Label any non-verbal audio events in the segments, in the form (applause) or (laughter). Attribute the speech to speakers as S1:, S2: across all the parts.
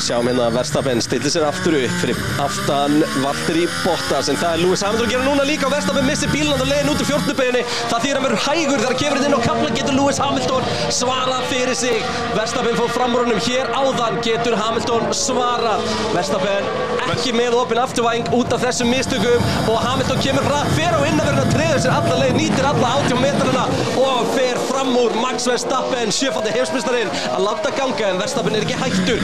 S1: Sjáum hérna að Verstappen stillir sér aftur upp fyrir aftan Valtteri Bottas en það er Lewis Hamilton að gera núna líka og Verstappen missir bílnand og leiðin út úr fjórtnubeginni það þýðir að verður hægur þegar kemur þetta inn á kapla getur Lewis Hamilton svarað fyrir sig Verstappen fór framrúnum hér áðan getur Hamilton svarað Verstappen ekki með opinn afturvæng út af þessum mistökum og Hamilton kemur rætt fyrir á innanverðina treður sér alla leið nýtir alla 80 metrana og fer fram úr Max Verstappen sjöfandi heimsmyndstarinn að láta ganga en Verstappen er ekki hættur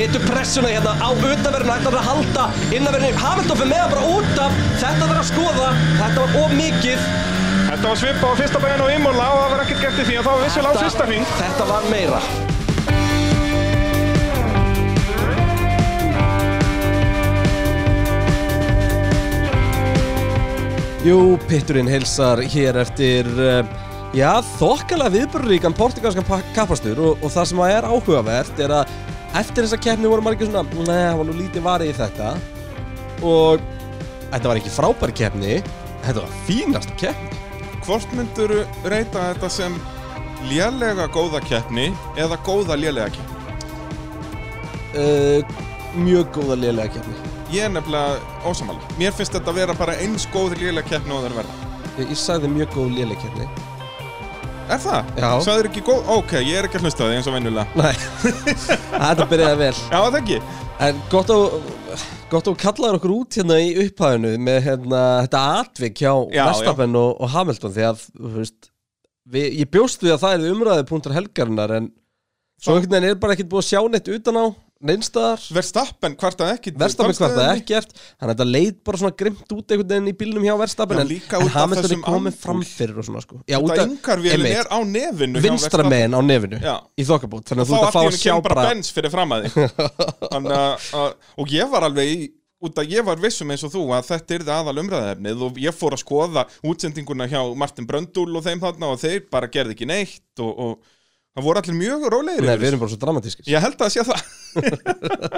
S1: setur pressuna hérna á utanverðinu ætlar að halda innanverðinu Hamilton fyrir með hann bara út af þetta þarf að skoða þetta var of mikið
S2: Þetta var svipa á fyrsta bæðin og Imola og það var ekkert gert í því að það var vissulega á fyrsta hring.
S1: Þetta var meira. Jú, pitturinn hilsar hér eftir, eh, já, þokkalega viðbörðuríkan portugalskan pa- kappastur og, og það sem að er áhugavert er að eftir þessa keppni voru margir svona, neða, það var nú lítið varið í þetta og þetta var ekki frábær keppni, þetta var fínasta keppni.
S3: Hvort myndur reyta þetta sem lélega góða keppni eða góða lélega keppni?
S1: Uh, mjög góða lélega keppni.
S3: Ég er nefnilega ósamála. Mér finnst þetta að vera bara eins góð lélega keppni og það er að verða.
S1: Ég, ég sagði mjög góð léleikefni
S3: Er það?
S1: Já.
S3: Svo það er ekki góð? Ok, ég er ekki að hlusta á því eins og venjulega.
S1: Nei, (laughs) þetta byrjaði vel
S3: Já, það ekki.
S1: En gott að gott að þú kallaðir okkur út hérna í upphæðinu með hérna, þetta atvik hjá
S3: Já,
S1: Verstappen og, og Hamilton því að, þú veist við, ég bjóst við að það er umræði punktar helgarinnar en svo einhvern veginn er bara ekkert búið að sjá neitt utan á neinstaðar
S3: Verstappen kvartaði ekki.
S1: Verstappen hvað það ekkert hann þetta leit bara svona grimt út einhvern veginn í bílnum hjá Verstappen
S3: Já,
S1: en,
S3: líka
S1: en
S3: út af
S1: Hamilton
S3: þessum
S1: er komið
S3: ampúl.
S1: fram fyrir og svona sko Já, út
S3: Það
S1: af-
S3: yngarvélin
S1: einmitt,
S3: er á nefinu. hjá
S1: vinstra
S3: Verstappen.
S1: megin á nefinu
S3: Já.
S1: í þokkabót þannig að
S3: Þá
S1: þú ert að
S3: allt
S1: fá
S3: í
S1: að
S3: hennu
S1: sjá
S3: kemur bara
S1: bara
S3: bens fyrir
S1: (laughs)
S3: fram að þig. Þannig að, að- og ég var alveg í, út að ég var vissum eins og þú að þetta yrði aðal umræðefnið og ég fór að skoða útsendinguna hjá Martin Bröndúl og þeim þarna og þeir bara gerði ekki neitt og, og það voru allir mjög rólegir
S1: Nei,
S3: yfir
S1: við
S3: þessu.
S1: erum bara svo dramatískir
S3: Ég held að það sé það.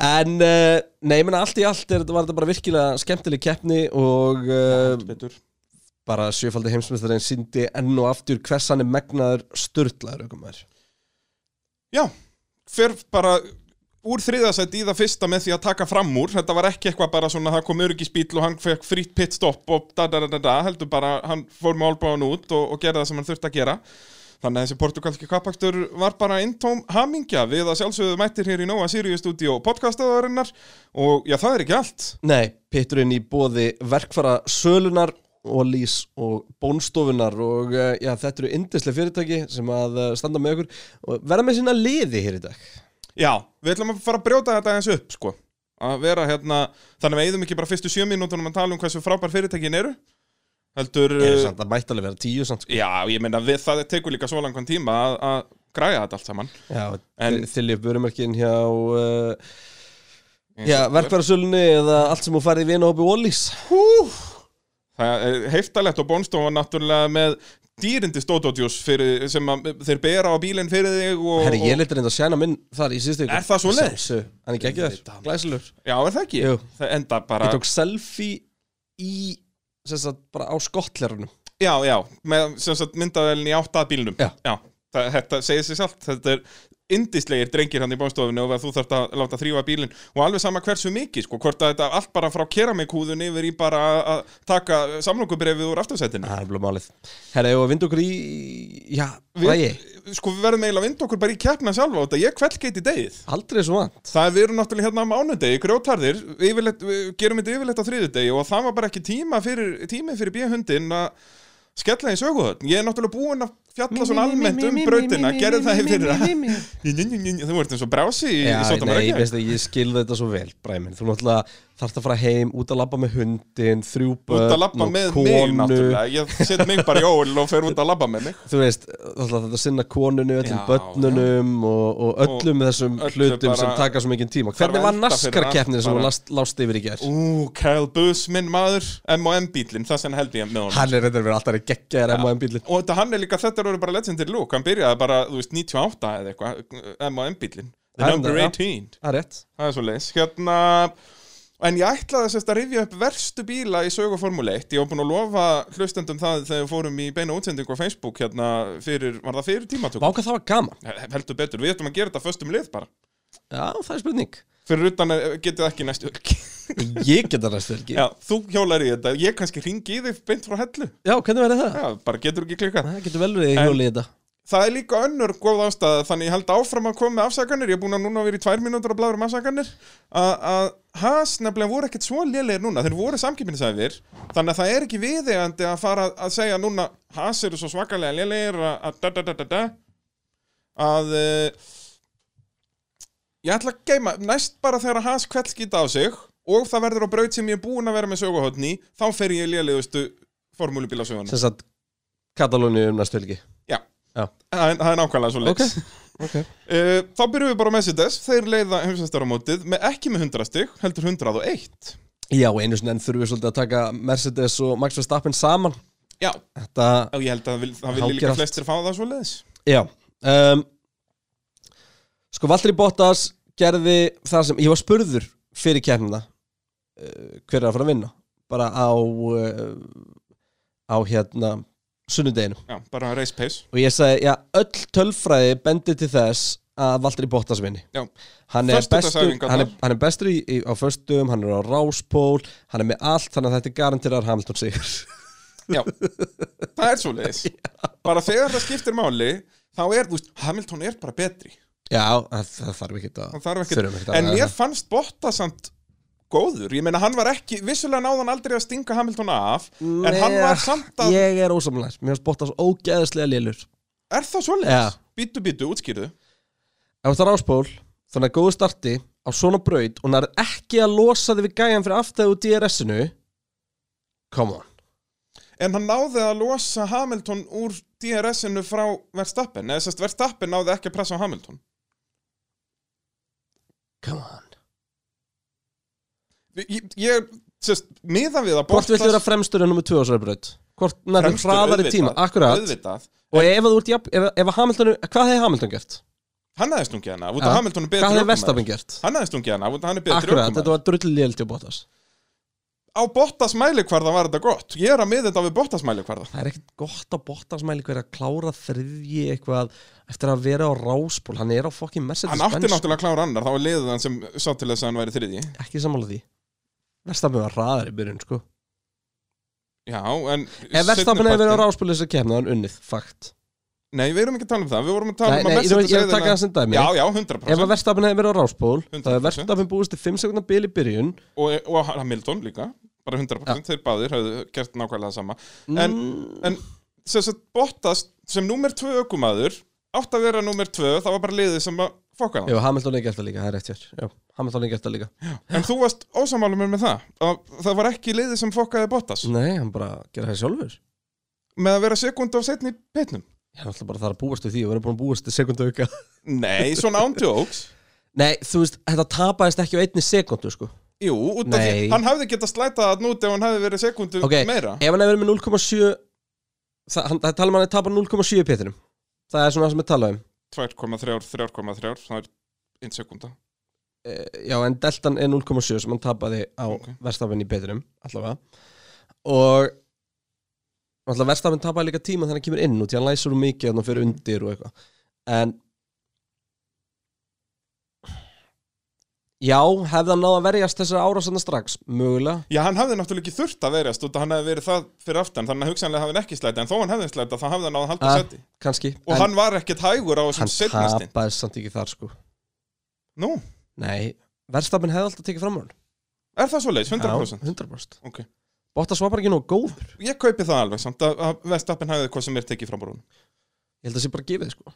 S1: En, uh, nei, ég meina allt í allt er, var þetta bara virkilega skemmtileg keppni og uh,
S3: Betur.
S1: bara sjöfaldi heimsmyndstarinn síndi enn og aftur hvers hann er megnaður störtlaður aukumar
S3: Já, fyrr bara úr þriðasætt í það fyrsta með því að taka fram úr þetta var ekki eitthvað bara svona það kom örgisbíl og hann fekk frýtt pitstopp og da da da da da heldur bara hann fór með álbáðan út og, og gerði það sem hann þurfti að gera þannig að þessi portugalski kappakstur var bara intóm hamingja við að sjálfsögðu mættir hér í Nóa Sirius Studio podcastaðarinnar og já það er ekki allt
S1: Nei, pitturinn í bóði verkfara sölunar og lís og bónstofunar og uh, já, þetta eru yndislega fyrirtæki sem að uh, standa með okkur og vera með sína liði hér í dag
S3: Já, við ætlum að fara að brjóta þetta eins upp sko að vera hérna, þannig að við eigðum ekki bara fyrstu sjö mínútunum að tala um hversu frábær fyrirtækin eru heldur
S1: Ég er samt að mætt alveg vera tíu samt sko.
S3: Já, ég meina við það tekur líka svo langan tíma að, að græja þetta allt saman
S1: Já,
S3: En-
S1: þylja upp vörumarkin hjá uh, Já, verkfærasölunni eða allt sem hún farið í vinahópi Wallís
S3: Það er heiftalegt og bónstofa náttúrulega með dýrindi stótódjús fyrir, sem að, þeir bera á bílinn fyrir þig og,
S1: Herri, ég
S3: og,
S1: leti reynda að sjæna minn þar í síðustu ykkur
S3: Er það svoleiðis?
S1: Hann er ekki ekki þar, glæsilegur
S3: Já, er það ekki?
S1: Jú.
S3: Það enda bara
S1: Ég tók selfie í, sem sagt, bara á skottlerunum
S3: Já, já, með sem sagt myndavelin í átt að bílnum
S1: Já.
S3: það, þetta segir sér sjálft Þetta er indislegir drengir hann í bónstofinu og að þú þarft að láta þrýfa bílinn og alveg sama hversu mikið, sko, hvort að þetta allt bara frá keramikúðun yfir í bara að- að taka samlokubrefið úr aftursætinu
S1: Það er blá málið Herri, og vindu okkur í, já,
S3: Við-
S1: vægi
S3: sko við verðum eiginlega að vinda okkur bara í keppna sjálfa og þetta ég kveld geti degið
S1: Aldrei svo vant
S3: það er við erum náttúrulega hérna á mánudegi grjótarðir, yfirleitt, við gerum þetta yfirleitt á þriðudegi og það var bara ekki tíma fyrir, tími fyrir bíhundin að skella í söguhöld ég er náttúrulega búinn að fjalla svona almennt um brautina gerði það (laughs) í fyrra þú ert eins og brási í, í
S1: Já,
S3: sótum
S1: nei, ég veist að ég skil þetta svo vel, Bræmin Þú náttúrulega þarft að fara heim, út að labba með hundin, þrjú
S3: út að
S1: börn
S3: labba
S1: og
S3: með mig
S1: konu
S3: náttúrulega ég set mig bara í ól og fer út að labba með
S1: (laughs)
S3: mig
S1: Þú veist, náttúrulega þetta sinna konunu, öllum
S3: Já,
S1: börnunum og, og öllum þessum
S3: öllu
S1: hlutum
S3: bara-
S1: sem taka svo mikið tíma
S3: Þarf
S1: Hvernig var
S3: að elda fyrir
S1: naskarkeppnin
S3: allt
S1: sem
S3: bara.
S1: hún last, lást yfir í gerð?
S3: ú, Kyle Buss, minn maður M&M bílinn, það sem held ég með honum
S1: Hann er reyndar verið alltaf að gegja þér M&M bílinn
S3: og þetta hann er líka, þetta eru bara legendir lúk, hann byrjaði bara, þú veist, 98 eða eitthvað, M&M bílinn The
S1: Það er
S3: number
S1: það, já.
S3: 18,
S1: Það er rétt
S3: það er svo leis hérna, en ég ætlaði sérst að rifja upp verstu bíla í sögu Formule 1 ég var búin að lofa hlustendum það þegar við fórum í beina útsendingu á Facebook hérna, fyrir, var það fyrir tímatöku?
S1: Váka það var gaman
S3: heldur betur, við ættum að gera þetta föstum lið bara
S1: Já, það er spurning
S3: Fyrir utan að getið ekki næstu ölki
S1: (laughs) Ég geta næstu helgi
S3: Já, þú hjólar í þetta, ég kannski ringi í þig beint frá hellu
S1: Já, hvernig verður það?
S3: Já, bara getur ekki klikkað
S1: Það getur vel verið í
S3: En-
S1: hjóli í þetta
S3: Það er líka önnur góð ástæða Þannig ég held áfram að koma með afsakanir Ég er búin að núna vera í tvær mínútur að bláður um afsakanir Að að Haas nefnilega voru ekkert svo lélegir núna Þeir voru samkipnisæfir Þannig að það er ekki viðegandi að fara að segja núna Haas eru svo svakalega lélegir Að, að, da, da, da, da, da, að uh, Ég ætla að geima Næst bara þegar að Haas kveldskýta á sig Og það verður á braut sem ég er búin að vera með söguhotni Þá fer ég í lélegustu formúlubílasöguna
S1: Sem sagt, Katalóni um næstu helgi
S3: Já,
S1: Já,
S3: það er það er nákvæmlega svo
S1: ok Ok
S3: Uh, þá byrjum við bara á Mercedes, þeir leiða heimsveistaramótið með ekki með 100 stygg, heldur 101.
S1: Já, einu sinni enn þurfum við svolítið að taka Mercedes og Max Verstappen saman
S3: Já.
S1: Þetta,
S3: Og ég held að það vil- það vilja
S1: Hálfgerð
S3: líka
S1: allt.
S3: flestir fá það svo leiðis.
S1: já um, Sko, Valtteri Bottas gerði það sem, ég var spurður fyrir kemna uh, hver er að fara að vinna bara á uh, á hérna sunnudeginu
S3: Já, bara race pace.
S1: og ég sagði, já, öll tölfræði bendir til þess að Valtteri Bottas vinni
S3: Já.
S1: hann er, bestur,
S3: Föstudagsæfingarnar.
S1: hann, er, hann er bestur í, í, á föstum, hann er á ráspól hann er með allt, þannig að þetta garantirar Hamilton sigur (laughs)
S3: Já, (laughs) það er svo leiðis. Bara þegar það skiptir máli, þá er, þú veist, Hamilton er bara betri.
S1: já, það, það þarf ekki að
S3: Það þarf
S1: þurfum
S3: ekkert,
S1: ekkert að
S3: en
S1: ræða
S3: mér
S1: það.
S3: fannst Botta samt góður. Ég meina, hann var ekki, vissulega náði hann aldrei að stinga Hamilton af, en hann
S1: Nei,
S3: var samt að,
S1: ég er ósamlega, mér finnst Bottas ógeðslega lélur
S3: er það svo
S1: Já.
S3: leiðis? Bítu, bítu, útskýrðu.
S1: ef það er ráspól, þannig að góðu starti á svona braut og nærð ekki að losa þig við gæjan fyrir aftæðu DRS-inu come on
S3: En hann náði að losa Hamilton úr DRS-inu frá Verstappen eða sérst Verstappen náði ekki að pressa á Hamilton
S1: come on
S3: Ég, ég sérst, miða við að
S1: Hvort viltu vera fremstur en nummer 2 á þessari braut? Hvort nærðu
S3: Fremstur,
S1: hraðari
S3: auðvitað,
S1: tíma? Akkurat
S3: auðvitað,
S1: Og ef að þú ert jafn, ef, ef að Hamilton Hvað hefði Hamilton gert?
S3: hann hefði stungið hana út
S1: Ja.
S3: af Hamilton er betri
S1: Hvað hefði
S3: ökumaður.
S1: Verstappen gert?
S3: Hann hefði stungið hana út af hann er betri
S1: Akkurat,
S3: ökumaður
S1: þetta var drullið lélt hjá Bottas
S3: Á Bottas mælikvarða var þetta gott Ég er að miða þetta við Bottas mælikvarða
S1: Það er ekkert gott að Bottas mæli hver að klára þriðji eitthvað eftir að vera á rásból Hann er á fokkin Mercedes
S3: Hann átti náttúrulega að klára annar, þá var liðið hann sem sá til þess að hann væri þriðji
S1: Ekki sammála því Verstappen var hraðari í byrjun sko
S3: Já, en
S1: Ef Verstappen hefði verið á
S3: seinnipartinn-
S1: rásból þess að kemna hann unnið, fakt
S3: Nei, við erum ekki að tala um það, við vorum að tala
S1: Nei,
S3: um
S1: nei, ég er ég
S3: Mercedes
S1: er að
S3: leiðina-
S1: taka það sem dæmi
S3: Já, já,
S1: Ef
S3: 100%
S1: að Verstappen hefði verið á rásból Það er
S3: 100%.
S1: Verstappen búist til 5 sekundar bil í byrjun
S3: og, og Hamilton líka bara 100% þeir báðir hafðu gert nákvæmlega sama en,
S1: Mm.
S3: en sem sagt Bottas sem númer 2 ökumadur átt að vera númer 2 það var bara liðið sem að fokka hann
S1: Jú, Hamilton hefði gert það líka, það er rétt hér Já, Hamilton hefði gert það líka
S3: en þú varst ósamálum með það að það var ekki liðið sem fokkaði Bottas
S1: Nei, hann bara gera það sjálfur
S3: með að vera sekund á setni pitnum
S1: Ég er alltaf bara þar að búast við því og vera búin að búast til sekundu auka
S3: nei, svona ándjóks
S1: (laughs) Nei, þú veist, þetta tapaðist ekki á einni sekundu sko
S3: Jú, út af því,
S1: Nei.
S3: hann hafði getað slætað hann út ef hann hafði verið sekundu
S1: Ok,
S3: meira
S1: Ef hann hefði verið með 0,7 Það hann- það tala um að hann tapar 0,7 pétinum Það er svona það sem við tala um
S3: 2,3, 3,3, það er 1 sekunda
S1: e, Já, en deltan er 0,7 sem hann tapaði á
S3: Ok.
S1: okay. verstafinn í pétinum allavega Og Alltaf verstafinn tapaði líka tíma þegar hann kemur inn út Því hann læsur um mikið þannig fyrir undir og eitthvað En Já, hefði hann náð að verjast þessari árásanna strax Mögulega
S3: Já, hann hafði náttúrulega ekki þurft að verjast út að hann hefði verið það fyrir aftan, þannig að hugsanlega hafði hann ekki slæta en þó hann hefði slæta, þá hafði hann á að halda
S1: Ah,
S3: seti
S1: kannski
S3: og hann var ekkert hægur á þessum
S1: hann
S3: setnastinn
S1: tapaði samt ekki þar sko
S3: Nú,
S1: Nei, verðstafinn hefði alltaf tekið fram úr hann
S3: er það svo leis, 100%?
S1: Já, 100%
S3: Ok.
S1: Bottas var bara ekki nóg góður
S3: Ég kaupi það alveg samt að, að Vestappen hafði hvað sem er tekið fram úr hún
S1: Ég held að sé bara gefið sko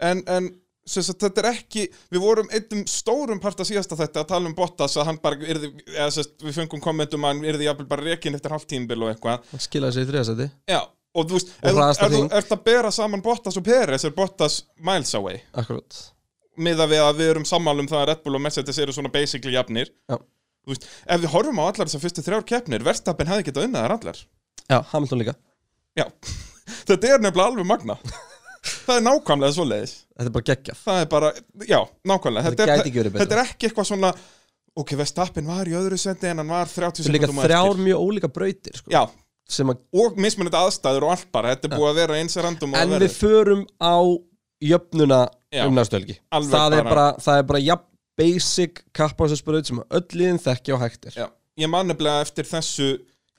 S3: En, en sem sagt, þetta er ekki, við vorum einnum stórum part að síðasta þetta að tala um Bottas að hann bara yrði, eða sem sagt, við fengum kommentum að hann yrði jafnvel bara rekin eftir hálftímbil og eitthvað
S1: Hann skilaði sér í þriðasæti
S3: Já, og þú veist,
S1: Og
S3: ef-
S1: hraðasta
S3: ef þú
S1: hring.
S3: ert að bera saman Bottas og Peres er Bottas miles away
S1: Akkurat
S3: miða við að við erum sammálum það að Red Bull og Mercedes eru svona basically jafnir
S1: Já.
S3: Þú veist, ef við horfum á allar þessar fyrstu þrjár keppnir Verstappen hefði getað unnað þær allar
S1: Já, Hamilton líka
S3: Já, (laughs) þetta er nefnilega alveg magna
S1: (laughs)
S3: Það er nákvæmlega svo leiðis
S1: Þetta er bara geggjað
S3: Það er bara, já, nákvæmlega
S1: Þetta
S3: Þetta,
S1: gæti ekki
S3: er,
S1: verið betra.
S3: þetta er ekki eitthvað svona Ok, Verstappen var í öðru sendi en hann var 30
S1: Þetta er líka
S3: sekúndum á
S1: þrjár
S3: eftir.
S1: mjög ólíka brautir sko
S3: Já,
S1: Sem að
S3: og mismunandi aðstæður og allt bara Þetta er búið að vera eins random og
S1: En
S3: að
S1: við
S3: vera
S1: förum á jöfnuna
S3: Já.
S1: um næstu helgi
S3: Alveg
S1: það, er
S3: bara-
S1: bara, það er bara jafn basic kapphásasbröð sem öll liðin þekkja og hægt er
S3: Já, ég man nefnilega eftir þessu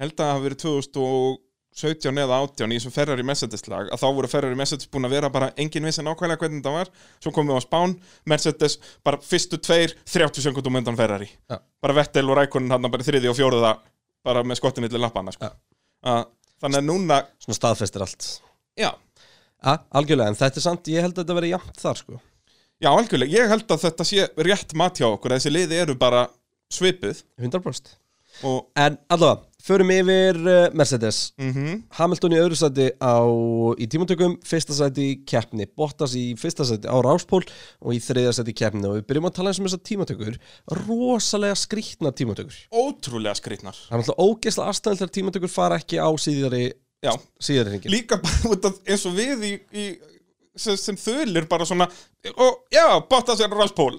S3: held að það hafi verið 2017 eða 18 í þessum Ferrari Mercedes lag að þá voru Ferrari Mercedes búin að vera bara engin vissi nákvæmlega hvernig það var svo komum við á Spán, Mercedes bara fyrstu tveir, 30 sekundum undan Ferrari
S1: Já.
S3: bara Vettel og Rækonin hann bara í þriði og fjóruða bara með skottin yllir lappana sko.
S1: Já.
S3: Að- þannig að núna
S1: svona staðfestir allt
S3: já,
S1: ja, algjörlega, en þetta er samt, ég held að þetta veri jafnt þar sko.
S3: já, algjörlega, ég held að þetta sé rétt mat hjá okkur, að þessi liði eru bara svipuð
S1: 100%
S3: og
S1: en allavega, förum yfir uh, Mercedes
S3: mm
S1: Hamilton í öðru sæti á, í tímantökum, fyrsta sæti í keppni, Bottas í fyrsta sæti á Ráspól og í þriða sæti í keppni og við byrjum að tala eins um þessar tímantökur, rosalega skrýtna tímantökur.
S3: ótrúlega skrýtnar
S1: Það er náttúrulega ógeðslega aðstæðan þegar tímantökur fara ekki á síðari,
S3: já,
S1: síðari hringin.
S3: líka bara út af eins og við í, í sem, sem þölir bara svona og já, Bottas er raspól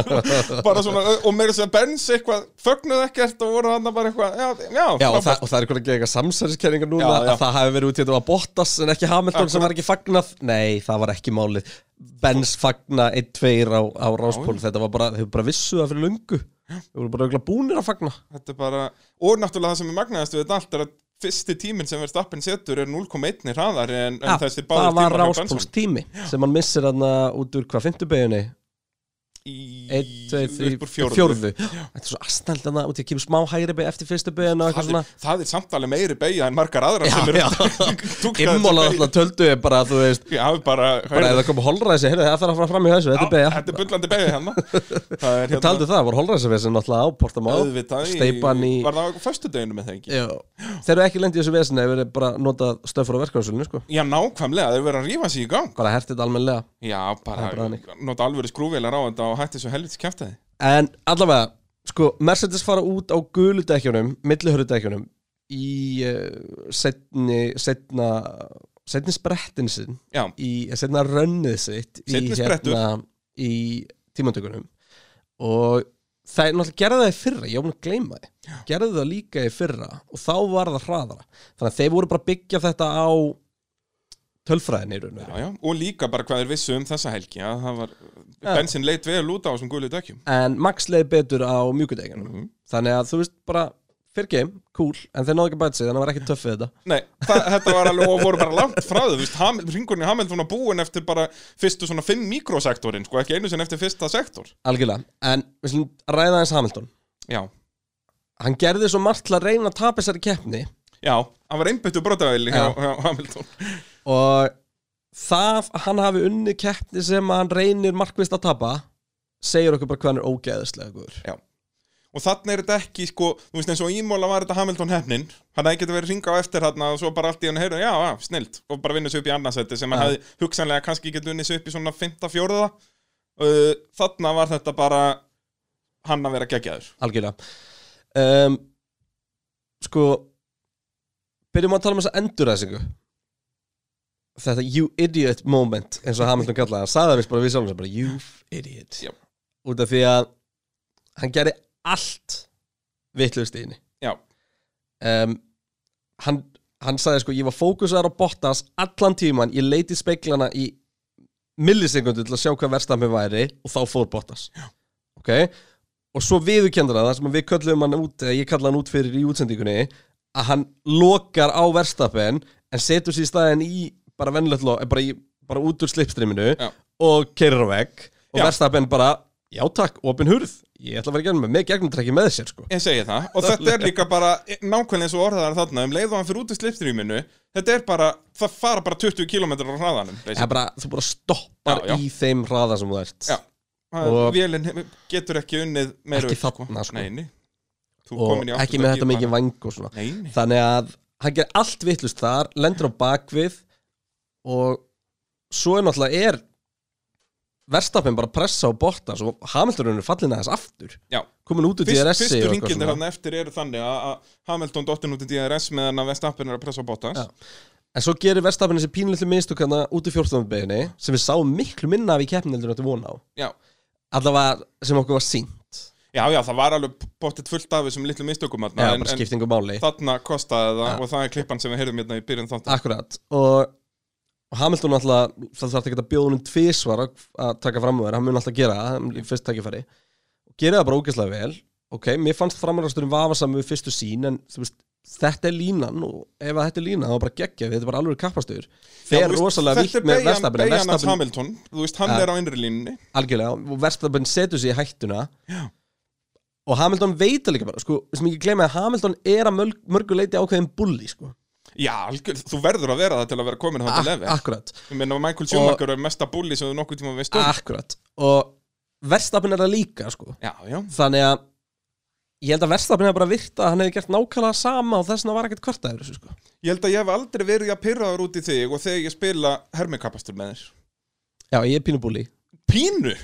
S3: (laughs) bara svona, og meira sem Benz eitthvað, fögnuð ekkert og voru hann bara eitthvað, já, já,
S1: Já, og
S3: frábært.
S1: það, og það er eitthvað að gera samsæðiskenningar núna
S3: Já, já.
S1: að það hafi verið út í þetta var Bottas en ekki Hamilton sem var ekki fagnað. Nei, það var ekki málið. Benz fagna 1-2 á, á Ráspól, þetta var bara, þau bara vissu það fyrir lungu. Þau voru bara örugglega búnir að fagna.
S3: þetta er bara, og náttúrulega það sem er magnaðast við þetta allt er að fyrsti tíminn sem verðst appin setur er 0,1 hraðar en, en
S1: Já,
S3: þessi
S1: það
S3: báður
S1: var
S3: tímar hjá
S1: ráspóls tími sem hann missir hann út úr hvað, fymtubeginni?
S3: Í-
S1: 1, 2,
S3: upp úr
S1: 3,
S3: fjórðu.
S1: 4 Þetta er svo astnald hann út í að kemur smá hægri beig eftir fyrstu beginna og eitthvað
S3: Það
S1: svona
S3: er, það er samtali meiri beigja en margar aðra
S1: Já,
S3: sem eru (laughs)
S1: já.
S3: túlkaðar sem
S1: Immóla
S3: beygja.
S1: alltaf töldu ég bara, þú veist
S3: Já, bara,
S1: bara ef það kom holræsi, heyrðu það þarf að fara fram í þessu, þetta er
S3: Já,
S1: beigja
S3: Þetta er bullandi beigja
S1: (laughs)
S3: hérna Það er hérna
S1: Taldu það, það voru holræsavesen náttúrulega á Portamá
S3: auðvitað
S1: Steipan um í
S3: Var það á föstudeginu með það ekki?
S1: Já. Þeir eru ekki lendið í þessu vesinu ef þeir eru bara notað stöfur á verkefnarsulinu sko.
S3: Já, nákvæmlega, þau verður að rífa sig í gang
S1: bara hertið almenlega
S3: Já, bara
S1: Það er bara þannig.
S3: nota alvöru skrúvélar á þetta og hætti svo helvitis kjæftaði
S1: En allavega, sko, Mercedes fara út á gulu dekkjunum, millihörðu dekkjunum í uh, setni, setna, setni sprettin sinn,
S3: Já,
S1: í setna rönnið sitt
S3: Seinni
S1: í, hérna,
S3: sprettur.
S1: í tímantökunum og það er náttúrulega gerði það í fyrra, ég var búin að gleyma þið gerði það líka í fyrra og þá var það hraðara, þannig að þeir voru bara að byggja þetta á tölfræðinni í raun og veru.
S3: já, já, og líka bara hvað þeir vissu um þessa helgi Já, það var,
S1: Já.
S3: bensin leit vel út á þessum gulu dökjum
S1: en Max leiði betur á mjúkudeginum
S3: Mhm.
S1: þannig að þú veist bara fyrir game, cool, en þeir náðu ekki að bæta sig þannig að það var ekki töff við þetta
S3: Nei, það, þetta var alveg og voru bara langt frá þau, þú veist, Ham- hringurinn í Hamilton var búin eftir bara fyrstu svona fimm mikrosektorin, sko, ekki einu sinni eftir fyrsta sektor
S1: algjörlega, en við slum ræða eins Hamilton
S3: Já,
S1: hann gerði svo margt til að reyna að tapa þessari keppni
S3: já, hann var einbyttu brotavæli hjá,
S1: Já.
S3: hjá Hamilton
S1: og það að hann hafi unni keppni sem að hann reynir markvist að tapa segir okkur bara hvað hann er ógeðislega guður
S3: og þannig er þetta ekki sko, þú veist eins og ímóla var þetta Hamilton hefnin hann hefði getið verið hringa á eftir þarna og svo bara allt í hann heyrðu, já, já, snilt og bara vinna sig upp í annarsætti sem hann
S1: Já.
S3: hefði hugsanlega kannski getið unnið sig upp í svona 5-4 uh, þarna var þetta bara hann að vera geggjaður
S1: algjörlega um, sko byrjum að tala um þessa enduræsingu þetta you idiot moment eins og Hamilton kallaði, hann sagði það vist bara við sjálfum sér bara you idiot
S3: Já.
S1: út af því að hann gerði allt vittlust í henni
S3: já,
S1: um, hann, hann sagði sko ég var fókusaður á Bottas allan tíman, ég leiti speiklana í millisekundu til að sjá hvað verðstami væri og þá fór Bottas Já. ok, og svo viðurkendur það sem við köllum hann út, eða ég kalla hann út fyrir í útsendingunni, að hann lokar á verðstapin en setur sér í staðin í bara venlögt bara, í- bara út úr slipstreaminu
S3: Já.
S1: og keirir á vegg og
S3: Já.
S1: verðstapin bara Já takk, opin hurð, ég ætla að vera í gegnum með, með gegnum trekki með sér sko
S3: ég segi það og þetta er líka bara e, nákvæmlega eins og orðaðar þarna um leið og hann fyrir út í slipstrýminu þetta er bara, það fara bara 20 km á hraðanum
S1: Það er bara, þú bara stoppar
S3: Já, já.
S1: í þeim hraða sem þú ert
S3: Já.
S1: og-
S3: og vélinn hefur- getur ekki unnið meira
S1: Ekki
S3: upp,
S1: þarna, sko.
S3: Nei, nei. Þú
S1: og
S3: komin í
S1: ekki með
S3: áttunda
S1: þetta
S3: gír
S1: mikið
S3: bara.
S1: vang og svona
S3: Nei, nei.
S1: þannig að hann gerir allt vitlust þar lendur á bakvið og svo er náttúrulega er verstafinn bara að pressa á Bottas og Hamilton er fallin aðeins aftur
S3: Já.
S1: komin út úr
S3: Fyrst,
S1: DRS-i
S3: fyrstu
S1: og eitthvað
S3: ringindir
S1: svona.
S3: hann eftir eru þannig að- að Hamilton dottin út í DRS meðan að Vestappen er að pressa á Bottas
S1: Já. en svo gerir verstafinn þessi pínlítið minnstokana út í 14. beginni sem við sáum miklu minna af í keppni heldur en þetta vona á
S3: já.
S1: allavega sem okkur var sínt
S3: já, já, það var alveg bóttið fullt af þessum litlu mistökum
S1: eða
S3: þarna, en,
S1: bara
S3: en
S1: skiptingu máli
S3: þarna kostaði það
S1: Já.
S3: og það er klippan sem við heyrðum hérna í byrjun þáttan
S1: Akkurat og og Hamilton alltaf, það þarf ekki að bjóða honum tvísvar að að taka fram úr, hann mun alltaf gera það í fyrst tækifæri og gera það bara ógeðslega vel ok, mér fannst framræðasturinn vafasam við fyrstu sín en þú veist, þetta er línan og ef að þetta er línan þá er bara geggja við þetta er bara alveg kappastur
S3: Já,
S1: fer
S3: þú veist,
S1: rosalega
S3: þetta
S1: vilt
S3: er
S1: með
S3: beygjan-
S1: verstafinu
S3: beygjan hans
S1: verstafinu
S3: Hamilton, þú veist, hann
S1: Ja.
S3: er á innri línunni
S1: algjörlega og Verstappen setur sig í hættuna Já. og Hamilton veit það líka bara sko, sem ekki gleyma að Hamilton er að mörg, mörgu leiti ákveðin bulli sko.
S3: Já, algjör, þú verður að vera það til að vera
S1: Ah,
S3: komin hann til lefi
S1: akkurat,
S3: Ég meina, Michael Schumacher er mesta bulli sem þú nokkuð tíma veist um
S1: akkurat og Verstappen er það líka sko.
S3: Já, já,
S1: þannig að ég held að Verstappen hefði bara virta að hann hefði gert nákvæmlega sama og þess vegna var ekkert kvartaður þessu, sko.
S3: ég held að ég hef aldrei verið að pyrraður út í þig og þegar ég spila hermikapastur með þér
S1: Já, ég er pínu bulli
S3: Pínu,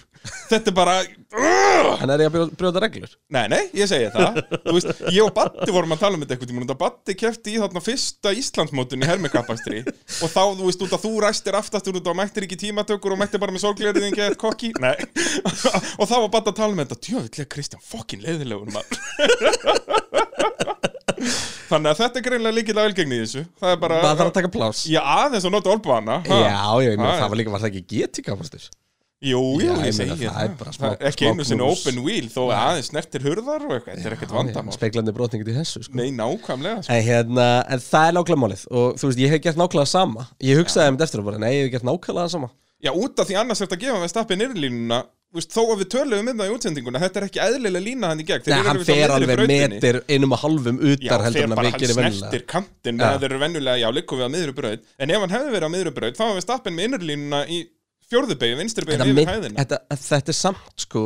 S3: þetta er bara Urgh!
S1: en er ég að brjó- brjóta reglur
S3: Nei, nei, ég segi það Þú veist, ég og Batti vorum að tala um þetta einhvern tímann og það Batti kefti í þarna fyrsta Íslandsmótun í hermikapastri og þá, þú veist, út að þú ræstir aftastur út og mættir ekki í tímatökur og mættir bara með sorglerið en geðið kokki Nei, (laughs) og þá var Batti að tala um þetta Djöfullega Kristján, fokkin leiðilegur maður Þannig að þetta er greinlega líkil að velgengni í þessu Það er bara,
S1: maður þarf að taka plás
S3: já, aðeins að nota olbana
S1: Já, já, ég meina,
S3: Ha.
S1: það var líka, var það ekki GT kapastur?
S3: Jú,
S1: Já,
S3: jú, ég
S1: ég meina,
S3: segi
S1: það er bara smá-
S3: það Ekki
S1: smá
S3: einu sinni
S1: knús.
S3: open wheel þó að aðeins snertir hurðar og eitthvað, þetta er ekkert vandamál
S1: Speglandi brotningu til þessu, sko
S3: Nei, nákvæmlega sko.
S1: En, hérna, en það er nákvæmlega málið og þú veist, ég hef gert nákvæmlega sama Ég hugsaði um þetta eftir og bara, nei, ég hef gert nákvæmlega sama
S3: Já, út af því annars er þetta að gefa með stappin yfir línuna þú veist, Þó að við töluðum um það í útsendinguna Þetta er ekki eðlilega lína hann í gegn Þeir
S1: Nei,
S3: eru
S1: hann
S3: yfirleitt á
S1: fer
S3: miðri
S1: alveg
S3: brautinni.
S1: metir einum og halvum
S3: Já,
S1: utar heldur
S3: fer
S1: en að
S3: bara
S1: við
S3: hann
S1: gerir vennilega
S3: snertir kantinn
S1: Já.
S3: með þeir eru venjulega, já, liggum við á miðru braut En ef hann hefði verið á miðru braut, þá hefði stappin með innurlínuna í fjórðubegi,
S1: þetta,
S3: vinsturbegi yfir
S1: mynd,
S3: hæðina
S1: þetta, þetta er samt sko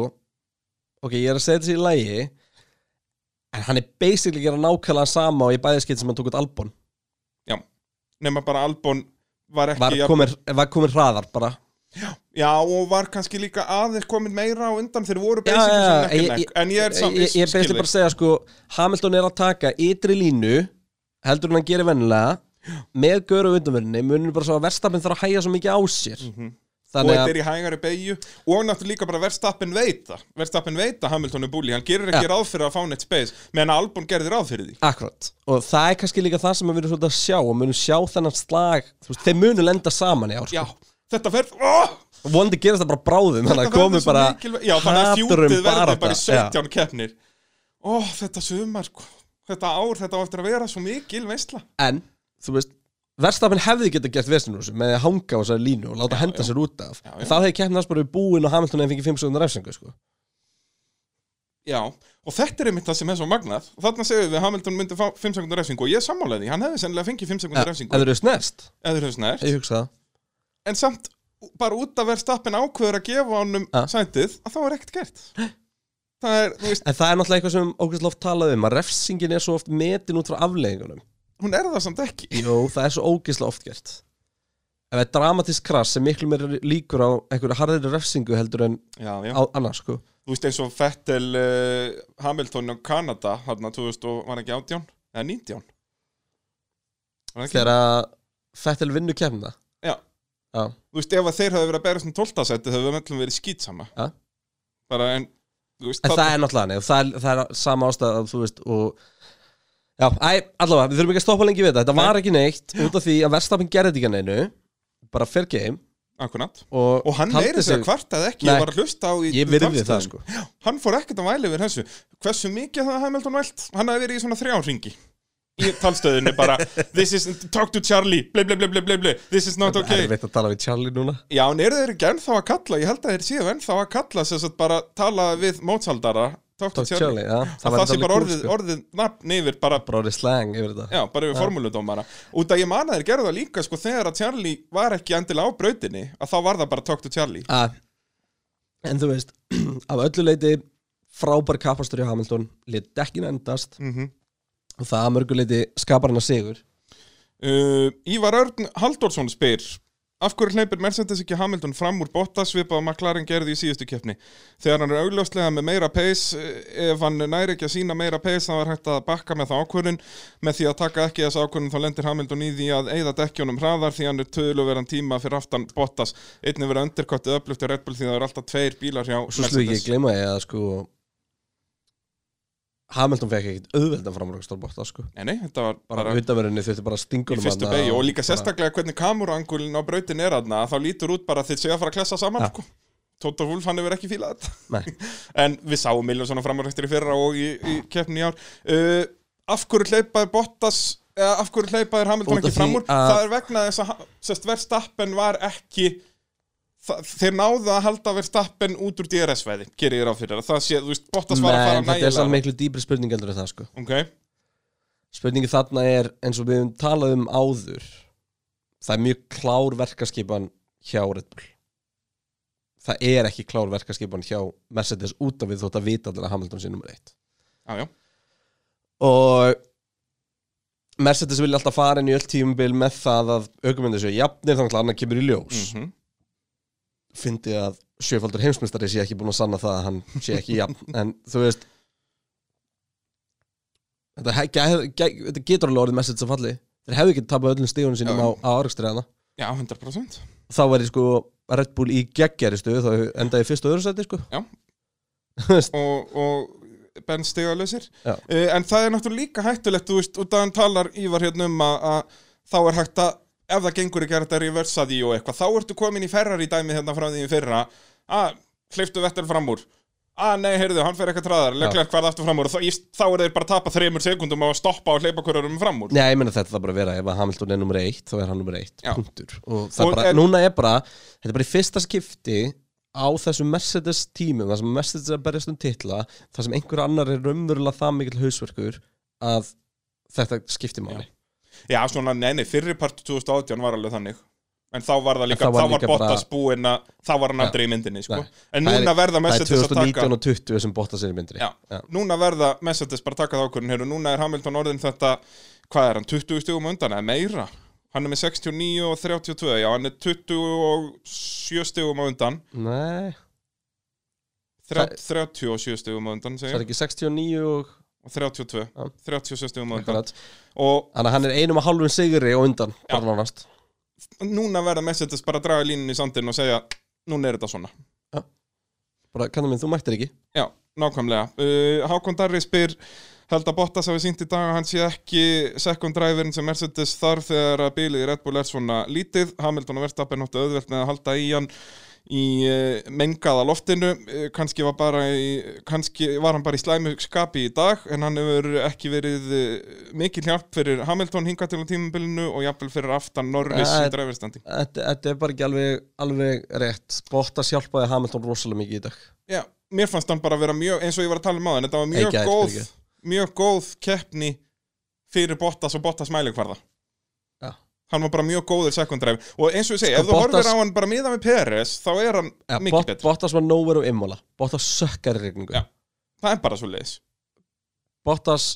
S1: ok, ég er að segja þetta sér í lægi en hann er basically að gera nákvæmlega sama og ég bæði skeitt sem hann tók út albón
S3: Nefna bara Albon var ekki
S1: var
S3: jafn-
S1: komin, var komin hraðar bara
S3: Já, og var kannski líka aðeins komin meira á undan þeir voru
S1: Já,
S3: basically
S1: já,
S3: svona
S1: já,
S3: nekk
S1: ég-
S3: en nekk En ég er samt,
S1: ég, ég er
S3: skil
S1: basically
S3: þig.
S1: bara að segja sko Hamilton er að taka ytri línu heldur en hann gerir vennilega með göru undanverðinni munir bara svo að verstafinn þarf að hæja svo mikið á sér
S3: Mhm. og
S1: þannig
S3: þetta
S1: að
S3: er í hægari beigju og náttúrulega líka bara verðstappin veita verðstappin veita Hamilton er búli, hann gerir ekki
S1: Ja.
S3: ráð fyrir að fá neitt space meðan Albon gerði ráð fyrir því
S1: Akkurat, og það er kannski líka það sem við erum svolítið að sjá og munum sjá þennan slag þú veist, þeir munum lenda saman í ár sko.
S3: já, þetta fer oh,
S1: vondi gerast það bara bráðum þannig að komi bara
S3: já, þannig að
S1: hatur um
S3: fjútið verði
S1: baráttu.
S3: bara í 17 keppnir ó, þetta sumar sko. þetta ár, þetta á eftir að vera svo mikil veistla
S1: Já. en, þú veist Verstafinn hefði getað gert vesinu þessu með því að hanga á þessari línu og láta henda sér út af já,
S3: já.
S1: það hefði keppnast bara við búin og Hamilton hefði fengið 5 sekundar refsingu sko.
S3: já, og þetta er einmitt það sem er svo magnað þarna segir við að Hamilton myndi fá 5 sekundar refsingu og ég sammálaði því, hann hefði sennilega fengið 5 sekundar
S1: en
S3: refsingu
S1: það eru snest,
S3: eða þú hefði
S1: ég hugsa það
S3: en samt bara út af verðstappin ákveður að gefa honum
S1: Ja.
S3: sætið að þá er ekkert gert það er, þú veist,
S1: en það er náttúrulega eitthvað sem ógæslega oft talað um að refsingin er svo oft metin út frá afleggingunum
S3: hún er það samt ekki
S1: Jó, (laughs) það er svo ógæslega oft gert ef það er dramatísk krass sem miklu meira líkur á einhverju harðir refsingu heldur en
S3: já, já.
S1: á, annars sko.
S3: þú veist eins og Fettel uh, Hamilton á Kanada hann að 2000 og var ekki 18 eða 19 Var það ekki?
S1: þegar að Fettel vinnu kemna
S3: Já.
S1: Já.
S3: þú veist ef að þeir hafi verið að bæra svona 12. seti þau hefur öllum verið skýtsama
S1: Ja.
S3: bara en þú veist,
S1: En
S3: þarna-
S1: það er náttúrulega nefn, það er, það er sama ástæða, þú veist, og Já, æ, allavega, við þurfum ekki að stoppa lengi við þetta Þetta
S3: Nei.
S1: var ekki neitt út af því að Verstafinn gerði þetta ekki að neinu Bara fair game
S3: akkurat
S1: Og,
S3: og hann
S1: taldi
S3: meiri sér að kvartaði ekki
S1: Nei.
S3: ég var að hlusta á í
S1: Ég virði það,
S3: dagstæðum.
S1: sko
S3: hann fór ekkert að væli yfir þessu hversu mikið hafði Hamilton vælt hann hafði verið í svona þrjá ringi í talstöðinni bara this is, talk to Charlie ble, ble, ble, ble, ble, ble. this is not
S1: Það er
S3: okay
S1: veit að tala við Charlie núna
S3: já, en eru þeir ekki ennþá að kalla ég held að þeir séu ennþá að kalla sem sagt bara tala við mótsaldara
S1: Tók
S3: talk, to Charlie,
S1: Charlie, já
S3: það,
S1: var
S3: það sé
S1: alveg
S3: bara
S1: cool,
S3: orðið,
S1: sko.
S3: orðið nafn yfir bara
S1: Bara orðið slang yfir þetta
S3: Já, bara yfir formúludómara Út að ég man að þeir gerðu það líka sko þegar að Charlie var ekki endilega á brautinni að þá var það bara talk to Charlie
S1: að, En þú veist, (clears throat) af öllu leiti Frábær kapastur í Hamilton Lét dekkin endast
S3: mm
S1: Og það að mörgu leiti skapar hann að sigur
S3: Uh, Ívar Örn Halldórsson spyr Af hverju hleypir Mercedes ekki Hamilton fram úr Bottas svipað og McLaren gerði í síðustu keppni Þegar hann er augljóslega með meira pace eh, Ef hann næri ekki að sína meira pace þá er hægt að bakka með það ákvörðun Með því að taka ekki þessa ákvörðun þá lendir Hamilton í því að eigða dekkjónum hraðar Því hann er töluveran tíma fyrir aftan Bottas Einnig verið undirkottið upplöfti Red Bull því það eru alltaf tveir bílar hjá
S1: Svo slúið ekki
S3: Mercedes
S1: gleyma ég að sko Hamilton fekk ekkit auðveldan framrökstur bóta sko
S3: Nei, nei, þetta var
S1: bara
S3: bara
S1: vitaverinni þurfti bara að stinga
S3: í
S1: honum
S3: fyrstu
S1: þarna
S3: beigju og líka
S1: bara-
S3: sérstaklega hvernig kamurangulin á brautin er aðna þá lítur út bara að þið séu að fara að klessa saman
S1: Ja.
S3: sko. Tóta Wolf, hann hefur ekki fílað (laughs) þetta
S1: Nei,
S3: En við sáum Miljónsson á framarrektur í fyrra og í, í keppni í ár uh, Af hverju hleypaði Bottas eða af hverju hleypaði Hamilton
S1: Út af
S3: ekki
S1: því
S3: fram úr?
S1: að-
S3: Það er vegna þess að Ha- sest, Verstappen var ekki það, þeir náðu að halda Verstappen út úr DRS-væði, gerir ég ráð fyrir það sé, þú veist, Bottas var að
S1: Nei,
S3: fara
S1: en þetta er samt
S3: nægilega
S1: miklu dýpri spurning heldur en það sko
S3: Ok,
S1: Spurningi þarna er, eins og við höfum talað um áður Það er mjög klár verkaskipan hjá Red Bull Það er ekki klár verkaskipan hjá Mercedes út af við þótt að vita allir að Hamilton sé nummer eitt
S3: já, já,
S1: Og Mercedes vilja alltaf fara inn í öll tímubil með það að aukumyndir séu jafnir þannig að annar kemur í ljós
S3: mm
S1: fyndi að sjöfaldur heimsmyndstari sé ekki búin að sanna það að hann sé ekki jafn en þú veist þetta, he- gæ- gæ- þetta getur alveg orðið message sem falli þeir hefðu ekki tapað öllum stíðunum sínum
S3: Já.
S1: á, á árekstriðana
S3: já, 100%
S1: þá væri sko Red Bull í geggjæri stöðu þá endaði í fyrst og öðru seti sko
S3: Já.
S1: Þú veist,
S3: og, og Ben stigalösir
S1: Já.
S3: uh, en það er náttúrulega líka hættulegt þú veist, út að hann talar Ívar hérna um að, að þá er hægt að, ef það gengur ekki að þetta reversa því og eitthvað, þá ertu komin í Ferrari dæmi hérna frá því í fyrra að hleyftu vettel fram úr að nei, heyrðu, hann fer eitthvað traðar, leiklega hverða aftur fram úr og þá, í- þá er þeir bara að tapa þreymur sekundum á að stoppa og hleypa hverjum fram úr
S1: Nei, ég meina þetta það bara að vera ef að Hamilton er nummer eitt þá er hann nummer eitt,
S3: Já.
S1: punktur og það
S3: Og
S1: bara,
S3: er-
S1: núna er bara, þetta er bara í fyrsta skipti á þessum Mercedes tímum þar sem Mercedes er að berjast um titla þar sem einhver annar er raunverulega það mikill hausverkur að þetta skipti máli
S3: Já, svona, nei, nei, fyrri part 2018 var alveg þannig En þá var það líka,
S1: En
S3: þá
S1: það var
S3: var,
S1: líka bara-
S3: Bottas búinn að Þá var hann
S1: Já.
S3: aldrei í myndinni, sko
S1: Nei.
S3: En
S1: Það er-
S3: núna verða
S1: Það er
S3: Mercedes að taka
S1: 2019 og 20 sem botta sér í myndri
S3: já, Núna verða Mercedes bara að taka það ákvörðin Heru, Núna er Hamilton orðin þetta Hvað er hann, 20 stugum undan, eða meira Hann er með 69 og 32 Já, hann er 27 stugum undan
S1: Nei,
S3: 30, 37 stugum undan,
S1: það er
S3: segir
S1: ekki 69 og
S3: Og 32,
S1: Já.
S3: 36 stugum undan
S1: akkurat.
S3: Og
S1: Þannig að hann er einum og halvun sigri og undan
S3: Já.
S1: bara nánast
S3: núna verða Mercedes bara að draga línunni í sandinn og segja Núna er þetta svona
S1: bara, kannar minn, þú mættir ekki
S3: Já, nákvæmlega. Uh, Hákon Darri spyr held að Bottas hafi sínt í dag að hann sé ekki second driverin sem Mercedes þarf þegar að bílið í Red Bull er svona lítið. Hamilton og Verstappen áttu auðvelt með að halda í hann í uh, mengaða loftinu. Uh, kannski, var bara í, kannski var hann bara í slæmu skapi í dag en hann hefur ekki verið uh, mikil hjálp fyrir Hamilton hinga til á tímabilinu og jafnvel fyrir aftan Norris
S1: Ja,
S3: í driverstandi.
S1: Þetta, þetta er bara ekki alveg, alveg rétt Bottas hjálpaði Hamilton rosalega mikið í dag
S3: Já, mér fannst hann bara vera mjög, eins og ég var að tala um á þetta var mjög
S1: Ekki að
S3: góð,
S1: fyrirgefa.
S3: mjög góð keppni fyrir Bottas og Bottas mælikvarða.
S1: Já.
S3: Hann var bara mjög góður sekundræf og eins og ég segi,
S1: Sko,
S3: ef þú
S1: Bottas-
S3: horfir á hann bara miða með PRS, þá er hann
S1: ja,
S3: mikið
S1: Bot,
S3: betur.
S1: Bottas var nowhere og immola Bottas sökkar í regningu
S3: Já. Það er bara svo leiðis.
S1: Bottas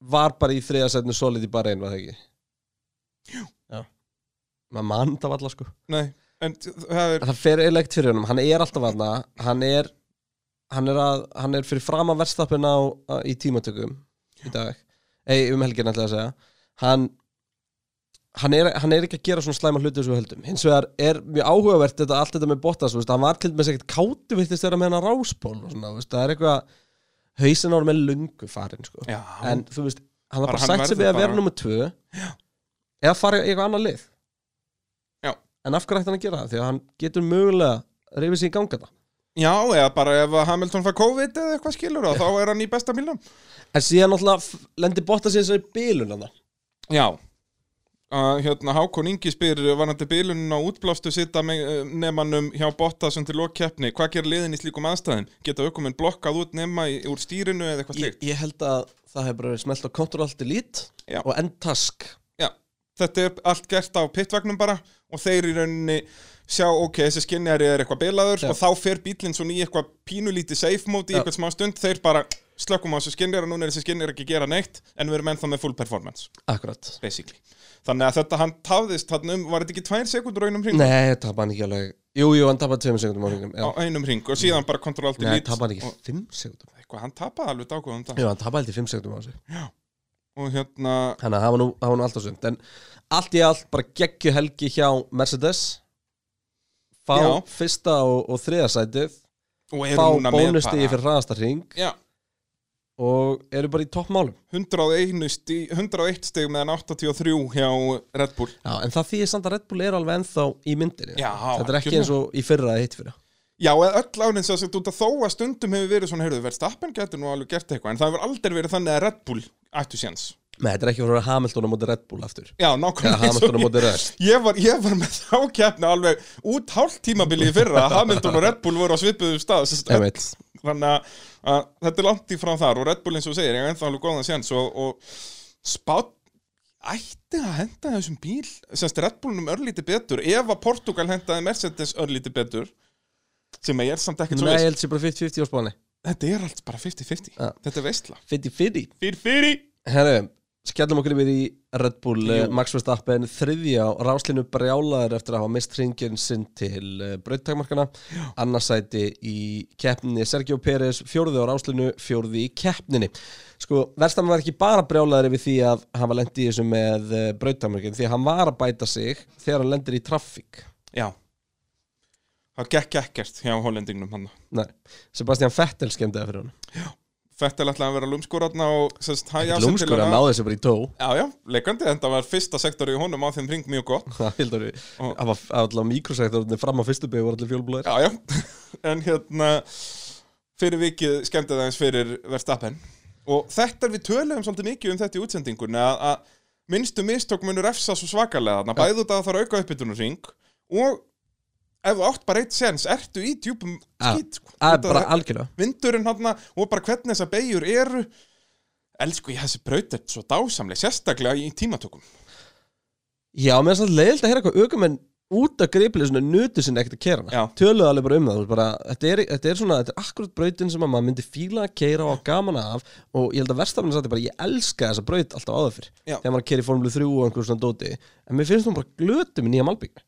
S1: var bara í þriðasætnu solid í bara einu, var það ekki? Jú Já Maður mann það valla sko
S3: Nei, en það er,
S1: Það fer eiginlega ekkert fyrir honum, hann er alltaf valla Hann er Hann er, að, hann er fyrir fram að verðstappin á, á í tímatökum í dag Ei, um helgin ætla ég að segja Hann Hann er, hann er ekki að gera svona slæma hluti sem við höldum hins vegar er mjög áhugavert þetta, allt þetta með Bottas, þú veist, hann var til dæmis ekkert kátu vittist þeirra með hennar rásból og svona, þú veist, það er eitthvað hausinn ára með lungu farin sko.
S3: já,
S1: en þú veist, hann var
S3: Bara
S1: bara
S3: hann
S1: sætt sig
S3: verður
S1: við að vera
S3: bara-
S1: nummer tvö eða fara í eitthvað annað lið
S3: Já.
S1: en af hverju ætti hann að gera það því að hann getur mögulega reyfið sér í hérna. ganga það
S3: já, eða bara ef að Hamilton fær COVID eða eitthvað skilur það, þá er hann í besta bílnum.
S1: en síðan náttúrulega lendir Bottas í þessari hérna. bílun hann
S3: Já. Uh, hérna, Hákon Ingi spyr varandi bílunin á útblástu sita nemanum hjá Bottas undir lokkeppni hvað gerir liðin í slíkum aðstæðum? Geta aukuminn blokkað út nema í, úr stýrinu eða eitthvað
S1: ég,
S3: slíkt?
S1: ég held að það hefur bara verið smelt á Control Alt Delete
S3: Já.
S1: og End Task
S3: Já, þetta er allt gert á pittvagnum bara og þeir í rauninni sjá, ok, þessi skinnjari er eitthvað bilaður
S1: Já.
S3: og þá fer bílinn svona í eitthvað pínulítið safe mode í
S1: Já.
S3: eitthvað smá stund, þeir bara slökkum á þessu skinnjari og núna er þessi skinnjari ekki að gera neitt en við erum ennþá með full performance,
S1: akkurat
S3: basically. Þannig að þetta hann tafðist þarna um, var þetta ekki tvær sekundur raunum hring?
S1: nei, það tapar hann ekki alveg jú, jú, hann tapar tveim sekundum á hringum já.
S3: á einum ring og síðan bara kontrol aldrei
S1: nei, tapar hann ekki fimm sekundum
S3: eitthvað, hann tapaði alveg dágóðum dag
S1: jú, hann tapar aldrei fimm sekundum á sig
S3: og hérna,
S1: Þannig að það var nú, það var nú alltaf sumt En allt í allt bara geggju helgi hjá Mercedes Fá
S3: Já.
S1: fyrsta og, og þriðasætið
S3: og
S1: Fá
S3: eru núna með
S1: bónustigi fyrir hraðasta hring
S3: já,
S1: og eru bara í toppmálum
S3: 101 stig, 101 stig meðan 83 hjá Red Bull
S1: Já, en það þýðir samt að Red Bull er alveg ennþá í myndinni
S3: Já,
S1: Þetta er ekki
S3: algjörlega.
S1: eins og í fyrra eða hitt fyrra
S3: Já, eða öll ánin sem sagt út að þó að stundum hefur verið svona, heyrðu, Verstappen getur nú alveg gert eitthvað, en það hefur aldrei verið þannig að Red Bull ættu séns.
S1: Nei, þetta er ekki fyrir að Hamilton á móti Red Bull (laughs) aftur
S3: Já,
S1: Já,
S3: nákvæmlega. eins og
S1: Hamilton á
S3: ég-
S1: móti Red
S3: Ég var, ég var með þá keppni alveg út hálft tímabili í fyrra að Hamilton og Red Bull voru á svipuðu stað sem sagt,
S1: Einmitt.
S3: öll- þannig að, að þetta er langt í frá þar og Red Bull eins og þú segir, ég er ennþá alveg góðan séns og, og spátt ætti að henda þessum bíl semst Red Bullnum örlíti betur ef að Portugal hendaði Mercedes örlíti betur sem ég er samt ekkert svo
S1: Nei, ég held sér bara 50-50 á spáni
S3: Þetta er allt bara 50-50
S1: Ja.
S3: Þetta er veistla
S1: 50-50
S3: Fyrir fyrir
S1: Herru, skellum okkur yfir í Red Bull
S3: Jú.
S1: Jú. Max Verstappen þriðja á ráslinu brjálaður eftir að hafa mist hringin sinn til uh, brauttakmarkana annarsæti í keppninni Sergio Pérez, fjórði á ráslinu fjórði í keppninni sko, Verstappen var ekki bara brjálaður yfir því að hann var lendi í þessu með uh, brauttakmarkin því að hann var að bæta sig þegar hann lendir í traffík
S3: Já Það gekk ekkert hjá hollendingnum hann
S1: Nei, Sebastian Vettel skemmdi það fyrir hann
S3: Fettel ætlaði að vera lumskurarna og sérst hæja sig til
S1: Lúmskur að
S3: hana.
S1: náði þessu bara í tó
S3: Já, já, leikandi, þetta var fyrsta sektor í honum á þeim ring mjög gott
S1: (laughs) Það heldur við,
S3: Og-
S1: það var allavega mikrosektornir fram á fyrstu byggu voru allir fjólblóðir
S3: Já, (laughs) já, en hérna fyrir vikið skemmti það eins fyrir Verstappen og þetta er við töluðum svolítið mikið um þetta í útsendingunni að, að minnstu mistök munur efsa svo svakalega þarna, bæðu þetta að það er auka uppbytunum ring og ef þú átt bara eitt sens, ertu í djúpum
S1: Já.
S3: skýt sko.
S1: Það er
S3: Þetta-
S1: bara algjörlega
S3: vindurinn hann og bara hvernig þessar beigjur eru elsku ég þessi braut er svo dásamlega sérstaklega í tímatökum
S1: Já, mér er samt leiðilt að heyra hvað aukumenn út af gripliðsuna nutu sinni ekkert að kera
S3: Já.
S1: hana Töluðu alveg bara um það þú veist, bara, þetta, er, þetta er svona, þetta er akkurat brautin sem að maður myndi fíla að keira og gamana af og ég held að verstafnir satt bara, ég elska þessa braut alltaf áður fyrr
S3: Já.
S1: þegar maður keiri formlu 3 og einhverjum svona dóti en mér finnst hún bara glötu með nýja malbygg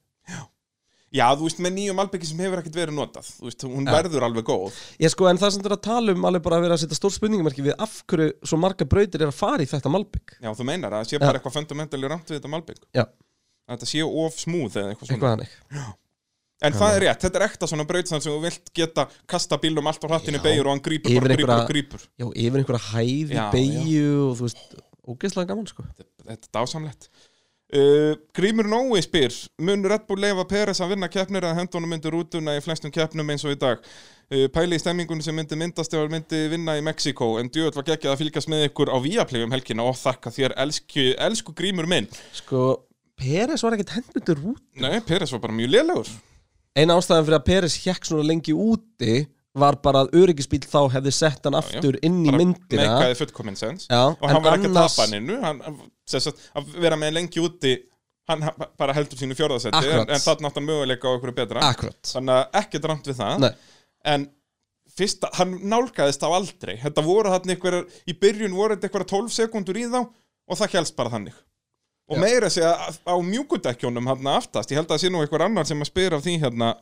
S3: já þú veist með nýjum albyggi sem hefur ekkert verið notað þú veist hún verður alveg góð
S1: Ég sko, en það sem þetta er að tala um alveg bara að vera að setja stór spurningamarki við af hverju svo marga brautir er að fara í þetta malbygg
S3: já þú meinar að það sé bara eitthvað fundamentali ramt við þetta malbygg
S1: Já,
S3: að þetta sé of smúð eða eitthvað svona
S1: eitthvað hannig
S3: en það er rétt, þetta er ekta svona braut þar sem þú vilt geta kasta bílum allt á hrattinu
S1: Já.
S3: beigjur og hann grípur
S1: Yfir einhverja-
S3: bara grípur og grípur
S1: Já, yfir einhverja hæði,
S3: Já,
S1: beigju og þú veist, ógeðslega gaman sko
S3: þetta þetta er dásamlegt uh, Grímur Nói spyr mun Red Bull leifa Peres að vinna keppnir að hendunum myndi rútuna í flestum keppnum eins og í dag uh, pæli í stemmingunum sem myndi myndast ef hann myndi vinna í Mexiko en djöðl var geggjað að fylgjast með ykkur á Víaplay um helgina og þakka þér elsku, elsku Grímur minn
S1: Sko, Peres var ekkert hendur út
S3: Nei, Peres var bara mjög lélegur
S1: Einn ástæðan fyrir að Peres hjekk svona lengi úti var bara að öryggisbíl þá hefði sett hann aftur inn í
S3: Bara
S1: myndina
S3: meikaði fullkominn sens
S1: Já,
S3: og hann
S1: en
S3: var ekki að
S1: annars-
S3: tapa hann innu hann, sem sagt, að vera með lengi úti hann ha- bara heldur sínu fjórðasetti en,
S1: Akkurat.
S3: en þarna átt hann möguleika á okkur betra
S1: Akkurat
S3: þannig að ekkert rangt við það
S1: Nei,
S3: en fyrsta, hann nálgæðist á aldrei þetta voru hann einhverjar, í byrjun voru þetta einhverjar 12 sekundur í þá og það helst bara þannig
S1: Já.
S3: og meira segja að- á mjúkudekkjónum hann aftast, ég held að það sé nú einhver annar sem að spyr af því hérna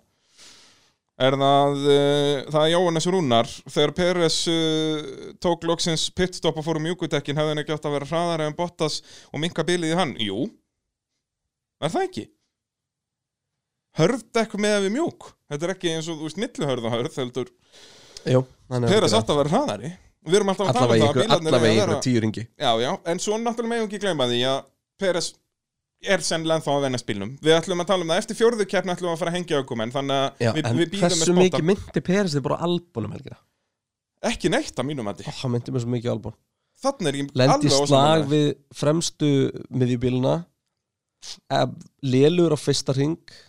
S3: er það uh, það er Jóhannes Rúnar þegar Peres uh, tók loksins pitstop og fór um mjúkudekkin hefði hann ekki átt að vera hraðar en Bottas og minka bilið í hann, jú er það ekki hörfdekk með við mjúk þetta er ekki eins og þú veist milluhörð og hörð heldur
S1: jú hann hefur
S3: Peres
S1: gert
S3: átt að vera hraðari Við erum alltaf að tala um
S1: Allavega
S3: það að
S1: ykkur,
S3: bílarnir
S1: allavega
S3: eiga að
S1: ykkur tíu ringi
S3: Já, já, en svo náttúrulega meðum ekki gleyma því að Peres er sennilega ennþá að vennast bílnum Við ætlum að tala um það, eftir fjórðu keppni ætlum við að fara að hengja aukum en þannig að
S1: Já,
S3: við,
S1: en
S3: við býðum með
S1: hversu
S3: spotta
S1: mikið myndi Peres þið bara á albónum helgina
S3: Ekki neitt að mínum andi
S1: Ó, hann myndi mér svo mikið á albón
S3: Þannig er ég
S1: Lendi
S3: alveg
S1: slag
S3: ósammála.
S1: við fremstu miðjubíluna eh, Lélur á fyrsta ring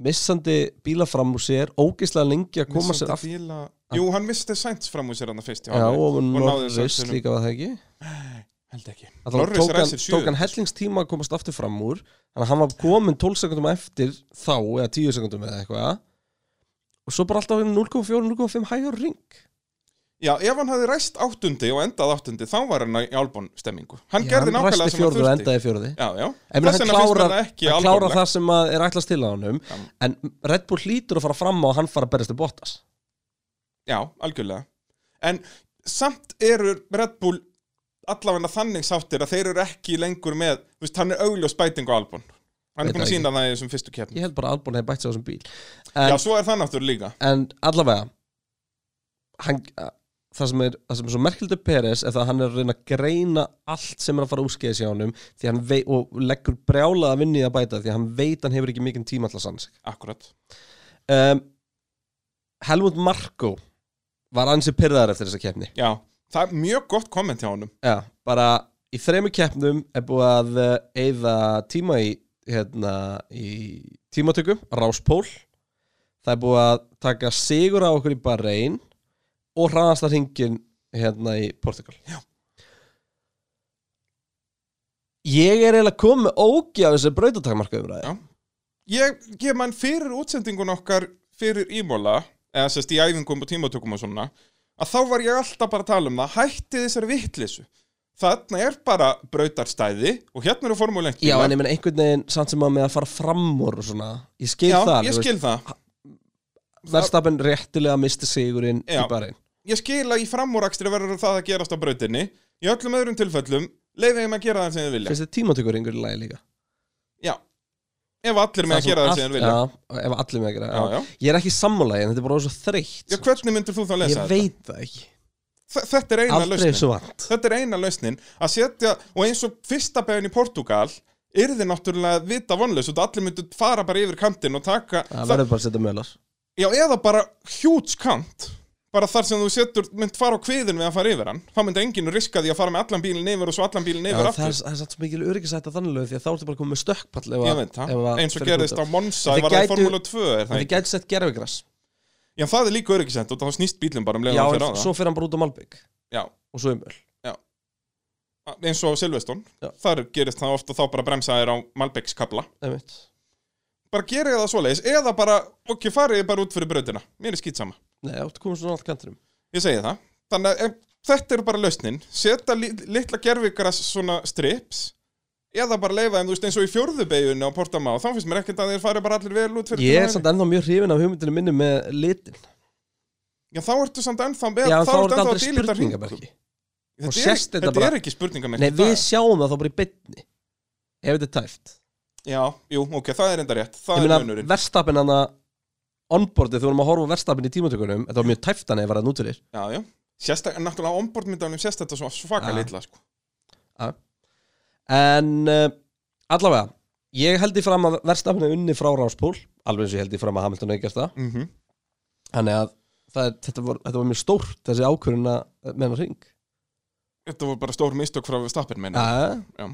S1: Missandi bíla fram úr sér Ógeðslega lengi að koma
S3: Missandi
S1: sér aftur
S3: bíla... Jú, hann misti Sainz fram úr sér hann fyrst í
S1: Já,
S3: hálfleik
S1: og
S3: náði
S1: Norris
S3: sexinum.
S1: líka var það ekki
S3: Held ekki
S1: Að það
S3: Norris
S1: tók hann,
S3: ræsir sjö.
S1: tók hann hellingstíma að komast aftur fram úr þannig að hann var komin 12 sekundum eftir þá eða 10 sekundum eða eitthvað og svo bara alltaf 0,4-0,5 hægur ring
S3: Já, ef hann hafði ræst áttundi og endað áttundi þá var hann í álbón stemmingu Hann
S1: Já,
S3: gerði nákvæmlega
S1: ræsti
S3: sem hann
S1: fjórði og
S3: þurfti
S1: endaði fjórði
S3: Já, já,
S1: Ég meina,
S3: Þess
S1: hann
S3: vegna finnst mér
S1: klárar,
S3: það ekki
S1: hann klárar
S3: albónlegt.
S1: það sem að er ætlast til á honum
S3: Já.
S1: en Red Bull hlýtur að fara fram á að hann fara að berjast til Bottas
S3: Já, algjörlega En samt eru Red Bull allavega þannig sáttir að þeir eru ekki lengur með þú veist, hann er augljós bæting á Albon
S1: Veit
S3: Hann er búin að
S1: það
S3: sína það í þessum fyrstu keppnum
S1: ég held bara að Albon hefði bætt sér á þessum bíl
S3: Já,
S1: en,
S3: svo er það náttúrulega líka
S1: en allavega hann, það sem er, það sem er svo merkildur Peres er það að hann er að reyna að greina allt sem er að fara úskeiðis hjá honum því hann vei, og leggur brjálaða vinni í að bæta því að hann veit hann hefur ekki mikinn tíma alltaf sann
S3: akkurat
S1: um, Helmut Marko var ansi pyrraðar eftir þessa keppni
S3: Já, það er mjög gott komment hjá honum
S1: Já, bara í þremur keppnum er búið að eh, eyða tíma í, hérna, í tímatöku, ráspól það er búið að taka sigur á okkur í Bahrein og hraðast að hringin hérna í Portugal Já. Ég er eiginlega komið með ógi af þessu brautatakmarka umræði
S3: Já. Ég, ég mann fyrir útsendingun okkar fyrir ímóla eða sérst í æfingum og tímatökum og svona að þá var ég alltaf bara að tala um það hætti þessari vitleysu Þarna er bara brautarstæði og hérna eru formúleint
S1: Já, en ég menn einhvern veginn samt sem að með að fara fram úr og svona, ég skil
S3: Já,
S1: það
S3: ég skil það
S1: Verstapin réttilega misti sigurinn
S3: Já.
S1: í Bahrein
S3: ég skila í framúrakstri verður það að gerast á brautinni í öllum öðrum tilfellum leiðið þeim að gera það sem þið vilja
S1: Finnst þið tímatökur yngur í lagi líka?
S3: já, ef allir með að gera það sem þið vilja já,
S1: Já, ef allir með að gera
S3: já.
S1: já. Ég er ekki sammálaði en þetta er bara svo þreytt sko.
S3: hvernig myndir þú þá að
S1: Ég
S3: lesa þetta?
S1: veit það ekki
S3: Þe- þetta er eina
S1: Aldrei
S3: lausnin
S1: þessu vant
S3: þetta er eina lausnin að setja, og eins og fyrsta beginn í Portugal yrði náttúrulega vita vonlaus og allir myndu fara bara yfir kantinn og taka
S1: Það verður bara að setja mölar
S3: já, eða bara hjúts kant bara þar sem þú setur, mynd fara á kviðin við að fara yfir hann, þá myndi enginn riska því að fara með allan bílinn yfir og svo allan bílinn
S1: Já,
S3: yfir
S1: Það
S3: aftur
S1: er það er samt svo mikil öryggisætt að þannig lög því að þá ertu bara komið með stökkpall ef að-
S3: Ég veit það,
S1: ef að
S3: eins og
S1: fer í
S3: gerðist á
S1: kúta.
S3: Monza
S1: En þið
S3: var það í
S1: gætu-
S3: Formúlu 2
S1: En
S3: er það
S1: þið
S3: ekki?
S1: gæti sett gerfigras
S3: Já, það er líka öryggisend og þá snýst bílum bara um
S1: Já,
S3: leiðan
S1: en
S3: fyrir á það
S1: svo fer hann bara út á Malbygg
S3: Já,
S1: og svo umöl
S3: eins og á Silveston
S1: Já.
S3: þar gerist það ofta þá bara bremsa þér á Malbekskabla
S1: Nei,
S3: bara gerið það svoleiðis eða bara, ok, farið þið bara út fyrir brautina mér er skýtsama,
S1: áttu komið svona á allt kantinum
S3: ég segi það þannig að ef- þetta eru bara lausnin setja li- litla gerfigras svona strips eða bara leifa þeim, þú veist, eins og í fjórðu beigunu á Portamá, þá finnst mér ekkert að þeir farið bara allir vel út fyrir
S1: Ég er
S3: brautina.
S1: samt ennþá mjög hrifin af hugmyndinu minni með litin
S3: Já, þá ertu samt ennþá með,
S1: Já, en
S3: þá
S1: þá er
S3: ertu
S1: þetta
S3: ennþá
S1: aldrei
S3: að dýlita hringum.
S1: spurningamerki Og
S3: Þetta, er,
S1: sést
S3: þetta,
S1: þetta bara-
S3: er ekki spurningamerki
S1: Nei, við
S3: það-
S1: sjáum það þá bara í bytni Ef þetta er tæft
S3: Já, jú, ok, það er enda rétt
S1: Ég
S3: Það er
S1: meina,
S3: munurinn
S1: verstapin hann að onboardið, þú vorum að horfa á verstapin í tímatökunum Þetta var mjög tæft hann eða var hann út fyrir
S3: Já, já Sérstak, náttúrulega onboardmyndanum sést þetta svona svaka
S1: Já.
S3: litla sko.
S1: En uh, allavega, ég held í fram að verstapin er unni frá ráspól Alveg eins og ég held í fram að Hamilton hafi gert það
S3: mm
S1: Þannig að það, er, þetta, var, þetta var mjög stórt þessi ákvörun að menna hring
S3: Þetta voru bara stór mistök frá stappin meina
S1: ja.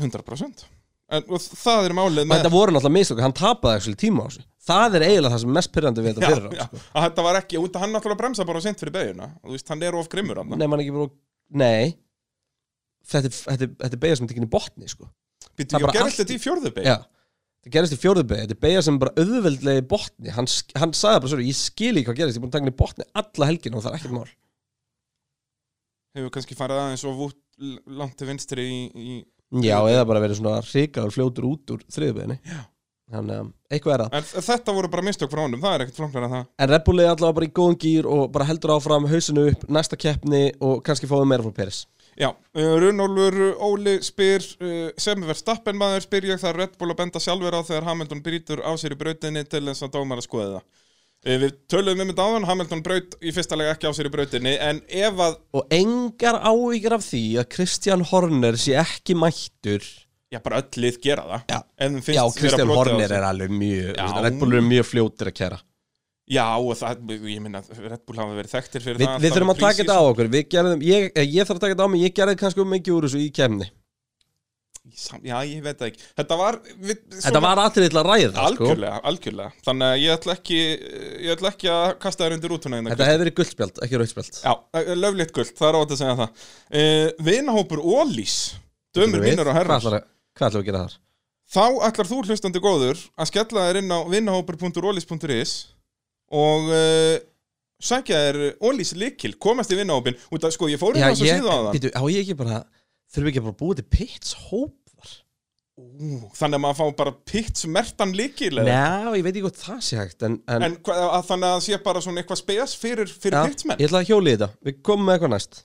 S3: 100% en, Og þ- það er málið með
S1: Ah. Þetta voru náttúrulega mistök, hann tapaði ekki tíma á þessu Það er eiginlega það sem er mest pyrrandi við þetta
S3: já,
S1: fyrir
S3: já,
S1: hann sko.
S3: að Þetta var ekki, út að hann náttúrulega bremsa bara sent fyrir beiguna Þú veist, hann er of grimmur hann
S1: Nei, mann ekki bara, nei Þetta, er- þetta, er- þetta er beigja sem er tekinni í botni sko.
S3: Býttu,
S1: það
S3: ég
S1: bara
S3: gerðist
S1: allt-
S3: þetta í fjörðu beig
S1: Já, það gerist í fjórðu beigja Þetta er beigja sem er bara auðveldlega í botni Hann, sk- hann sagði bara svo, ég skil ekki hvað gerist Ég er búin að taka hann í botni alla helgina og það er ekkert mál
S3: Hefur kannski farið aðeins of út l- langt til vinstri í, í...
S1: Já, eða bara verið svona hrikaður fljótur út úr þriðu beigjani
S3: Já.
S1: Þannig að ehm, eitthvað er það
S3: En þ- þetta voru bara mistök frá honum, það er ekkert flóknar að það
S1: En Red Bull er allavega bara í góðum gýr og bara heldur áfram hausinu upp næsta keppni og kannski fáum meira frá Peris
S3: Já, uh, Runnólfur Óli spyr uh, sem verð stappen maður spyr ég það er Red Bull að benda sjálfur á þegar Hamilton brýtur á sér í brautinni til þess að dómar að skoða það uh, Við töluðum um þetta áðan, Hamilton braut í fyrsta lega ekki á sér í brautinni en ef að,
S1: Og engar ávíkjur af því að Christian Horner sé ekki mættur
S3: já bara öll lið gera það
S1: Já.
S3: Ef þeim
S1: Já,
S3: finnst
S1: Christian
S3: vera brotið á
S1: Horner
S3: sér.
S1: er alveg mjög
S3: Já.
S1: Red Bull er mjög fljótur að kæra
S3: Já, og það, ég minna, Red Bull hafa verið þekktir fyrir
S1: Við,
S3: það
S1: við þurfum að taka þetta á okkur Við gerðum, ég, eh, ég þarf að taka þetta á mig Ég gerði kannski um mikið úr þessu í kemni
S3: á Já, ég veit það ekki Þetta var, við,
S1: Þetta var atrið til að ræða sko.
S3: Algjörlega, algjörlega Þannig að ég ætla ekki, ég ætla ekki að kasta þér undir útuna hérna,
S1: Þetta hefði verið guldspjald, ekki rauðspjald
S3: Já, löflitt guld, það er ótt að segja það uh, Vinahópur Ólís Dömur, vinnur og herrar
S1: Hvað ætlum við að gera þar?
S3: Þá ætlar þú hlustandi góður að skella þér inn á vinahópur.ólís.is og uh, sækja þér Ólís likil, komast í vinahópin út að sko, ég fór inn
S1: Já,
S3: á þessu
S1: ég,
S3: síðu á það
S1: býtu, á ég ekki bara Þurfum við ekki bara að búa til pits hópar?
S3: Þannig að maður fá bara pitt smertan likil eða?
S1: Ná, ég veit ekki hvað það sé hægt En, en,
S3: En hva, að, þannig að það sé bara svona eitthvað spes fyrir, fyrir
S1: já,
S3: pittsmenn
S1: Ég ætla að hjóli þetta, við komum með eitthvað næst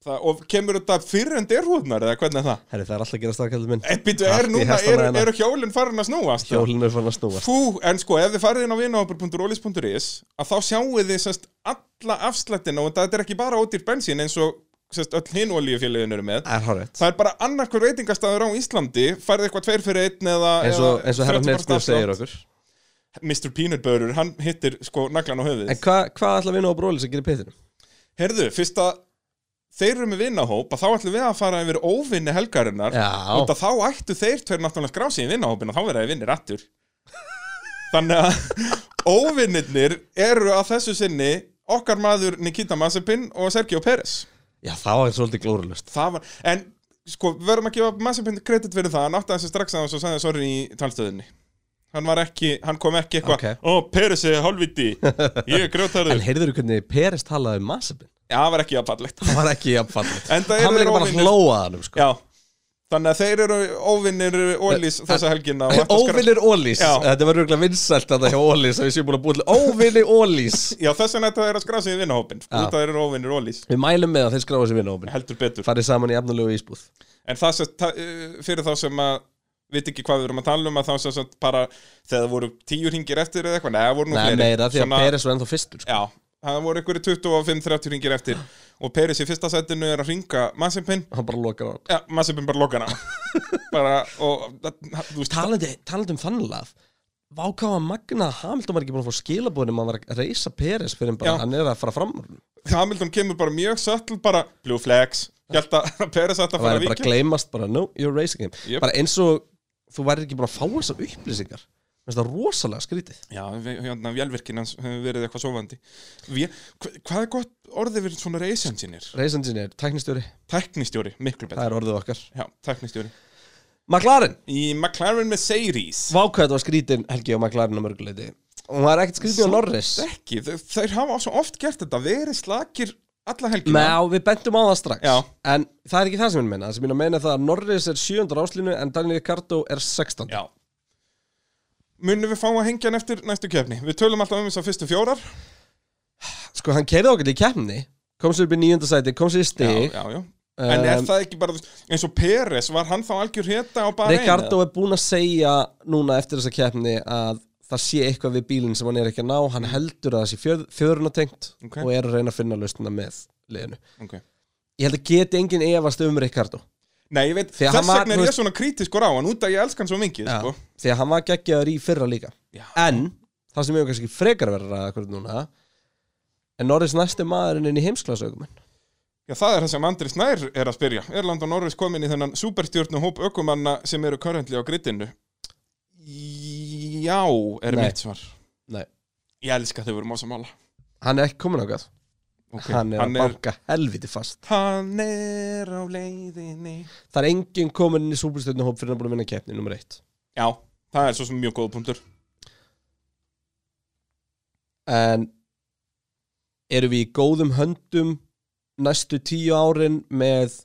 S3: það, og kemur þetta fyrr en derhúðnar eða hvernig er það?
S1: Herri, það er alltaf að gera stakkældur minn.
S3: En býtu,
S1: Allt
S3: er
S1: í
S3: núna,
S1: hestana
S3: eru
S1: hérna.
S3: er hjólinn farin að snúast?
S1: Hjólinn er fann að snúa.
S3: Fú, en sko, ef þið farið inn á vinahopur.rolis.is að þá sjáu þið semst alla afslættina og þetta er ekki bara ódýr bensín eins og semst öll hinn olíufélagin eru með
S1: Er horrið.
S3: Það er bara annarkur veitingastæður á Íslandi færði eitthvað tveir fyrir einn eða
S1: Eins og, eins og herra
S3: 30%
S1: Nefnir segir
S3: afslátt.
S1: okkur.
S3: Mr. Peanut Butter, hann hittir sko naglan á höfuð
S1: En hvað hva ætla við nú á brólis að gera í pittinum?
S3: Herðu, fyrst að þeir eru með vinnahóp að þá ætlum við að fara yfir óvinni helgarinnar
S1: Já.
S3: og þá ættu þeir tveir náttúrulega skrá sig í vinnahópin og þá verða þeir vinnir aftur Þannig
S1: (laughs)
S3: að óvinnirnir eru að þessu sinni okkar maður Nikita Mazepin og Sergio Pérez
S1: Já, það var svolítið glórulust.
S3: Það var, en sko, við verðum að gefa Mazepin kredit fyrir það, hann áttaði sig strax að þessu og sagði sorry í talstöðinni Hann var ekki, hann kom ekki eitthvað
S1: Ok.
S3: Ó, Pérez er hálfviti, ég er
S1: (laughs)
S3: grjótarður
S1: En heyrður hvernig Peres talaði um Masabin?
S3: Já, það var ekki jafnfallegt
S1: Það var ekki jafnfallit.
S3: Enda eru
S1: Hann var
S3: þeir
S1: líka bara
S3: óvinir.
S1: hlóaðanum, sko.
S3: Já, þannig að þeir eru óvinnir Ólís þessa helgina og ættu að skra-
S1: Óvinnir Ólís.
S3: Já.
S1: Þetta var röglega vinsælt að það hjá Ólís að við séum búin að búin til óvinni Ólís.
S3: Já, þess vegna þetta er að skrása í vinnahópin sko,
S1: Já.
S3: út að þeir eru óvinnir ólís
S1: Við mælum með að þeir skráa sér vinnahópin.
S3: heldur betur
S1: Farið saman í efnulegu ísbúð.
S3: En það sem, ta- uh, fyrir þá sem að veit ekki hvað við erum að tala um að þá sem sagt bara þegar það voru tíu hringir eftir eða eitthvað, neða voru nú
S1: Nei,
S3: fleiri
S1: meira því að
S3: Svona-
S1: Peres var ennþá fyrstur, sko.
S3: Já, það voru einhverju 25-30 hringir eftir og Peris í fyrsta setinu er að hringa Massipin
S1: Hann bara lokar á hann.
S3: Já, Massipin bara lokar á
S1: (laughs)
S3: bara, og þú veist
S1: Talandi, talandi um þannlað, vákáða magna að Hamilton var ekki búin að fá skilabóðin um að hann var að reysa Peres fyrir en bara
S3: Já.
S1: hann er að fara fram úr honum.
S3: Hamilton kemur bara mjög sötl bara blue flags, hjælt að (laughs) Peris ætti að
S1: það
S3: fara
S1: væri
S3: að
S1: bara að
S3: vikja
S1: gleymast bara, no, you're racing him
S3: Jöp.
S1: bara eins og þú væri ekki búin að fá þessar upplýsingar Mér finnst það rosalega skrítið
S3: Já, við- hérna, vjálvirkin hans hefur verið eitthvað sofandi Vé, hva, Hvað er gott orðið við svona race engineer?
S1: race engineer, tæknistjóri,
S3: Tæknistjóri, miklu betur
S1: það er orðið okkar
S3: Já, tæknistjóri
S1: McLaren,
S3: Í McLaren Mercedes
S1: vákvæð þetta var skrítin Helgi og McLaren á mörguleiti hún var ekkert skrítin á Norris
S3: Ekki, þeir, þeir hafa svo oft gert þetta verið slakir alla helgina
S1: Má, við bentum á það strax
S3: Já.
S1: en það er ekki það sem ég meina, það sem ég er að meina er það að Norris er 7. ráslínu en Daniel Ricciardo er 16.
S3: Já Munum við fá að hengja hann eftir næstu kefni Við tölum alltaf um þess að fyrstu fjórar
S1: sko hann keirði okkur í keppni kom sér upp í nýjönda sæti, kom sér í stig
S3: Já, já, já En
S1: Um,
S3: er það ekki bara, þú veist, eins og Peres, var hann þá algjör heta á bara
S1: Ricardo er búinn að segja núna eftir þessa keppni að það sé eitthvað við bílinn sem hann er ekki að ná hann heldur að það sé fjör, fjörunatengt
S3: Mm. Ok.
S1: og er að reyna að finna lausnina með liðinu
S3: okay.
S1: ég held að geti enginn efast um Ricardo
S3: Nei, ég veit,
S1: Því að hann
S3: þess
S1: var, þú
S3: vegna er ég
S1: veist-
S3: svona krítiskur á hann út að ég elska hann svo mikið, sko
S1: því að hann var geggjaður í fyrra líka
S3: Já.
S1: en það sem ég er kannski frekar að vera að ræða akkurat núna er Norris næsti maðurinn inn í heimsklasaugumenn
S3: Já, það er það sem Andri Snær er að spyrja. Er Landon Norris komin í þennan superstjórnu hóp ökumanna sem eru currently á grittinu? Já, er
S1: Nei.
S3: mitt svar.
S1: nei,
S3: Ég elska þau voru másamála.
S1: hann er ekki komin ákvæð
S3: Okay.
S1: hann er að banka helviti fast
S3: hann er á leiðinni.
S1: það er enginn komin inn í súbúrstöðnuhóp fyrir að búin að vinna keppni nummer eitt
S3: Já, það er svo sem mjög góð punktur.
S1: en erum við í góðum höndum næstu tíu árin með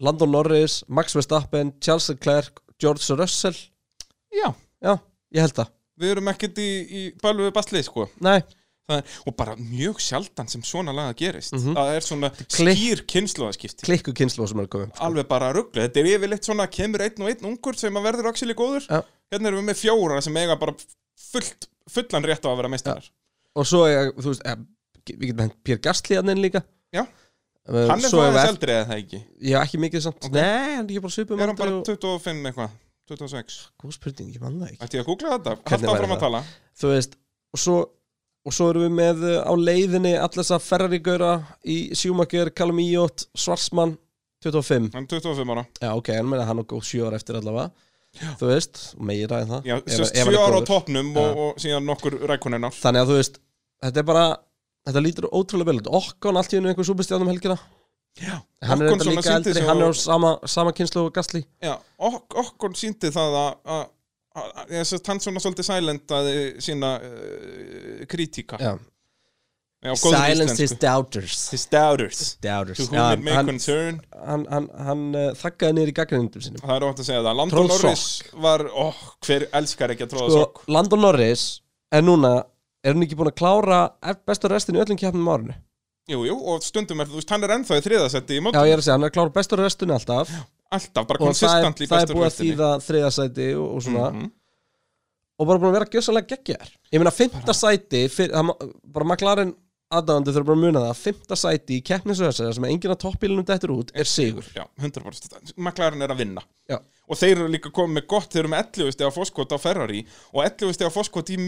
S1: Landon Norris, Max Verstappen, Charles Leclerc, George Russell
S3: Já,
S1: já, ég held það
S3: við erum ekkert í, í bælu við bastlið, sko.
S1: Nei,
S3: Það Er, og bara mjög sjaldan sem svona laga gerist.
S1: Mhm.
S3: Það er svona
S1: Klikk.
S3: skýr kynnslóðaskipti.
S1: klikku kynslu sem er að koma upp
S3: Alveg bara rugglu. Þetta er yfirleitt svona kemur einn og einn ungur sem að verður axili góður.
S1: Já.
S3: Hérna erum við með fjóra sem eiga bara fullt, fullan rétt á að vera meistarar.
S1: og svo, er, þú veist, eh, við getum hengt Pér Gastli hann hérna inn líka
S3: Já.
S1: Eh,
S3: Hann er
S1: svo er
S3: það aðeins
S1: við,
S3: eldri eða það ekki.
S1: já, ekki mikið samt
S3: Ok.
S1: Nei, hann er ekki bara svipum
S3: Er hann bara 25 eitthvað? 26?
S1: Góð spurning, ég mann það ekki
S3: Ætti ég að googla þetta? Hallt
S1: Hvernig væri
S3: áfram að
S1: það?
S3: tala.
S1: Þú veist, og svo og svo erum við með eh, á leiðinni allas að Ferrari-gauðra í Schumacher, Callum Íot, Svarsmann 25
S3: Hann er 25 ára.
S1: Já, ok, en meina hann og góð sjö ára eftir allavega Þú veist, og meira en það
S3: Já,
S1: ef-
S3: sérst
S1: ef hann er
S3: 7 ára á
S1: góður.
S3: toppnum og, og síðan nokkur rækunin ár.
S1: Þannig að þú veist, þetta er bara Þetta lítur ótrúlega vel út Okkon allt í hennu einhver súbistjáðum helgina
S3: Já.
S1: Hann er
S3: Ocon
S1: þetta
S3: svona
S1: líka
S3: sýndi
S1: eldri,
S3: sig
S1: hann er á
S3: og-
S1: sama, sama kynslu og gasli
S3: Já, ok okkur síndi það að- að að- að- ég sérst hann svona svolítið silent að sína uh, kritíka.
S1: Já.
S3: Já, góður
S1: Silence his
S3: íslensku.
S1: doubters
S3: His doubters.
S1: Doubters
S3: To whom
S1: Já,
S3: it may
S1: Hann,
S3: concern.
S1: hann, hann, hann uh, þakkaði niður í gaggrindum sinni
S3: Það er ótt að segja það. Landon
S1: Tróð
S3: Norris var, ó, hver elskar ekki að tróða sokk?
S1: sko, Landon Norris er núna er hann ekki búin að klára bestu restin í öllum keppnum á árinu
S3: Jú, jú, og stundum er, þú veist, hann er ennþá í þriðasetti í mót,
S1: Já, ég er að segja, hann er að klára bestur restunni alltaf
S3: alltaf, bara
S1: og það er,
S3: konsistant í
S1: það er
S3: bestur
S1: búið að
S3: restinni. Mhm.
S1: þýða þriðasæti og, og svona og bara búin að vera gjössalega geggjar ég meina, fymta sæti fyr, það, ma- bara McLaren aðdáðandi þurfa bara að muna það fymta sæti í keppnisöðsæða sem enginn af toppbílunum dettur út er sigur
S3: Já, 100%. McLaren er að vinna.
S1: Já.
S3: Og þeir eru líka komið með gott, þeir eru með 11 steg á fórskot á Ferrari og 11 steg á fórskot í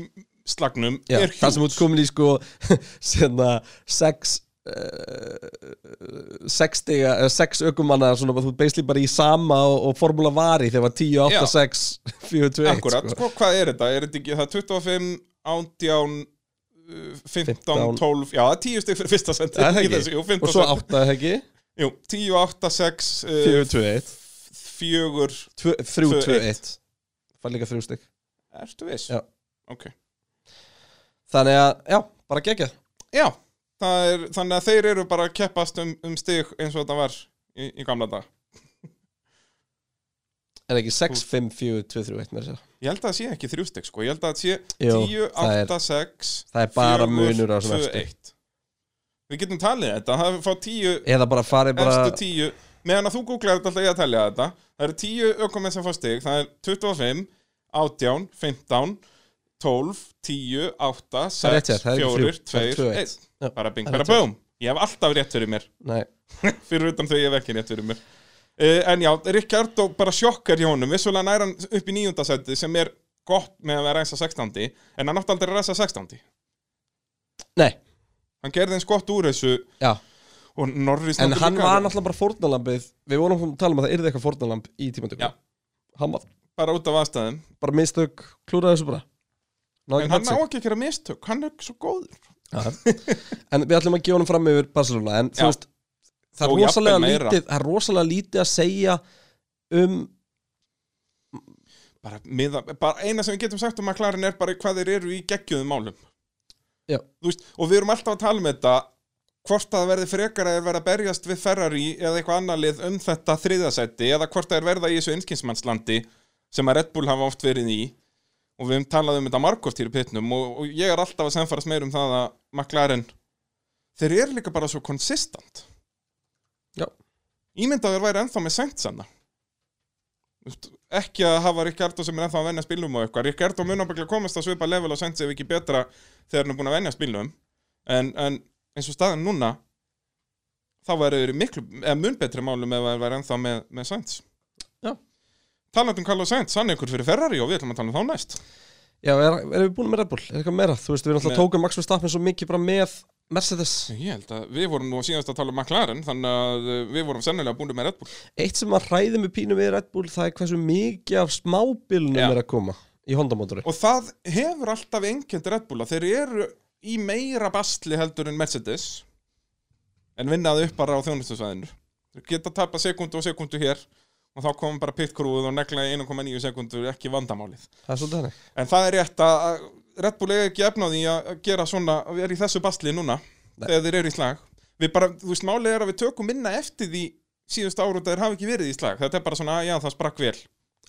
S3: miðjuslagnum
S1: Já,
S3: er
S1: það sem
S3: hjúl.
S1: út komin í sko (laughs) sérna sex uh, sex stiga eh, sex ökumanna svona, þú ert basically bara í sama og, og formúla vari þegar var 10, 8,
S3: Já.
S1: 6, 4, 2, 1
S3: Akkurat, (laughs) sko, hvað er þetta? Er þetta ekki, það er 25, 18, uh, 15,
S1: 15.
S3: 12, já, það er 10 steg fyrir fyrsta sendi.
S1: Það er ekki.
S3: jú,
S1: og
S3: 15
S1: svo
S3: sendi.
S1: 8, ekki?
S3: Jú, 10, 8, 6,
S1: 4,
S3: 4,
S1: 2, 1
S3: eh, fjögur,
S1: 3, 2,
S3: Tvö,
S1: 1 Fær líka þrjú stygg
S3: erstu viss?
S1: Já.
S3: Ok.
S1: Þannig að, já, bara gegja
S3: Já, það er, þannig að þeir eru bara að keppast um, um stig eins og þetta var í, í gamla dag.
S1: Er ekki 6, 5, 4, 2, 3, 1 með þess að
S3: Ég held að það sé ekki þrjú stygg sko, ég held að það sé
S1: Jú,
S3: 10,
S1: það er-
S3: 8, 6
S1: það er bara munur á þessum efstu.
S3: 1 Við getum talið þetta, það er fá 10
S1: Eða bara farið bara
S3: efstu 10 meðan að þú googlar þetta alltaf ég að telja þetta það eru 10 ökumenn sem fá stig, það er 25 18, 15 12, 10, 8
S1: Það er rétt
S3: 6,
S1: hjá þér, það er ekki
S3: 4,
S1: þrjú, það er
S3: 2,
S1: tvö, eitt.
S3: 1
S1: Já,
S3: bara bing,
S1: það er
S3: bara
S1: rétt hjá
S3: búm ég hef alltaf rétt fyrir mér
S1: Nei,
S3: fyrir utan þau ég hef ekki rétt fyrir mér uh, en já, Ricardo bara sjokkar hjá honum vissulega nær hann upp í nýjundasendi sem er gott með að vera eins að 16 en hann átti aldrei að reysa 16
S1: nei,
S3: hann gerði eins gott úr þessu
S1: já
S3: og Norris
S1: En
S3: náttúrulega
S1: hann
S3: líka-
S1: var náttúrulega bara fórnalambið Við vorum að tala um að það yrði eitthvað fórnalamb í tímatökum
S3: Já.
S1: Hann var
S3: bara út af aðstæðum
S1: bara mistök, klúraði þessu bara Náði
S3: en
S1: ekki
S3: hann á
S1: hatt
S3: ekki að gera mistök, hann er svo góður
S1: sig Já. En við ætlum að gefa honum fram yfir Barcelona En
S3: Já.
S1: þú veist, það
S3: Og
S1: er rosalega
S3: jafnvel meira.
S1: lítið Það er rosalega lítið að segja um
S3: bara, miða, bara eina sem við getum sagt um McLaren er bara hvað þeir eru í geggjöðum málum
S1: Já.
S3: Þú veist, og við erum alltaf að tala um þetta hvort að það verði frekar að þeir verða að berjast við Ferrari eða eitthvað annað lið um þetta þriðasæti eða hvort að þeir verða í þessu einskinsmannslandi sem að Red Bull hafa oft verið í og við höfum talað um þetta margóft hér í pitnum og, og ég er alltaf að samfærast meir um það að McLaren þeir eru líka bara svo konsistant
S1: Já.
S3: Ímyndaður væri ennþá með sent sanna Þú veist, ekki að hafa Ricardo sem er ennþá að venja spilnum og eitthvað Ricardo mun ábygglega komast að svipa level og senda sig ef ekki betra þegar hann er búin að venja spilnum en, en eins og staðan núna þá væri þeir í miklu eða mun betri málum ef það væri ennþá með, með Sainz
S1: Já.
S3: Talandi um Carlos Sainz, hann er ykkur fyrir Ferrari og við ætlum að tala um þá næst
S1: Já, er, erum við búin með Red Bull? Er eitthvað meira? Þú veist, við erum alltaf
S3: Nei.
S1: tókum Max Verstappen svo mikið bara með Mercedes
S3: Ég held að við vorum nú síðast að tala um McLaren þannig að eh, við vorum sennilega búin með Red Bull
S1: Eitt sem að hræði með pínu við Red Bull það er hversu mikið af smábílunum
S3: Já.
S1: er að koma í Honda-mótori
S3: og það hefur alltaf engjönd Red Bull að þeir eru í meira bastli heldur en Mercedes en vinnaði upp bara á þjónustusvæðinu þeir geta tapa sekundu og sekundu hér og þá komum bara pitkrúið og negla í 1,9 sekundur ekki vandamálið
S1: Það er svolítið hannig
S3: en það er rétt að að Red Bull er ekki efnaði að að gera svona að vera í þessu bastli núna
S1: Nei.
S3: þegar þeir eru í slag við bara, þú veist, málið er að við tökum minna eftir því síðust ára og þeir hafa ekki verið í slag þetta er bara svona, að já, það sprakk vel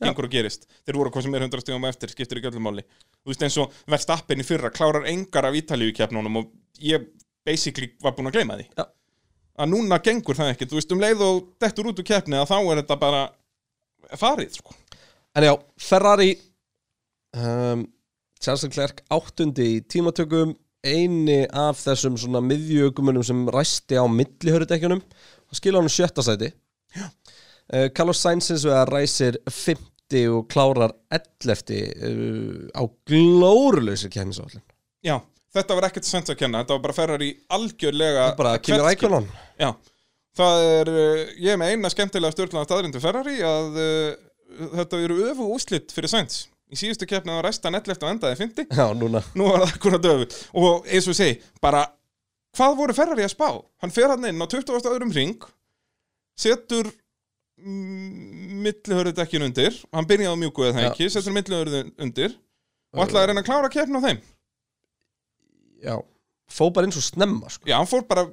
S3: gengur og gerist, þeir voru hvað sem er 100 stíðum eftir skiptir ekki öllum máli, þú veist eins og verðstappin í fyrra klárar engar af Ítalíu keppnunum og ég basically var búin að gleyma því
S1: Já.
S3: að núna gengur það ekki, þú veist um leið og dettur út úr keppni að þá er þetta bara farið, sko
S1: En já, Ferrari um, Charles Leclerc áttundi í tímatökum eini af þessum svona miðjögumunum sem ræsti á millihörudekjunum og skilja hann sjötta sæti uh, Carlos Sainz eins og að ræsir 50 og klárar 11 uh, á glóruleysi kemmisállin
S3: Já, þetta var ekkert sent að kenna, þetta var bara ferrar í algjörlega
S1: bara kemur
S3: hvert skip.
S1: ækonan
S3: Já, það er, uh, ég er með eina skemmtilega stjórnlega staðrindu ferrari að uh, þetta eru öfu úslit fyrir Sainz Í síðustu keppni var restan 11 og endaði 50
S1: Já, núna
S3: Nú var það akkurat öfu Og eins og ég segi, bara, hvað voru ferrari að spá? Hann fer hann inn á 20. öðrum ring Setur millihörðu dekkin undir Hann byrjaði á mjúku eða það
S1: Já.
S3: ekki Setur millihörðu undir Og ætlaði að reyna að klára keppni á þeim
S1: Já, fó bara eins og snemma sko.
S3: Já, hann fór bara,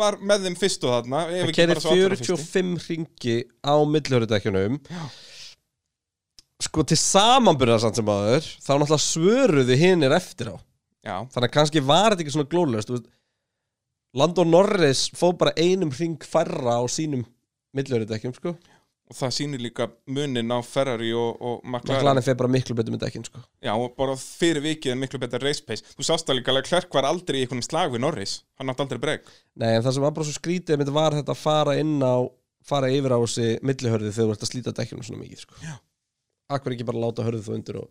S3: var með þeim fyrst og þarna ef
S1: Hann
S3: ekki
S1: keirir
S3: bara sá allra fyrsti.
S1: 45 ringi á millhörudekjunum Sko til samanbyrða samt sem aður Þá náttúrulega svöruðu hinir eftir á
S3: Já,
S1: Þannig að kannski var þetta ekki svona glóðlöst Landon Norris fóð bara einum hring færra á sínum milluritekjum sko
S3: og það sýnir líka munin á Ferrari og, og McLaren
S1: McLaren fer bara miklu betur með dekkin sko
S3: Já, og bara fyrir vikið er miklu betra race pace Þú sást það líka að Klerk var aldrei í einhvern slag við Norris Hann átti aldrei breg
S1: Nei, en það sem var bara svo skrítið mitt var þetta að fara inn á fara yfir á þessi millihörði þegar þú ert að slíta dekkjunum svona mikið sko. Akkur ekki bara láta hörðu þú undir og,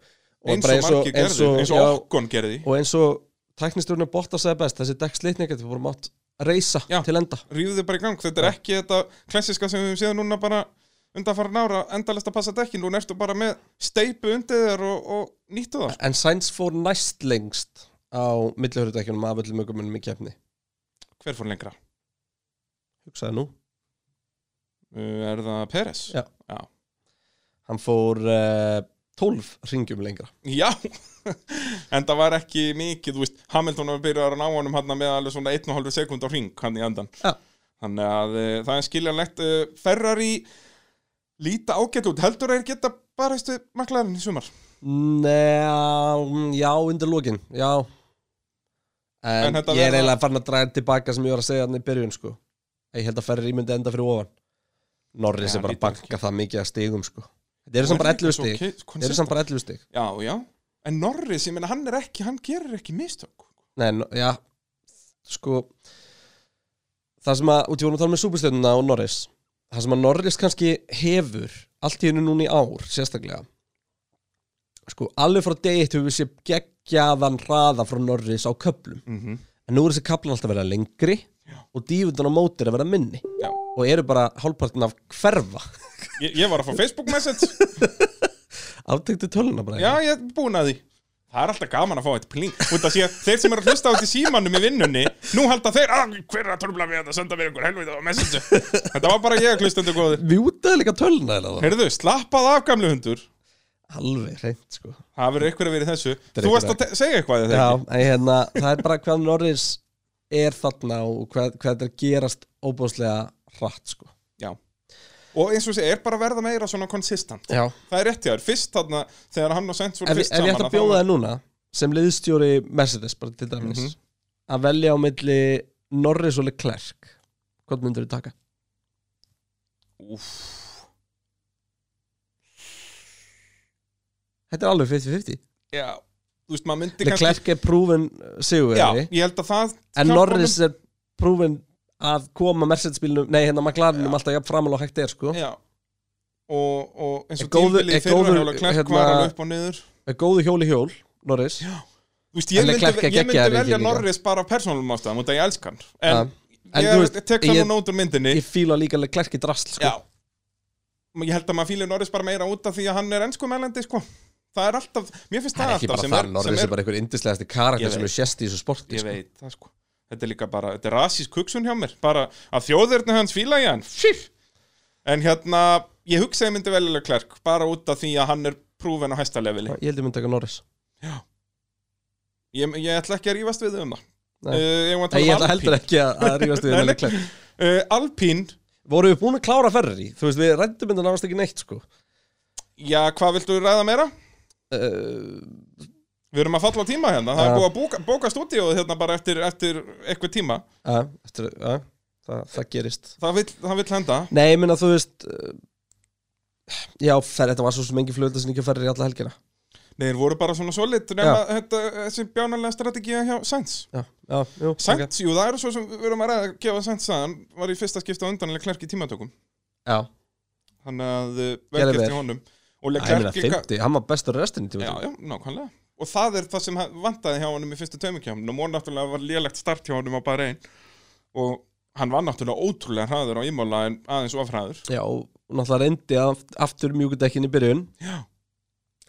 S1: og
S3: Eins
S1: bara
S3: og margir gerði, eins og
S1: já,
S3: Okkon gerði
S1: og eins og tæknistjórnum bótt að segja best þessi dekkslitning þetta bara mátt reysa
S3: Já.
S1: til enda
S3: Ríðu þið bara í gang, þetta er ekki þetta klassiska sem við höfum séð núna bara undanfarin ára endalist að passa dekkin, núna ertu bara með steipu undir þér og, og nýttu það
S1: en Sainz fór næst lengst á millihörðudekkjunum af öllum ökumunum í kefni
S3: Hver fór lengra?
S1: hugsaði nú
S3: Uh, Er það Peres?
S1: Já.
S3: Já,
S1: hann fór uh, 12 ringjum lengra
S3: Já. (laughs) en það var ekki mikið, þú veist Hamilton var byrjaður að ná honum hann með alveg svona 1,5 sekund á ring hann í endan
S1: Já.
S3: Þannig að uh, það er skiljanlegt uh, Ferrari líta ágætt út, heldur þeir geta bara eistu maklarinn í sumar
S1: Nei, já, undir lókin, já En,
S3: En þetta
S1: ég er
S3: verða-
S1: eiginlega farin að draga tilbaka sem ég var að segja hann í byrjun sko. Ég held að ferri myndi enda fyrir ofan Norris
S3: Já,
S1: er bara að
S3: lítur
S1: banka það mikið að stigum sko. Þetta eru samt bara 11 stig
S3: Ok,
S1: Þetta eru samt bara 11 stig
S3: Já, já, en Norris, ég meina hann er ekki, hann gerir ekki mistök
S1: Nei, no, já, sko Það sem að, út í vorum að tala með súpustjörnuna og Norris Það sem að Norris kannski hefur allt í hennu núna í ár, sérstaklega Sko, alveg frá degi eitt hefur við sé geggjaðan hraða frá Norris á köplum
S3: mm -hmm.
S1: en nú er þessi kaplan alltaf að vera lengri og dífundan á móti er að vera minni
S3: Já.
S1: og eru bara hálfpartin af hverfa
S3: ég, ég var að fá Facebook
S1: (laughs)
S3: message
S1: aftekti töluna bara
S3: Já, ég er búin að því Það er alltaf gaman að fá eitt pling Út að sé, þeir sem eru að hlusta út í símanum í vinnunni Nú halda þeir, að hver er að tröfla við að senda mér einhver helvita á messenger Þetta var bara ég að hlustendu góðir
S1: mjútaði líka töluna eða það
S3: Heyrðu, slappað af gamlu hundur
S1: alveg reynd sko
S3: Það verður eitthvað að vera í þessu
S1: er
S3: Þú
S1: einhver
S3: varst að te- segja eitthvað eða
S1: Já,
S3: ekki?
S1: en hérna, það er bara hvað Norris er þarna og hvað, hvað þetta er gerast óbúðslega hratt sko
S3: Já Og eins og sé, er bara að verða meira svona konsistant
S1: Já.
S3: Það er rétt hjá þér, fyrst þarna Þegar hann og Sainz voru
S1: ef,
S3: fyrst
S1: ef ég ætti
S3: saman
S1: að bjóða það núna sem liðstjóri Mercedes bara til dæmis
S3: Mhm.
S1: að velja á milli Norris og Leclerc hvað myndur við taka?
S3: Úf,
S1: Þetta er alveg 50-50
S3: já Þú veist, maður myndi
S1: Leclerc er uh, prúfin sigurveri
S3: Já, ég held að það
S1: en
S3: hjálpar
S1: Norris er prúfin að koma Mercedes-bílnum, nei hérna McLarenum alltaf jafn framal og hægt er sko
S3: Já Og, og eins
S1: Er
S3: og
S1: góður-
S3: tímfili
S1: er
S3: fyrir
S1: góður,
S3: hann og klærk
S1: hérna-
S3: var alveg upp og niður
S1: með góðu hjóli hjól, Norris
S3: Já. Þú veist, ég
S1: En Leclerc
S3: myndi,
S1: er
S3: ég
S1: geggjaður
S3: myndi
S1: í því
S3: velja
S1: líka.
S3: Norris bara af persónum ástæðum og það ég elsk hann
S1: Ja.
S3: En,
S1: En
S3: ég
S1: þú veist,
S3: tek það
S1: ég-
S3: nú nót úr myndinni
S1: Ah, ég fíla líka Leclerc í drasl sko.
S3: Já Ég held að maður fíli Norris bara meira út af því að hann er ennsku melendi, sko Það er alltaf, mér finnst það,
S1: það er ekki
S3: alltaf
S1: bara
S3: sem
S1: það,
S3: er,
S1: Norris
S3: sem
S1: er bara einhver indislegasti karakter
S3: Ég
S1: sem
S3: veit.
S1: er sérst í þessu sporti
S3: Ég
S1: sko.
S3: veit það, sko Þetta er líka bara, þetta er rasís kuksun hjá mér Bara að þjóðurna hans fíla ég hann Fyr. En hérna, ég hugsa ég myndi velja klærk Bara út af því að hann er prúfen á hæsta leveli
S1: ég held ég myndi taka Norris
S3: Ég, ég ætla ekki að rífast við þau um það.
S1: Nei.
S3: Uh, ég ætla
S1: Nei, ég held heldur
S3: Alpín.
S1: ekki að, að rífast við
S3: (laughs) Nei,
S1: með
S3: nei.
S1: Leclerc
S3: Uh, Alpín,
S1: voru við búin að klára Ferrari þú veist, við rættum mynda náðast ekki neitt sko.
S3: já, hvað viltu ræða meira?
S1: uh,
S3: Við erum að falla á tíma hérna. Það
S1: Já.
S3: er búið að bóka, bóka stúdíóið hérna bara eftir, eftir eitthvað tíma.
S1: að, ah, eftir, að, það, það gerist
S3: Það vill, það vill henda.
S1: Nei, ég minna, þú veist uh, Já, fer, þetta var svo sem engin flöðla sem ekki ferri í alla helgina
S3: Nei, þeir voru bara svona svolít nema þetta, þessi bjánalega strategía hjá Sainz.
S1: Já, já, jú,
S3: Sainz,
S1: ok.
S3: jú, það eru svo sem við erum að ræða að gefa Sainz að hann var í fyrsta skipta undanlega klærk í tímatökum.
S1: Já,
S3: Þannig að uh,
S1: Gerðu
S3: velgert
S1: vel.
S3: í honum. Og
S1: Æ, ég minna,
S3: Leclerc líka-
S1: 50, hann var bestur restin í
S3: Já,
S1: tíma
S3: já, nákvæmlega Og það er það sem hann- vantaði hjá honum í fyrstu taumikjáminu og náttúrulega var lélegt start hjá honum á bara einn og hann var náttúrulega ótrúlega hraður á ímála en aðeins of hraður
S1: Já, og náttúrulega reyndi aft- aftur mjúkudekkin í byrjun
S3: Já.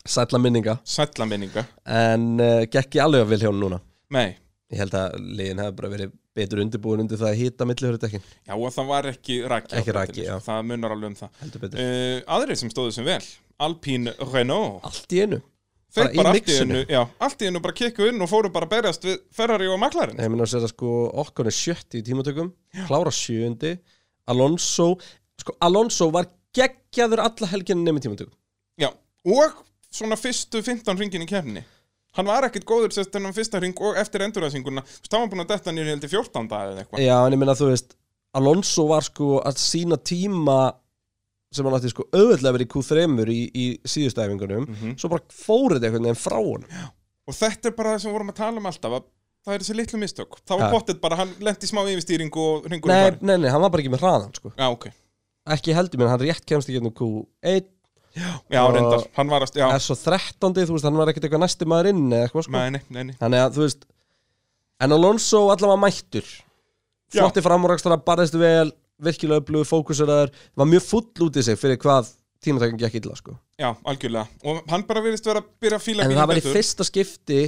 S1: Sætla minninga
S3: Sætla minninga
S1: En uh, gekk ég alveg að vilja hún núna
S3: Nei,
S1: Ég held að liðin hefði bara verið betur undirbúin undir það að hýta millihörudekkin
S3: já og það var ekki raki á
S1: Ekki
S3: brautinni,
S1: raki, já.
S3: Það munar alveg um það
S1: Heldur betur
S3: uh, Aðrir sem stóðu sem vel Alpine Renault
S1: Allt í einu
S3: Þeir
S1: Bara í
S3: bara allt í
S1: mixinu.
S3: hennu Já, allt í hennu bara kikku inn og fóru bara að berjast við Ferrari og McLaren
S1: Ég minna að segja sko okkur er sjötti í tímatökum Klára sjöundi Alonso Sko Alonso var geggjaður alla helgina nefnir tímatökum
S3: Já, og svona fyrstu 15 ringin í kefni Hann var ekkit góður sérst þennan fyrsta hring og eftir enduræsinguna Þú veist, hann var búin að detta nýri heldur 14. eða eitthvað
S1: Já, en ég meina þú veist Alonso var sko að sína tíma sem hann átti sko auðvitað verið í Q3 í, í síðustu æfingunum svo bara fórið þetta einhvern veginn frá honum
S3: Og þetta er bara það sem við vorum að tala um alltaf að það er þessi litlu mistök
S1: Ja.
S3: Það var pottet bara, hann lendi smá yfirstýringu og hringur
S1: nei, nei, nei, hann var bara ekki með hraðan sko
S3: Já, ok
S1: ekki heldur minn, hann rétt kemst í gegnum Q1
S3: Já,
S1: Og-
S3: reyndar, hann var að, já,
S1: er svo 13, þú veist, hann var ekkert eitthvað næsti maður inn eða eitthvað sko
S3: nei, nei, nei, nei.
S1: þannig að þú veist en Alonso allavega mættur
S3: Já.
S1: flotti framúrækstara, barðist vel virkilega upplöðu, fókuseraður var mjög full út í sig fyrir hvað tímatækning gekk illa sko.
S3: já, algjörlega Og hann bara virðist vera að byrja að fíla
S1: en
S3: bílinn
S1: það var í
S3: betur.
S1: fyrsta skipti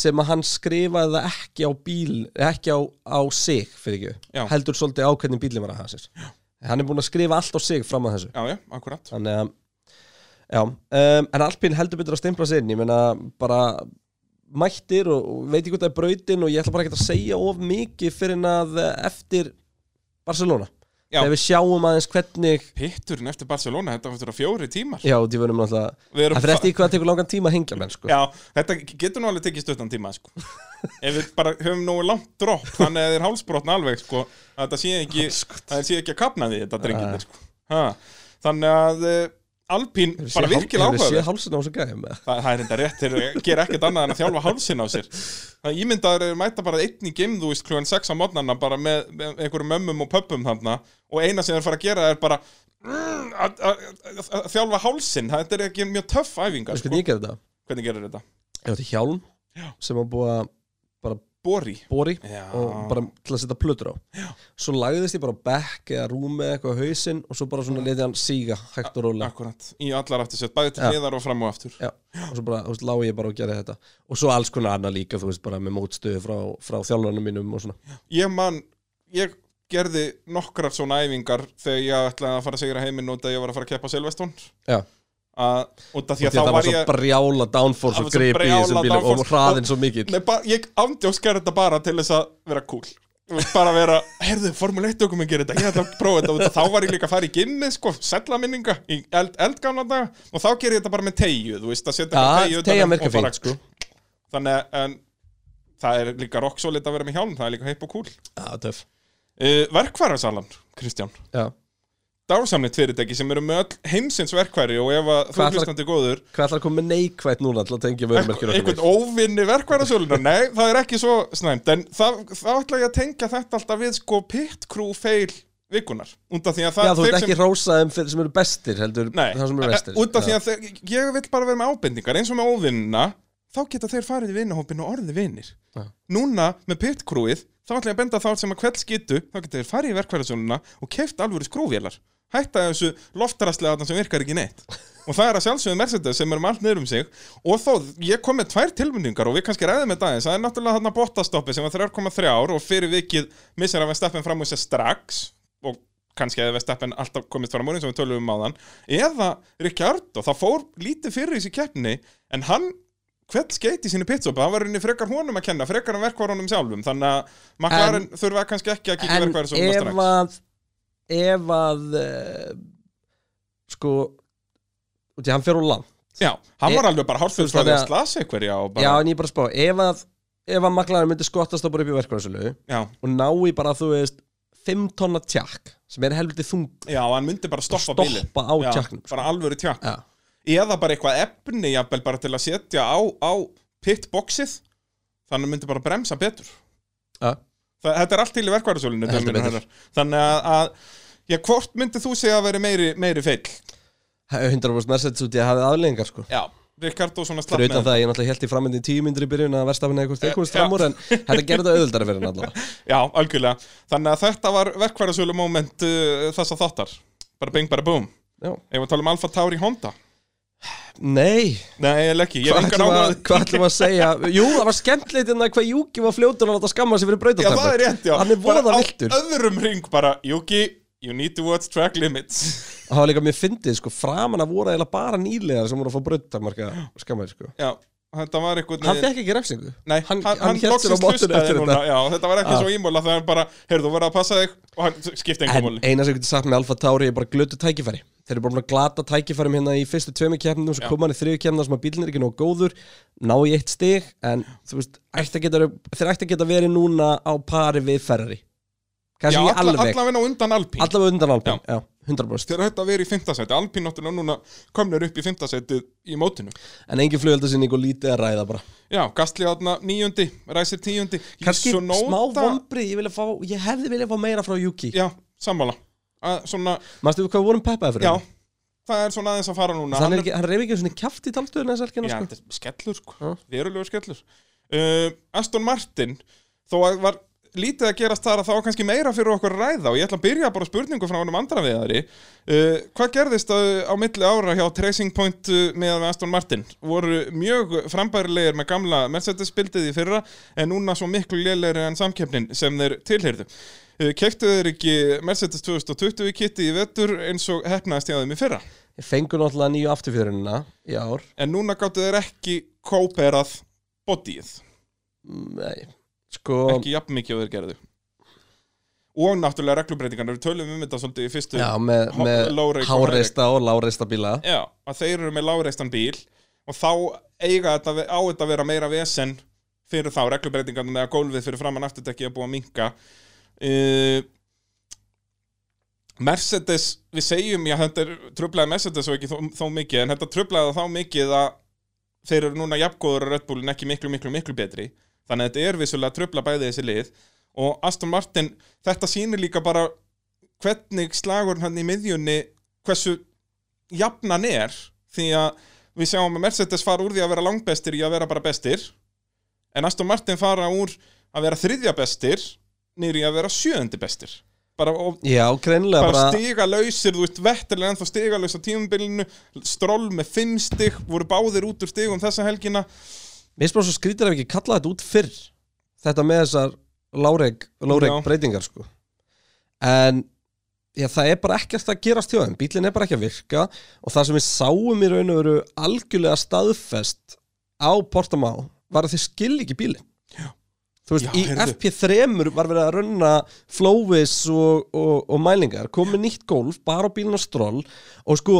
S1: sem að hann skrifaði það ekki á bíl ekki á, á sig fyrir
S3: Já.
S1: ekki heldur svolítið ákveðin bílinn var að hafa sér hann er búin að skrifa allt á sig fram að þessu
S3: Já, já, akkurat
S1: þannig að já, um, en Alpín heldur betur að stimpla sér inn ég meina bara mættir og, og veit ekki hvað það er brautin og ég ætla bara ekki að segja of mikið fyrir en að eh, eftir Barcelona
S3: Já.
S1: þegar við sjáum aðeins hvernig
S3: Pitturinn eftir Barcelona, þetta var fjóri tímar
S1: já, því verðum náttúrulega
S3: Við erum
S1: það fyrir
S3: fa-
S1: eftir í hvað það tekur langan tíma að hengja menn sko.
S3: Já, þetta getur nú alveg tekið stuttan tíma sko. Ef við bara höfum nógu langt dropp Þannig að þeir hálsbrotna alveg sko, að þetta sé ekki, að þeir sé ekki að kapna því Þetta
S1: Ah.
S3: drengir sko. Ha, Þannig að uh, Alpín bara virkilega
S1: Hefur séð
S3: áhugaverð
S1: hálsinn á þessu gæðum eða?
S3: Það, það er enda rétt, þeir gera ekkert annað en að þjálfa hálsin á sér Það ímyndaður er mæta bara einn í geimðu veist klugan 6 á mótnarna bara með, með einhverjum mömmum og pöppum þarna og eina sem þeir fara að gera er bara mm, að- að að- að þjálfa hálsin þetta er ekki mjög töff æfinga
S1: Veistu
S3: sko.
S1: hvernig ég gerði þetta?
S3: Hvernig gerir þetta?
S1: Ég átti hjálm sem var búið að bara
S3: Bori
S1: bori
S3: Já.
S1: og bara til að setja plötur á Já. svo lagðist ég bara á bekk eða rúmi eða eitthvað á hausinn og svo bara svona leti hann síga hægt og róla
S3: Akkurat, í allar aftur sér, bæði til
S1: Já.
S3: hliðar og fram og aftur
S1: Já. og svo bara, þú veist, lág ég bara og gerði þetta og svo alls konar annað líka, þú veist, bara með mótstöðu frá, frá þjálfarnum mínum og svona
S3: Ég man, ég gerði nokkrar svona æfingar þegar ég ætlaði að fara að sigra heiminn út að ég var að fara að keppa á Silveston
S1: Já,
S3: að, út af því
S1: því
S3: að
S1: að
S3: þá
S1: það var
S3: var
S1: svo
S3: ég
S1: brjála downforce
S3: Það
S1: og
S3: var svo
S1: grip í
S3: brjála
S1: þessum bílum og
S3: downforce.
S1: hraðin svo mikill
S3: Nei, bara, ég ándjósk gerði þetta bara til þess að vera cool Þú veist, bara vera, heyrðu, Formule 1 okkur gerir þetta, ég ætla að prófa þetta út af- þá var ég líka að fara í Guinness, sko, sellaminninga í eld, eldgána daga, og þá gerir ég þetta bara með tegju, þú veist, að setja bara
S1: Já,
S3: teygju utan
S1: tegja
S3: um-
S1: merka
S3: og bara-
S1: fínt, sko
S3: þannig að en það er líka rock solid að vera með hjálm, það er líka heip og cool
S1: Já, töff
S3: uh, Verkværasalan, Kristján
S1: Já,
S3: Dársamnit fyrirtæki sem eru með öll heimsins verkværi og ef að þú
S1: Hvað ætlar-
S3: hlustandi góður
S1: hvað ætlar að koma með neikvætt núna til að tengja vörumerkjur okkar
S3: einhvern
S1: við?
S3: óvinni verkværasöluna nei, það er ekki svo snæmt en það, það ætla ég að tengja þetta alltaf við sko pit crew fail vikunar undan því að það
S1: Já, þú
S3: þeir
S1: ert
S3: sem-
S1: ekki rósaðum fyrir sem eru bestir heldur
S3: Nei,
S1: það sem eru
S3: e-
S1: vestir
S3: út af því að þeir, ég vil bara vera með ábendingar eins og með óvinnina, þá geta þeir farið í vinnahópin og orðið vinnir
S1: Já.
S3: Núna með pitkrúið, þá ætla ég að benda þá sem að kvelds getu, þá geta þeir farið í verkvæðarsöluna og keift alvöru skrúvélar Hætta þessu loftarastlega þarna sem virkar ekki neitt Og það er að sjálfsögðu Mercedes sem er um allt niður um sig Og þó, ég kom með tvær tilmyndingar og við kannski ræðum með dagins Það er náttúrulega þarna bóttastoppi sem var 3,3 ár og fyrir vikið missir að Vestappen fram úr sér strax Og kannski hefði Vestappen alltaf komist fram úr eins og við tölum um áðan Eða Ricciardo, það fór lítið fyrir í þessi keppni En hann hvert skeit í sínu pitstopi, það var henni frekar honum að kenna, frekar en verkvarunum sjálfum, þannig að McLaren þurfa kannski ekki að kíkja
S1: en
S3: verkvarun svona strax.
S1: ef að ef að uh, sko úti, hann fer úr land
S3: Já, hann
S1: e-
S3: var alveg bara
S1: þú
S3: hálfur
S1: veist
S3: frá því að
S1: þannig
S3: slasa einhverja og
S1: já
S3: bara,
S1: en ég er bara að spá ef að, ef að maklarinn myndi skottast og bara upp í verkvæðarsölu
S3: já,
S1: og ná í bara þú veist 5 tonna tjakk sem er helviti þung
S3: já, hann myndi bara stoppa
S1: Stoppa
S3: bílinn.
S1: á
S3: Já,
S1: tjakknum, sko.
S3: Bara alvöru tjakk.
S1: já.
S3: Eða bara eitthvað efni, jafnvel, bara til að setja á, á pitboxið, þannig að myndi bara bremsa betur.
S1: Já.
S3: Það, þetta er allt til í verkvarðarsölinu.
S1: Heldur betur.
S3: Þannig að, að já, hvort myndi þú segja að veri meiri, meiri feill?
S1: 100% Mercedes út í að hafið aðleggingar sko
S3: Já. Ricardo svona slapp
S1: fyrir utan það að ég náttúrulega held í framöndin tíu myndir í byrjun að verstafinn eða hvort ég komist
S3: Já.
S1: fram úr en þetta gerði það auðvöldara fyrir
S3: (laughs)
S1: hann allavega
S3: Já, algjörlega. Þannig að þetta var verkvæðarsölu moment uh, þessa þáttar. Bara bing, bara boom.
S1: Já.
S3: Ef við tala um Alfa Tauri Honda.
S1: Nei,
S3: Nei, ég ekki. Ég
S1: hvað
S3: hef engan
S1: ætlum,
S3: áhuga á
S1: að,
S3: því.
S1: hvað ætlum að segja Jú, það var skemmtilegt en það hvað Júki var fljótur að láta skamma sig fyrir
S3: Já,
S1: brautatæmi
S3: það er rétt, já
S1: Hann er
S3: Bara
S1: voða
S3: á
S1: viltur
S3: öðrum ring bara Yuki, you need to watch track limits (laughs)
S1: Það var líka mér fyndið, sko, framan að voru eiginlega bara nýlegar sem voru að fá brautatæmarka skammaði, sko
S3: Já, þetta var eitthvað
S1: Hann fekk ekki refsingu
S3: Nei, hann,
S1: hann,
S3: hann,
S1: hélt sér á
S3: loksins
S1: mótun
S3: hlustaði
S1: eftir
S3: núna
S1: þetta
S3: Já, þetta var ekki
S1: Já.
S3: svo ímóla þegar hann bara Heyrðu, þú verður að passa þig Og hann skipti engum
S1: En
S3: móli
S1: eina sem ég geti sagt með Alfa Tauri er bara glötu tækifæri þeir eru bara búin að glata tækifærum hérna í fyrstu tveimu kemnum svo koma hann í þriðu kemna sem að bílinn er ekki nóg góður ná í eitt stig en þú veist, ætti að geta, þeir ætti að geta verið núna á pari við Ferrari kannski
S3: Já,
S1: ekki
S3: alla,
S1: alveg,
S3: allavega á undan Alpín
S1: allavega undan Alpine já, 100%
S3: Þegar þetta verið í fymtasæti, Alpín náttúrulega núna komnir upp í fymtasæti í mótinu
S1: en engin flugöldasinning og lítið að ræða bara
S3: Já, Gastli þarna níundi, Ræsir tíundi
S1: kannski
S3: Tsunoda-
S1: smá vombrið, ég, vilja fá, ég hefði viljað fá meira frá Yuki
S3: Já, sammála að, Svona,
S1: Manstu hvað við vorum peppaði fyrir
S3: já,
S1: hann?
S3: það er svona aðeins að fara núna
S1: hann, er ekki, hann reyf ekki svona kjaft í talstöðuna þess
S3: Já,
S1: helgina
S3: þetta
S1: sko.
S3: er skellur sko,
S1: Já.
S3: verulegur skellur uh, Aston Martin þó að var lítið að gerast þar að það var kannski meira fyrir okkur að ræða og ég ætla að byrja bara á spurningu frá honum andra viðari uh, Hvað gerðist á, á milli ára hjá Tracing Point uh, með Aston Martin? Voru mjög frambærilegir með gamla Mercedes-bildið í fyrra en núna svo miklu lélegri en samkeppnin sem þeir tilheyrðu Keftu þeir ekki Mercedes 2020 í kitti í vettur eins og hefnaðist hjá þeim í fyrra
S1: Ég fengur náttúrulega nýju afturfjörunina í ár
S3: en núna gáttu þeir ekki kóperað bodyið
S1: Nei, sko
S3: ekki jafn mikið og þeir gerðu og náttúrulega reglubreitingarnar við tölum um þetta svolítið í fyrstu
S1: Já, með,
S3: Há-
S1: með
S3: lágreik og
S1: háreista og láreista bíla
S3: Já, að þeir eru með láreistan bíl og þá eiga þetta ve- á þetta að vera meira vesen fyrir þá reglubreitingarnar eða gólfið fyrir framann afturtekki að búa að minka uh, Mercedes, við segjum já, þetta er tröflaði Mercedes og ekki þó, þó mikið en þetta tröflaði þá mikið að þeir eru núna jafngóður að Red Bull en ekki miklu, miklu, miklu betri þannig að þetta er vissulega að tröfla bæði þessi lið og Aston Martin, þetta sýnir líka bara hvernig slagurinn hann í miðjunni hversu jafnan er því að við sjáum að Mercedes fara úr því að vera langbestir í að vera bara bestir en Aston Martin fara úr að vera þriðja bestir niður í að vera sjöðundi bestir bara, og
S1: Já, greinilega
S3: bara
S1: bara
S3: stiga lausir, þú veist, Vettel er ennþá stiga laus á tímabilinu, Stroll með fimm stig, voru báðir út úr stigum þessa helgina
S1: Mér spyrir svo skrítir ef ekki kalla þetta út fyrr Þetta með þessar láreik, láreik
S3: Já.
S1: breytingar sko En Já, það er bara ekkert að gerast hjá þeim, bílinn er bara ekki að virka og það sem við sáum í raun og veru algjörlega staðfest á Portamá var að þeir skilja ekki bílinn. Þú veist,
S3: Já,
S1: í
S3: heyrðu.
S1: FP3 var verið að runna flóvis og, og, og mælingar, komið nýtt gólf, bara á bílinn og stról og sko,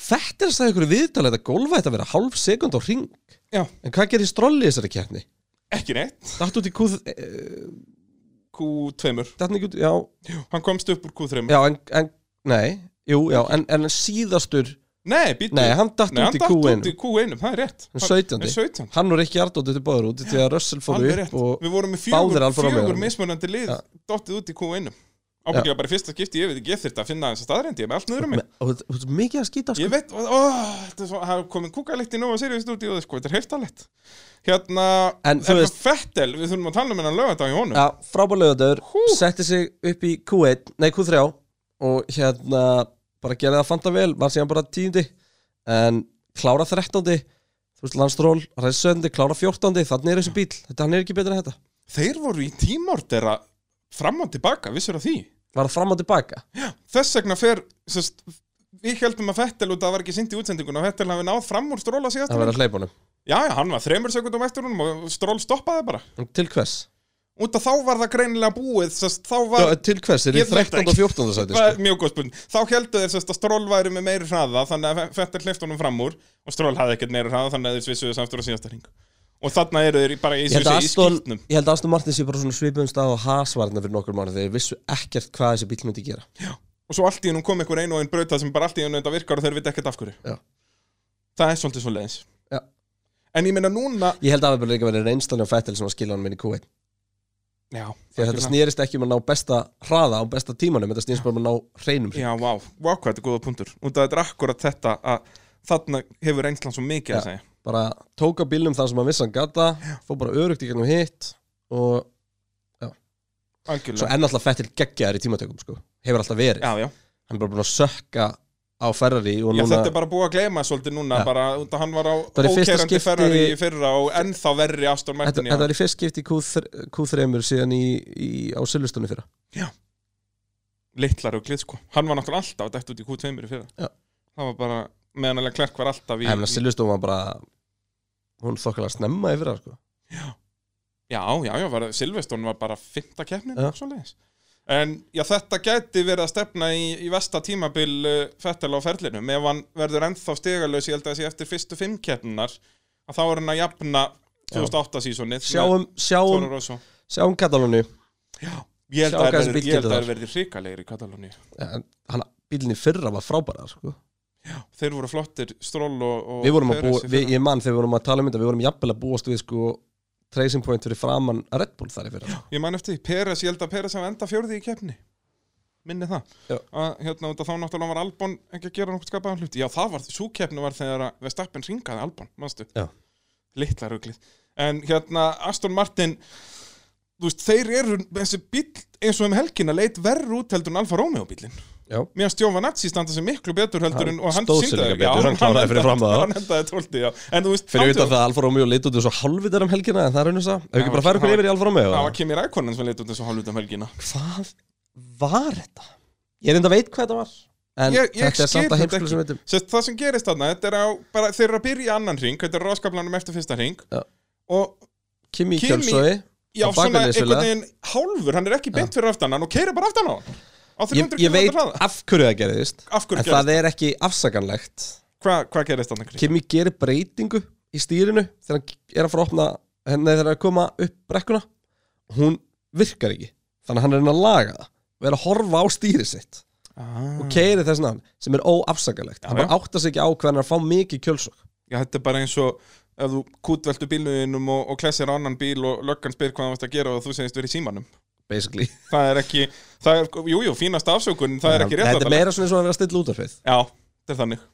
S1: þetta er að sagði ykkur viðtalið að gólfa þetta að vera hálf sekund á ring.
S3: Já.
S1: En hvað gerir stról í þessari keppni?
S3: ekki neitt,
S1: Datt út í Q... eh,
S3: Q2
S1: Datt hann ekki út, já,
S3: hann komst upp úr Q3
S1: Já, en, en nei, jú, já, en, en síðastur,
S3: nei, býttu,
S1: nei, hann datt
S3: Nei,
S1: út
S3: hann
S1: í
S3: datt
S1: Q1
S3: út í Q1, það er rétt
S1: Hann
S3: Hann-
S1: 17.
S3: hann 17.
S1: Hann og Rikki Ardóttir til báður út því að Russell fór
S3: Alveg
S1: upp
S3: rétt,
S1: og
S3: við vorum með
S1: báðir
S3: fjögur,
S1: Alfa Romeo.
S3: fjögur mismunandi lið
S1: Já.
S3: dottið út í Q1 ábyggja bara í fyrsta skipti, ég veit ekki, ég þurfti að finna þess að staðrendi, ég er með allt niður um mig
S1: Me- og þú- þú ert mikið að skýta sko
S3: ég veit, ó, ó, þetta er svo, það er komin kúkalikt í Nova Sirius stúdíu, sko, þetta er heiftalegt hérna,
S1: En þú veist-
S3: Fettel, við þurfum að tala um hennan lögadag í honum
S1: Já, frábæðlegaður,
S3: Hú.
S1: setti sig upp í Q1, nei Q3 og hérna bara gerði það fanta vel, var síðan bara tíundi en klára þrettándi þú veist, landstról, reisöndi, klára fjórtándi þannig er þessi bíl, þetta hann er ekki betur en þetta
S3: þeir voru í tímordera fram og tilbaka, vissur að því
S1: var það fram og tilbaka
S3: þess vegna fer sest, við heldum að Fettel út að það var ekki sindi í útsendingun og Fettel hafi náð fram úr stróla síðast
S1: það var að hleypa honum,
S3: já, já, hann var þremur sekundum eftir honum og stról stoppaði bara
S1: til hvers?
S3: út að þá var það greinilega búið sest, þá var,
S1: Já, til hvers, er
S3: Ég
S1: þið
S3: veit
S1: 13. og
S3: ekki.
S1: 14. sæti sko?
S3: það er mjög góð spurning þá heldur þeir sérst að Stról væri með meiri hraða þannig að Fettel hleyft honum fram úr og Stról hafði ekkert meiri hraða þannig að þeir svissuðu samstur á síðasta hring og þarna eru þeir í- bara í,
S1: Ég held, að
S3: í
S1: Aston,
S3: skýtnum
S1: ég held að Aston Martin sé bara svona svipum stað og hasvarna fyrir nokkur mánu þeir vissu ekkert hvað þessi bíl myndi gera
S3: og svo allt í hennum kom einhver einu og einn brauta sem bara allt í hennu þetta virkar og þeir veit ekkert af hverju
S1: Já.
S3: það er svolítið svo leiðis
S1: Já.
S3: en ég meina núna
S1: Ég held að það bara líka verið reynslan og fættil sem að skilja hann minn í Q1
S3: Já,
S1: Því að þetta snýrist ekki um að ná besta hraða á besta tímanum, þetta snýrist bara um að ná hreinum hring.
S3: Já, vá, vá hvað þetta er góða punktur og þetta er akkurat þetta að þarna hefur reynslan svo mikið
S1: Já.
S3: að segja
S1: bara tók á bílnum þar sem að vissan gata fór bara örugt í gennum hitt og
S3: Algjörlega
S1: svo enn alltaf fættil geggjaður í tímatökum sko. hefur alltaf verið,
S3: Já, já,
S1: hann er bara búin að sökka á Ferrari og
S3: Já,
S1: núna
S3: þetta er bara búið að gleyma svolítið núna
S1: Já.
S3: bara, út að hann var á
S1: Bara í fyrsta
S3: ókerandi
S1: skipti-
S3: Ferrari í fyrra og ennþá verri Aston
S1: Þetta,
S3: Martin í
S1: þetta
S3: ár.
S1: var í fyrst skipti í Q3, Q3 síðan í, í, á Silvestónu fyrra
S3: litlar og glið sko hann var náttúrulega alltaf dætt út í Q2 í fyrra
S1: Já.
S3: það var bara, meðan alveg Klerk var alltaf í,
S1: Það er meina Silvestónu var bara hún þokkalega snemma yfir það sko
S3: já, já, já, var, Silveston var bara fymta keppnin
S1: Já.
S3: svoleiðis. En já, þetta gæti verið að stefna í, í vesta tímabil uh, Fettel á ferlinum ef hann verður ennþá stigalaus ég held að sé eftir fyrstu fimm keppnunar að þá er hann að jafna 2008 sísonið
S1: Sjáum, sjáum, sjáum Katalónu
S3: Ég
S1: Sjá
S3: held að
S1: hvað
S3: það
S1: þessi bíll getur
S3: verði,
S1: þar.
S3: verði hrikalegir í Katalóni
S1: Hanna, bílinni fyrra var frábærar sko.
S3: Þeir voru flottir, Stroll og, og
S1: Við vorum að
S3: Perez
S1: búa,
S3: í
S1: við,
S3: fyrra.
S1: ég mann þegar við vorum að tala um þetta Við vorum jafnvel að búast við sko Tracing point fyrir framann Red Bull þar í fyrra sko.
S3: Ég man eftir, því, Peres, ég held að Peres hafa enda fjórði í keppni Minni það
S1: Já.
S3: að, hérna, út af Þá náttúrulega var Albon ekki að gera nokkuð skapaðan hluti Já, það var, svo keppni var þegar að Vestappen ringaði Albon, manstu
S1: Já.
S3: Litla ruglið En hérna, Aston Martin Þú veist, þeir eru, þessi bíll eins og um helgina leit verru út heldur en Alfa Romeo bíllinn
S1: Já,
S3: Mér að Stjófa Natsi standa sem miklu betur heldur
S1: Hann
S3: en og hann
S1: stóð sig
S3: sýndi það
S1: líka
S3: ekki. Já,
S1: betur, hann kláraði fyrir fram að það.
S3: Hann endaði tólti, já En þú veist,
S1: fyrir
S3: átján-
S1: utan það að Alfa Romeo lit út eins og halvvitar um helgina En það er unnus að, ef ekki bara færa okkur yfir í Alfa Romeo
S3: Það var Kimi Rækonin sem leit út þessu hálfut um helgina
S1: Hvað var þetta? Ég er enda að veit hvað þetta var En
S3: Ég- ég
S1: þetta er
S3: skil
S1: samt að heimsklu
S3: þetta ekki.
S1: sem veitum
S3: Sest, það sem gerist þarna, þetta er á bara, þeir eru að byrja í annan ring, þetta er ráskaplanum eftir fyrsta ring
S1: Já.
S3: og
S1: Kimi
S3: Kimi-
S1: Kjölsói
S3: já,
S1: Á bakvið
S3: svona einhvern
S1: vissulega.
S3: veginn hálfur, hann er ekki beint fyrir aftan hann og keira bara aftan á hann á
S1: ég,
S3: 300
S1: ég veit
S3: km hraða.
S1: af hverju það gerðist
S3: Af hverju
S1: En
S3: gerðist
S1: það er ekki afsakanlegt
S3: Hva, Hvað gerist þarna? Kim...
S1: Kimi gerir breytingu í stýrinu þegar hann er að fara að opna henni þegar hann er að koma upp brekkuna hún virkar ekki þannig að hann er að reyna að laga það og er að horfa á stýri sitt
S3: Ah.
S1: og keiri þess vegna sem er óafsakalegt hann
S3: Já, já.
S1: bara áttar sig ekki á hvað hann er að fá mikið kjölsokk
S3: Já, þetta er bara eins og ef þú kútveltu bílnuðinum og, og klessir á annan bíl og löggan spyr hvað það varst að gera og þú segist verið í símanum
S1: basically
S3: Það er ekki, það er, jú, jú, fínasta afsökun það er ekki rétt um-
S1: þetta er meira svona eins og að vera að stilla útarfið
S3: Já, þetta er þannig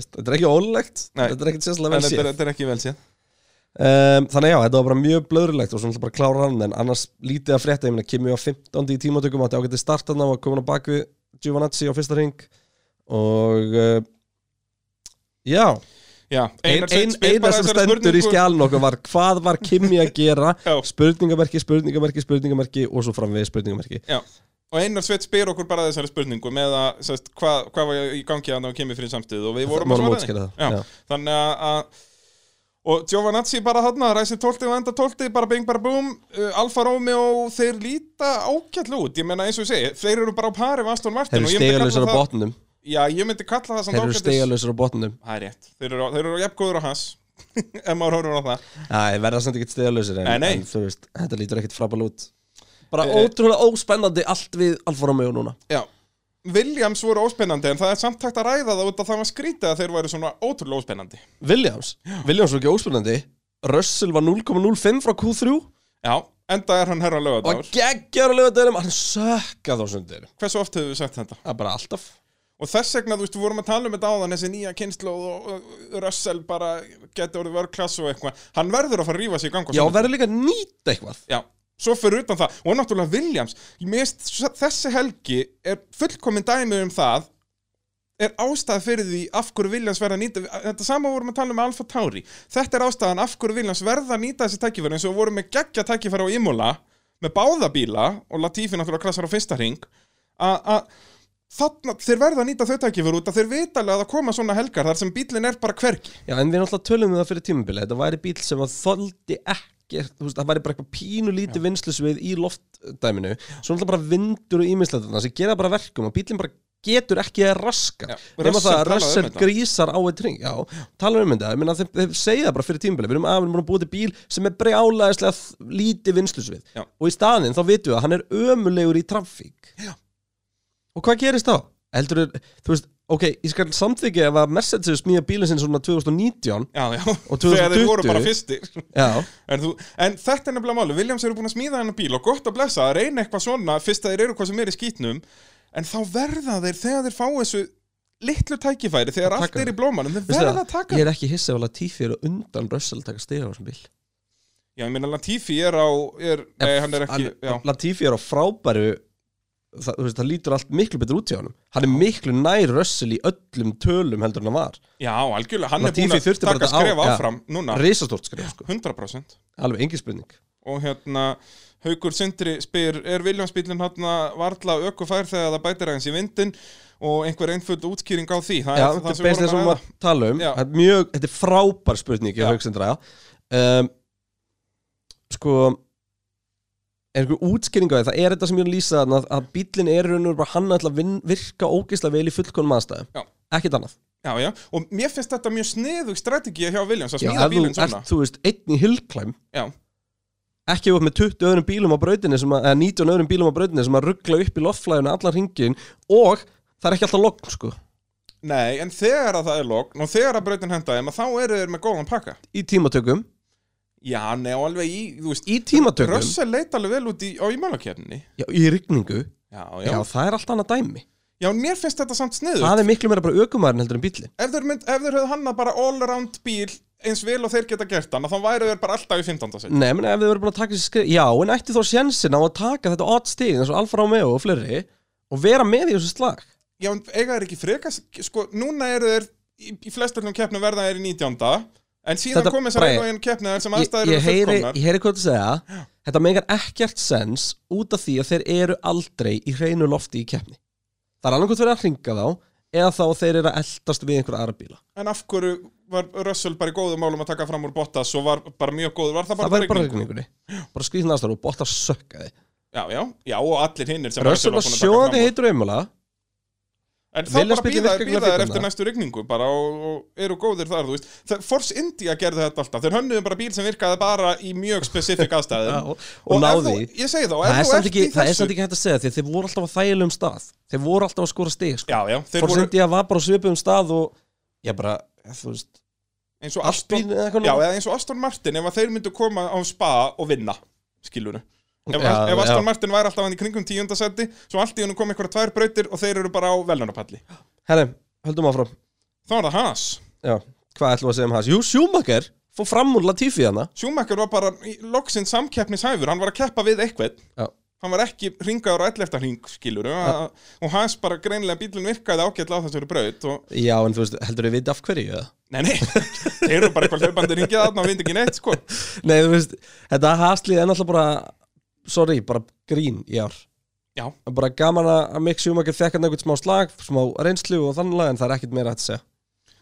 S1: þetta er ekki ólegt
S3: Nei.
S1: þetta er ekki sérslega
S3: En
S1: vel
S3: þetta
S1: sér
S3: er, þetta er ekki vel séð
S1: um, þannig já, þetta var bara mjög blöðrulegt og svona bara klára hann en annars lítið að frétta, ég meina Kimi var 15. í tímatökum átti ágætti startan á að koma á bakvið Giovanazzi á fyrsta ring og uh, já,
S3: Já,
S1: ein,
S3: Einar Sveinn
S1: ein,
S3: spyr
S1: eina
S3: bara
S1: sem
S3: þessari
S1: stendur í
S3: spurningu-
S1: skjálun okkur var hvað var Kimi að gera
S3: (laughs) Já.
S1: spurningamerki, spurningamerki, spurningamerki og svo framvegis spurningamerki
S3: Já, og Einar Sveit spyr okkur bara þessari spurningu með að, sérst, hvað, hvað var í gangi að það kemur fyrir samstöðu og við vorum að
S1: Vorum að
S3: svara
S1: útskýra það,
S3: Já,
S1: já.
S3: þannig að, að og Giovanazzi bara þarna, ræsir 12 og enda 12, bara bing bara búm uh, Alfa Romeo, þeir líta ágætlu út, ég menna eins og ég segi, þeir eru bara á pari við Aston
S1: þeir
S3: Martin
S1: eru
S3: og ég myndi kalla
S1: stegalösar á
S3: það-
S1: botnum
S3: Já, ég myndi kalla það samt
S1: þeir eru
S3: ágætis-
S1: stegalösar á botnum
S3: Það er rétt, þeir eru, þeir eru jafngóður á hans (laughs) ef maður horfur á það
S1: Það verða samt ekkert stegalösir en,
S3: Nei, nei.
S1: en þú veist, þetta lítur ekkert frábæl út Bara
S3: Eh,
S1: ótrúlega óspennandi allt við Alfa Romeo núna
S3: Já Williams voru óspennandi en það er samt hægt að ræða það út að það var skrítið að þeir væri svona ótrúlega óspennandi
S1: Williams, Williams var ekki óspennandi Russell var 0,05 frá Q3 og
S3: Já, enda er hann herra lögadagur
S1: geggjör að löga dærum hann sökkað á sundir
S3: Hversu oft hefur við sagt þetta?
S1: Það er bara alltaf
S3: Og þess vegna, þú veist, við vorum að tala um þetta áðan þessi nýja kynnslóð og og Russell bara geti orðið vörklass og eitthvað Hann verður að fara að rífa sig í gang á
S1: Já,
S3: sunnudaginn.
S1: verður líka að nýta eitthvað
S3: Já, svo fyrir utan það og náttúrulega Williams mist, þessi helgi er fullkomin dæmi um það er ástæða fyrir því af hverju Williams verða að nýta þetta sama vorum að tala um með Alfa Tauri þetta er ástæðan af hverju Williams verða að nýta þessi tækifæri eins og við vorum með geggja tækifæri á Imola með báða bíla og Latifi náttúrulega krassar á fyrsta ring að að þarna, þeir verða að nýta þau tækifæri út að þeir vitalega að það koma svona helgar þar sem bílinn er bara hvergi
S1: Já, en við náttúrulega tölum við það fyrir tímabilið Þetta væri bíl sem að þoldi ekkert þú veist, Það væri bara eitthvað pínu lítið vinslusvið í loftdæminu Svo náttúrulega bara vindur og ímiðslega sem gera bara verkum og bílinn bara getur ekki að raska
S3: Já,
S1: Nefna
S3: Russell
S1: það að
S3: talaði um
S1: Russell
S3: þetta.
S1: grísar á eitt ring Já, tala um þetta, ég meina þeir, þeir segja það bara fyrir tímabilið Við erum að við erum búin að búið til bíl sem er brjálæðislega þ- lítið vinslusvið
S3: Já.
S1: Og í staðinn þá vitum við að hann er ömulegur í trafík Og hvað gerist þá? Heldur þú veist, ok, ég skal samþykja ef að Mercedes hefur smíða bílinn sinn svona 2019
S3: Já, já,
S1: Og
S3: þegar þeir voru
S1: 2020.
S3: bara fyrstir
S1: Já,
S3: En, þú, en þetta er nefnilega máli, Williams eru búin að smíða hennar bíl og gott að blessa að reyna eitthvað svona fyrst að þeir eru hvað sem er í skýtnum en þá verða þeir þegar þeir fá þessu litlu tækifæri þegar
S1: Að
S3: allt
S1: taka
S3: er í
S1: þau.
S3: blómanum, þeir
S1: Veistu
S3: verða
S1: það?
S3: að taka
S1: Ég
S3: ég...
S1: er ekki hissið að Latifi eru undan Russell taka stiga á þessum bíl
S3: Já, ég meina Latifi er á er, nei, hann er ekki, já,
S1: Latifi er á frábæru það, þú veist, það lítur allt miklu betur út hjá honum Hann er miklu nær Russell í öllum tölum heldur en hann var
S3: já, algjörlega hann
S1: Latifi
S3: er búin
S1: þurfti
S3: að
S1: bara þetta
S3: taka
S1: á-
S3: skref
S1: já.
S3: áfram núna,
S1: Risastort skrif, sko
S3: 100%
S1: Alveg engin spurning
S3: og hérna Haukur Sindri spyr, er Viljámsbílinn hérna varla ökufær þegar það bætir aðeins í vindin og einhver einföld útskýring á því, það
S1: Já,
S3: er
S1: þetta
S3: það
S1: er basically sem
S3: að
S1: við
S3: ræða.
S1: varum að tala um
S3: Já.
S1: Það er mjög, Þetta er frábær um spurning í
S3: Já.
S1: haugsindra um, Sko er einhver útskýringa það er þetta sem ég er að lýsa þarna að- að bíllinn er raun og bara hann ætla að vin- virka ógeðslega vel í fullkonum aðstæðum
S3: Já.
S1: ekkert annað
S3: já, já, og mér finnst þetta mjög sniðug strategið hjá Williams að um
S1: Já,
S3: smíða
S1: ef þú
S3: bílinn svona
S1: ert, þú veist, einn í hillclimb
S3: já,
S1: ekki upp með 20 öðrum bílum á brautinni sem að, eða 19 öðrum bílum á brautinni sem að ruggla upp í loftflæðinu allan ringin og það er ekki alltaf logn sko
S3: nei, en þegar að það er logn og þegar að brautin henda þeim að þá eru þeir með góðan pakka
S1: í tímatökum
S3: já, nei, og alveg í, þú veist
S1: í tímatökum,
S3: Russell leit alveg vel út í, á ímálakefninni
S1: já, í rigningu já.
S3: já, já, já,
S1: það er allt annað dæmi
S3: mér finnst þetta samt sniðug
S1: það er miklu meira bara ökumærin heldur en bílin
S3: ef þeir, mynd, ef þeir höfðu hannað bara all-around bíl eins vel og þeir geta gert hann þá væru þeir bara alltaf í 15. seti
S1: Nei, menn ef þið verður búin að taka þessi skrið Já, en ætti þó sjensin á að taka þetta odd stig eins og Alfa Romeo og fleiri og vera með í þessu slag
S3: já, en eiga þeir ekki freka sko, núna eru þeir í, í flestöldum keppnum verða þeir í 19. en síðan
S1: Þetta-
S3: komið sér
S1: Bragi,
S3: einu og einu keppni þar sem
S1: Ég,
S3: aðstæður
S1: ég,
S3: eru
S1: heyri,
S3: fullkomnar
S1: ég heyri hvað þú segja Þetta megar ekkert sens út af því að þeir eru aldrei í hreinu lofti í keppni Það er annað hvort verið að hringa þá eða þá þeir eru að eldast við einhverja aðra bíla
S3: en af hverju var Russell bara í góðum málum að taka fram úr Bottas og var bara mjög góður var það bara
S1: Það væri bara
S3: rigning?
S1: regningunni Bara skrýðin aðstæður og bótt að sökka þið
S3: já, já, já, og allir hinnir sem
S1: Russell var
S3: búinn að taka
S1: sjóðandi
S3: fram úr.
S1: heitur umjöla
S3: En þá bara
S1: Williams bíllinn
S3: býða
S1: virkar
S3: býða
S1: ekki
S3: þær
S1: að
S3: eftir
S1: finna.
S3: næstu rigningu bara og, og eru góðir þar, þú veist Þe- Force India gerði þetta alltaf, þeir hönnuðu bara bíl sem virkaði bara í mjög spesifik
S1: (laughs)
S3: aðstæðum
S1: og, og náði
S3: ef
S1: því.
S3: þú, Ég segi þá,
S1: Það er
S3: ef þú
S1: samt
S3: ert
S1: ekki,
S3: í
S1: það er
S3: þessu
S1: samt ekki hægt að segja því að þeir voru alltaf á þægilegum stað Þeir voru alltaf að skora stig sko.
S3: Já, já, þeir
S1: Force
S3: voru
S1: India var bara á svipuðum stað og ég bara, þú veist
S3: eins og
S1: Aspín
S3: Aston
S1: eða eitthvað
S3: Já,
S1: nú?
S3: eða eins og Aston Martin, ef að þeir myndu koma á spa og vinna, skilur Ef,
S1: Já,
S3: ef Aston
S1: já.
S3: Martin væri alltaf hann í kringum tíundasetti Svo allt í hennu kom einhverja tvær brautir og þeir eru bara á velunarpalli
S1: Herri, höldum áfram
S3: Þá var það Haas
S1: Já, hvað ætlum við að segja um hans? Jú, Schumacher fór fram úr Latifi hana
S3: Schumacher var bara í loksinn samkeppnishæfur Hann var að keppa við eitthvað
S1: Já,
S3: hann var ekki ringaður á 11. ring skilur ja. og hans bara greinilega bílinn virkaði ágætla á þessari braut og
S1: já en þú veist, heldur við viti af hverju eða?
S3: nei, (laughs) nei, þeir eru bara eitthvað hlaupandi ringið þarna og vind ekki neitt sko
S1: Nei, þú veist, þetta haslið er náttúrulega bara Sorry, bara grín í ár
S3: já,
S1: Bara gaman að að Mick Schumacher fekk hann einhvern smá slag Smá reynslu og þannlega En það er ekkert meira hægt að segja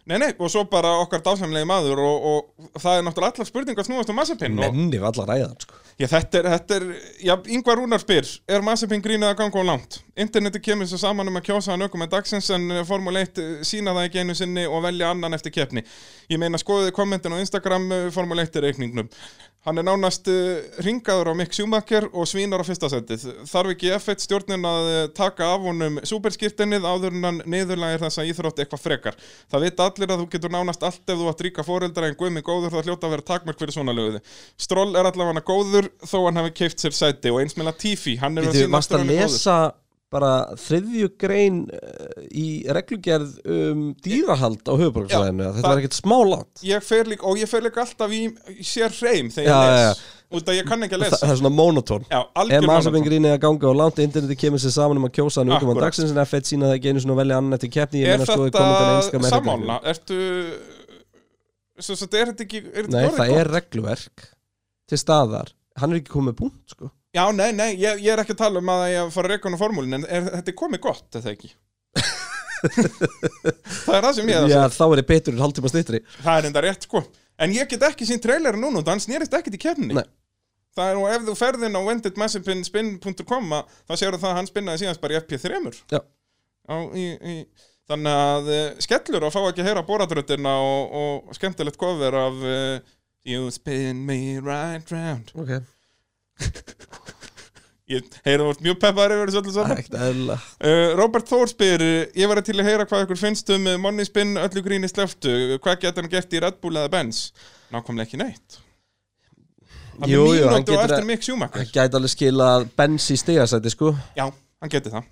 S3: nei, nei, og svo bara okkar dásamlegi maður og, og það er náttúrulega allar spurning að snúast um Massapin og
S1: Nenni við alla ræðan, sko
S3: já, þetta er, þetta er já, yngvar Rúnar spyr, er Massapin grínað að ganga og langt? Interneti kemur svo saman um að kjósa hann ökum en dagsins en eh, Formule 1 sína það ekki einu sinni og velja annan eftir keppni ég meina skoðið kommentin á Instagram eh, Formule 1 reikningnum Hann er nánast uh, ringaður á Mick Schumacher og svínar á fyrsta setið. Þarf ekki F1 stjórnin að eh, taka af honum súperskirtinnið áður en hann niðurlægir þessa íþrótt eitthvað frekar. Það vita allir að þú getur nánast allt ef þú átt ríka foreldra en guðmi góður það hljóta að vera takmörk fyrir svona löguði. Stroll er allavega góður þó hann hafi keift sér sæti og eins með Latifi, hann er að
S1: Þú
S3: sýna
S1: varst
S3: aftur
S1: að
S3: hann er góður.
S1: lesa bara þriðju grein eh, í reglugerð um dýrahald á höfuborgsvæðinu
S3: það-
S1: þetta var ekkert smálátt
S3: Ég fer líka, og ég fer líka alltaf í, í sér hreim þegar
S1: Já,
S3: ég
S1: já,
S3: les. Út að ég kann ekki að
S1: Þa,
S3: lesa.
S1: það er svona monotón
S3: Já, algjör
S1: ef maður sem
S3: maraton.
S1: grínið að ganga á langt interneti kemur sér saman um að kjósa hann aukum á
S3: Akkurat.
S1: dagsins en F1 sína það ekki einu svona velja annan eftir keppni ég
S3: er
S1: meina skoði kommentan
S3: þetta
S1: einska með
S3: sammála? Ertu svo, svo, er þetta ekki er þetta
S1: nei
S3: ekki orðið
S1: það
S3: gott?
S1: er regluverk til staðar hann er ekki komið punkt sko
S3: Já, nei, nei, ég, ég er ekki að tala um að ég að fara að reka hann á formúlin en er, þetta er komið gott,
S1: (laughs)
S3: er það ekki? það er það sem ég er að
S1: já
S3: segja
S1: þá er ég betur en hálftíma stittri
S3: Það er enda rétt, sko En ég get ekki sín trailer núna, þannig hann snerist ekkit í kefni
S1: Nei.
S3: Það er nú ef þú ferðin á wendedmassipinspin.com að- þá séu það að hann spinnaði síðans bara í FP3
S1: Já.
S3: á, í, í, Þannig að eh, skellur að fá ekki að heyra boradröttina og, og skemmtilegt cover af uh, You spin me right round
S1: ok
S3: Ég heyrði vort mjög peppar yfir þessu öllu saman
S1: ekkert eðla
S3: Uh, Robert Thor spyr, uh, ég var til að heyra hvað ykkur finnst um uh, Money Spin öllu gríni sleftu, hvað getur hann gert í Red Bull eða Benz? Nákvæmlega ekki neitt Hann
S1: Jú,
S3: er
S1: jú, hann
S3: mínútu og
S1: getur
S3: eftir
S1: að-
S3: Mick Schumacher
S1: hann gæti alveg skilað bens í stegasæti sko
S3: Já, hann getur það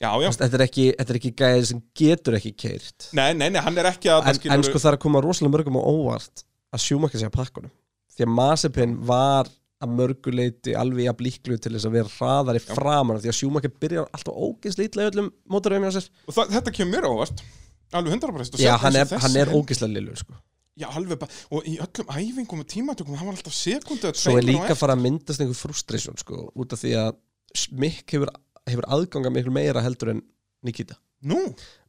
S3: Já, já,
S1: Þetta er ekki, þetta er ekki gæði sem getur ekki keirt
S3: nei, nei, nei, hann er ekki að
S1: en, en sko það er að koma rosalega mörgum á óvart að sjúmakka sig að pakkunum því að Masipin var að mörguleiti alveg að blíklu til þess að vera hraðari framan því að sjúmakka byrjar alltaf ógeðslega illa í öllum mótaröfum hjá sér
S3: og það, Þetta kemur mér á óvart Alveg 100% og
S1: Já,
S3: sett
S1: hann er,
S3: eins og þessi
S1: hann er
S3: er-
S1: ógeðslega lillur sko.
S3: Já, alveg bara, og í öllum æfingum og tímatökum, hann var alltaf sekundu eða
S1: Svo er
S3: tveimur á
S1: líka
S3: eftir.
S1: fara að myndast einhver frustration sko, út af því að Mikk hefur, hefur aðganga miklu meira heldur en Nikita
S3: Nú,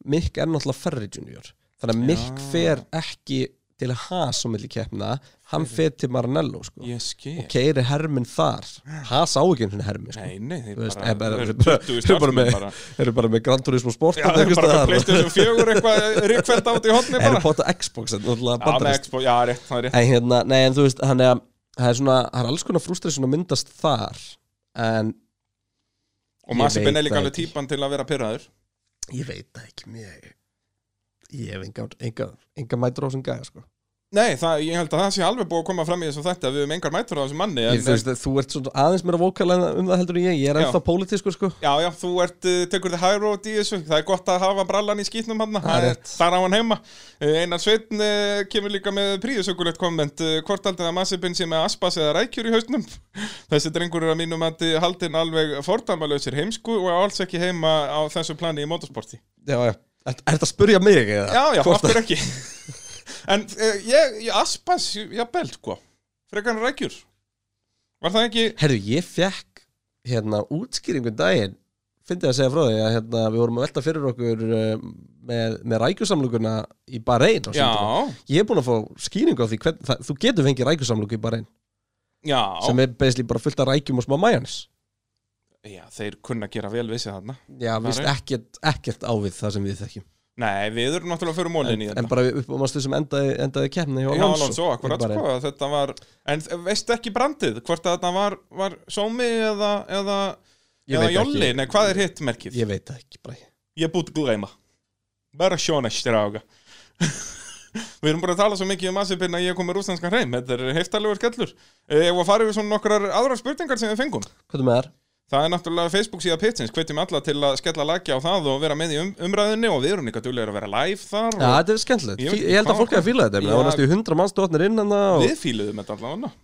S1: Mikk er náttúrulega ferri junior þannig að Mikk fer ekki til Haas á milli keppna hann fer til Maranello sko.
S3: Ég skil.
S1: og keiri herminn þar Haas á ekki einhvern hermi sko.
S3: Nei, nei, þeir
S1: Þú veist,
S3: bara-
S1: eh, bara-
S3: þeir eru
S1: (laughs) bara-
S3: 20
S1: þeir eru bara
S3: starfsmenn
S1: með-
S3: bara.
S1: þeir eru bara með Gran Turismo Sport hérna
S3: Já, það er bara
S1: (laughs)
S3: PlayStation 4 eitthvað rikfært átt í hotni
S1: er
S3: bara.
S1: potta Xbox en náttúrulega
S3: Já, með
S1: bandarist
S3: Expo, já, rétt, það er rétt.
S1: en hérna, nei en þú veist hann er, það er svona, það er alls konar frustration að myndast þar en
S3: Og Massipin
S1: veit
S3: er líka
S1: það
S3: alveg
S1: ekki.
S3: típan til að vera pyrraður.
S1: ég veit það ekki mjög ég hef enga, enga, enga mætur á sem gæja sko.
S3: Nei, það, ég held að það sé alveg búið að koma fram í þessu þetta við höfum engar mætur á þessum manni en,
S1: ég, þú, veist, þú ert svona aðeins meira vókal um það heldur en ég, ég er
S3: Já.
S1: ennþá pólitískur sko.
S3: eh, Já, já, þú ert, uh, tekur þið high road í þessu það er gott að hafa brallan í skýtnum hann
S1: Það er rétt.
S3: þar á hann heima Eh, Einar Sveitn uh, kemur líka með príðisökulegt komment uh, hvort aldrei að Massipin sé með aspas eða rækjur í hausnum (laughs) þessi drengur er að mínum að haldin alveg fordæmalausir heimsku og er alls ekki heima á þessu plani í motorsporti
S1: já, já. Er, er þetta að spurja mig eða?
S3: Já, já,
S1: Hvort
S3: aftur ekki (laughs) En uh, ég, ég aspas, já, belt, hvað Frekar en rækjur Var það ekki
S1: Herru, ég fekk hérna útskýringu um daginn fyndið að segja frá því að hérna, við vorum að velta fyrir okkur uh, með, með rækjusamluguna í Bahrein á sínum tíma.
S3: Já,
S1: Ég er búin að fá skýringu á því hvern, það, þú getur fengið rækjusamlugu í Bahrein
S3: já,
S1: sem er basically bara fullt af rækjum og smá majónis
S3: já, þeir kunna gera vel vissi þarna
S1: Já, víst ekkert, ekkert ávið það sem við þekkjum
S3: Nei, við erum náttúrulega fyrir mólinni
S1: en, en bara við uppum að stuð sem endaði, endaði keppni hjá
S3: Já, Alonso,
S1: í
S3: akkurat
S1: Bahrein.
S3: sko Þetta var, en veistu ekki brandið Hvort að þetta var, var sómi eða, eða,
S1: Ég
S3: eða
S1: veit
S3: jolli
S1: ekki.
S3: Nei, hvað er hitt merkið?
S1: Ég veit það ekki, bara
S3: Ég er búið að gleyma Bara sjóna stráka Við erum bara að tala svo mikið um aðsipinn að ég kom með rústanskan hreim Þetta er heftalegur skellur Eh, Ef að fara yfir svona nokkrar aðrar spurningar sem við fengum
S1: Hvað er með þar?
S3: Það er náttúrulega Facebook síða Pitsins Hvetjum alla til að skella lagja á það og vera með í um, umræðinni og við erum líka duglega að vera live þar
S1: Já,
S3: og
S1: þetta er skemmtilegt,
S3: Ég veit
S1: Fí-
S3: ekki
S1: ég held
S3: hvað-
S1: að fólk hefði fílað þetta ég meina,
S3: Já.
S1: það var næstu í 100 mannstóðnir inn hana og...
S3: Við fíluðum þetta allavega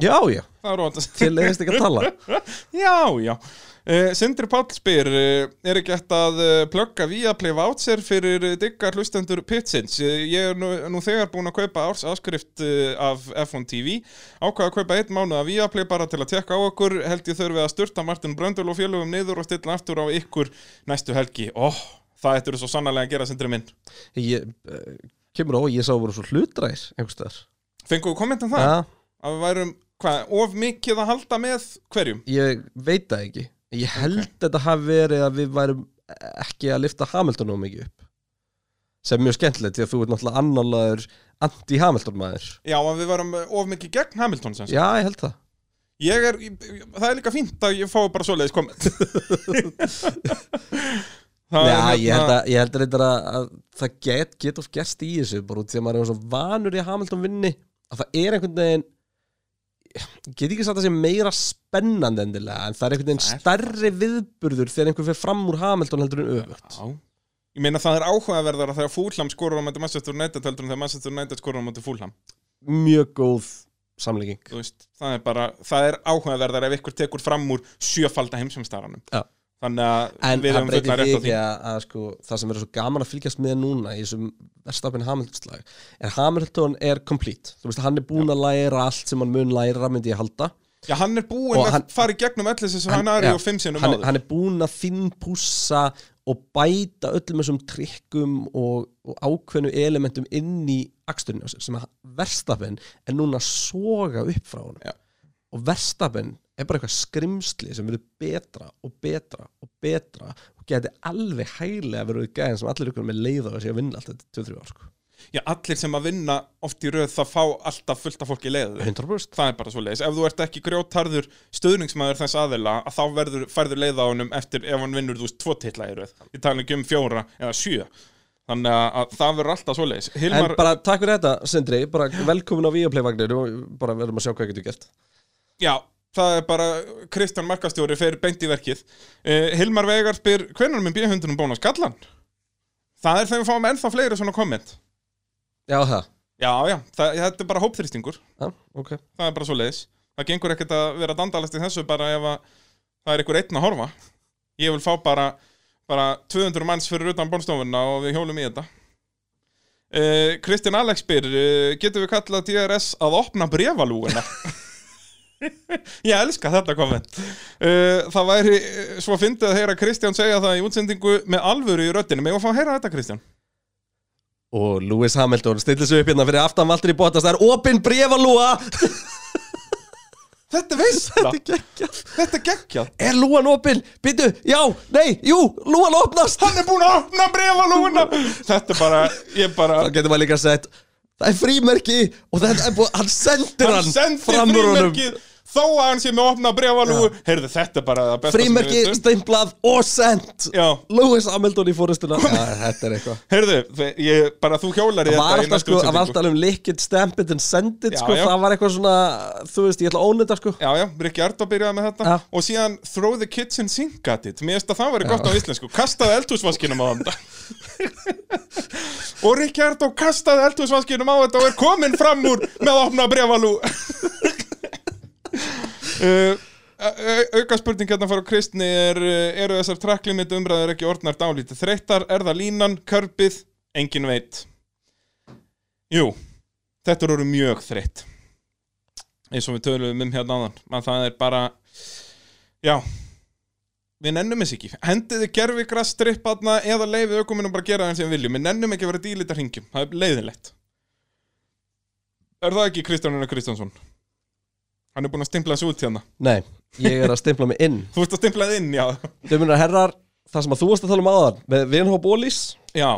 S1: Já, já,
S3: Það er rótast
S1: til leiðist ekki að tala
S3: Já, já. Uh, Sindri Páll spyr, uh, er ekki hægt að uh, plugga Viaplay Voucher fyrir uh, diggar hlustendur Pitsins? Uh, ég er nú, nú þegar búin að kaupa árs áskrift uh, af F1 TV, ákvaða að kaupa einn mánuð af Viaplay bara til að tekka á okkur, held ég þurfið að sturta Martin Bröndul og félögum niður og stilla aftur á ykkur næstu helgi. Ó, það ættur svo sannarlega að gera, Sindri minn.
S1: ég, uh, kemur á, ég sá voru svo hlutræðir einhverstaðar
S3: Fengum við komment um það?
S1: ja,
S3: Að við værum, hvað, of mikið að halda með hverjum?
S1: ég veit það ekki ég held þetta hafi verið að við værum ekki að lifta Hamilton nóg mikið upp sem er mjög skemmtilegt því að þú ert náttúrulega annálaður anti-Hamilton maður
S3: Já, að við værum uh, of mikið gegn Hamilton, sem sagt.
S1: já, ég held það
S3: Ég er, ég- það er líka fínt að ég fá bara
S1: (laughs)
S3: svoleiðis komment Það
S1: já,
S3: er
S1: ég held,
S3: hérna-
S1: að, ég held reyndar að, að það get, get of gerst í þessu bara út því að maður er svo vanur í að Hamilton vinni að það er einhvern veginn ég get ekki sagt að sé meira spennandi endilega en það er einhvern veginn
S3: Það er
S1: stærri viðburður þegar einhver fer fram úr Hamilton heldur en öfugt
S3: Já. Ég meina það er áhugaverðara þegar Fúlham skorur á mæti Manchester United heldur en þegar Manchester United skorur á mæti Fúlham
S1: mjög góð samlíking
S3: Þú veist, það er bara, það er áhugaverðara ef ykkur tekur fram úr sjöfalda heimsumstaranum
S1: Já.
S3: Þannig að
S1: en
S3: við
S1: það
S3: höfum
S1: breytir því
S3: fullna rétt á
S1: ekki
S3: því
S1: að, að sko, það sem er svo gaman að fylgjast með núna í þessum verstafinn Hamilton-slag er Hamilton er complete þú veist hann er búinn að læra allt sem hann mun læra myndi ég halda
S3: Já, hann er búinn
S1: Og
S3: að
S1: hann-
S3: fara í gegnum öll þessi sem hann aðri
S1: já,
S3: og fimm sinnum
S1: hann,
S3: áður
S1: hann er búinn að finnpússa og bæta öllum þessum trikkum og, og ákveðnu elementum inn í aksturinn á sér sem að verstafinn er núna að soga upp frá honum
S3: Já.
S1: og verstafinn er bara eitthvað skrimsli sem verður betra og betra og betra og geti alveg hæglega verið gæðin sem allir ykkur með leið á þessi að vinna allt þetta 2-3 ár sko.
S3: Já, allir sem að vinna oft í röð það fá alltaf fullt af fólki í leiðu
S1: 100%
S3: það er bara svo leiðis, ef þú ert ekki grjótarður stuðningsmaður þess aðila að þá verður, færður leið á honum eftir ef hann vinnur þú veist tvo titla í röð, ég tala ekki um fjóra eða sjö, þannig að, að það verður alltaf svo leiðis, Hilmar,
S1: En bara takk fyrir þetta, Sindri, bara velkomin á Víaplayvagnir og bara verðum að sjá hvað getur gert
S3: já það er bara, Kristján Markastjóri fer beint í verkið, uh, Hilmar Vegar spyr, hvenær minn bíhundunum bóna skallan? Það er þegar við fáum ennþá fleiri svona komment,
S1: Já, það,
S3: já já það, þetta er bara hópþrýstingur,
S1: já, ok
S3: það er bara svo leiðis, það gengur ekkert að vera dandalast í þessu bara ef að það er einhver einn að horfa ég vil fá bara, bara 200 manns fyrir utan bólstofuna og við hjólum í þetta uh, Kristján Alex spyr uh, getum við kallað DRS að opna brefalúguna (laughs) ég elska þetta komment uh, það væri eh, svo fyndið að heyra Kristján segja það í útsendingu með alvöru í röddinu, megum við að fá að heyra þetta Kristján
S1: og Lewis Hamilton stillir sig upp hérna fyrir aftan Valtteri Bottas það er opinn brefalúa
S3: Þetta er
S1: (laughs)
S3: veist
S1: geggjað
S3: Þetta er geggjað
S1: Er lúan opinn? Býtu, já, nei, jú, lúan
S3: (laughs)
S1: opnast
S3: Hann er búinn að opna brefalúna Þetta er bara, ég bara
S1: Þá getur maður líka sett Það er frímerki og þetta er búið, hann sendir hann,
S3: Hann sendi
S1: fram úr honum.
S3: frímerkið Þó að hann sé með opna brefalúu Heyrðu, þetta er bara það besta sem ég
S1: Frímerki,
S3: veit um.
S1: steimblað og sendt
S3: Já.
S1: Lewis Hamilton í
S3: (laughs)
S1: fórustuna Já, þetta er eitthvað
S3: Heyrðu, þe- ég, bara þú hjólar í
S1: Það var
S3: þetta í
S1: alltaf
S3: næstu
S1: sko, það var
S3: útsendingu.
S1: alltaf um lick it, stamp it and send it
S3: Já,
S1: sko,
S3: já.
S1: það var eitthvað svona, þú veist, ég ætla að óna þetta sko
S3: Já, já, Rikki Ardó byrjaði með þetta
S1: Já.
S3: hérna Og síðan Throw the kitchen sink at it Mér finnst að það væri gott á íslensku Kastaði eldhúsvaskinum á þetta Og Rikki Ardó kastaði eldhúsvaskinum á þetta Og er komin fram úr með að opna (laughs) brefalú uh, Auka spurning hérna frá Kristni er uh, Eru þessar tracklimit umræður ekki orðnar dálítið Þreyttar, er það línan, körbið Engin veit Jú, þetta eru mjög þreytt eins og við töluðum um hérna áðan að það er bara já við nennum þess ekki hendiði gerfi grassstrippaðna eða leiðið ökumunum bara að gera það sem við viljum við nennum ekki að vera dýlita hringjum það er leiðilegt er það ekki Kristján Einar Kristjánsson hann er búinn að stimpla þessu út hérna
S1: Nei, ég er að stimpla mig inn
S3: þú ert að stimpla það inn já
S1: Dömunar herrar, það sem að þú varst að tala um áðan með Vinhóp Ólís,
S3: já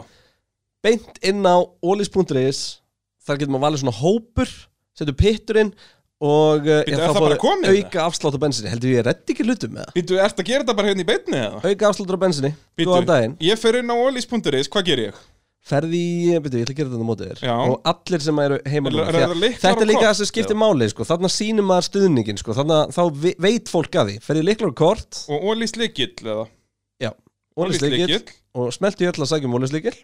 S1: beint inn á ólís.is þar getur maður valið svona hópur setur pitturinn og uh,
S3: Bíddu,
S1: já, þá
S3: er það bara
S1: fáið
S3: komið,
S1: auka afslátt á bensinni heldur ég reddi ekki hlutum með það
S3: Býtu, ert að gera þetta bara hérna í beinni eða?
S1: auka afslátt á bensinni,
S3: Bíddu,
S1: góðan daginn
S3: ég fer inn á olís.is, hvað ger ég?
S1: ferði í, byrju, ég ætla að gera þetta á mótið þér
S3: Já.
S1: og allir sem eru heima
S3: Er-
S1: núna,
S3: er
S1: því að
S3: það lyklar
S1: þetta er
S3: og
S1: líka
S3: kort?
S1: það sem skiptir máli sko. þarna sýnir maður stuðningin sko. þarna, þá ve- veit fólk að því ferði í liklar og kort
S3: og olís likill eða?
S1: já, ólisleikill
S3: Ólislykill.
S1: og smelti öll að sækjum ólisleikill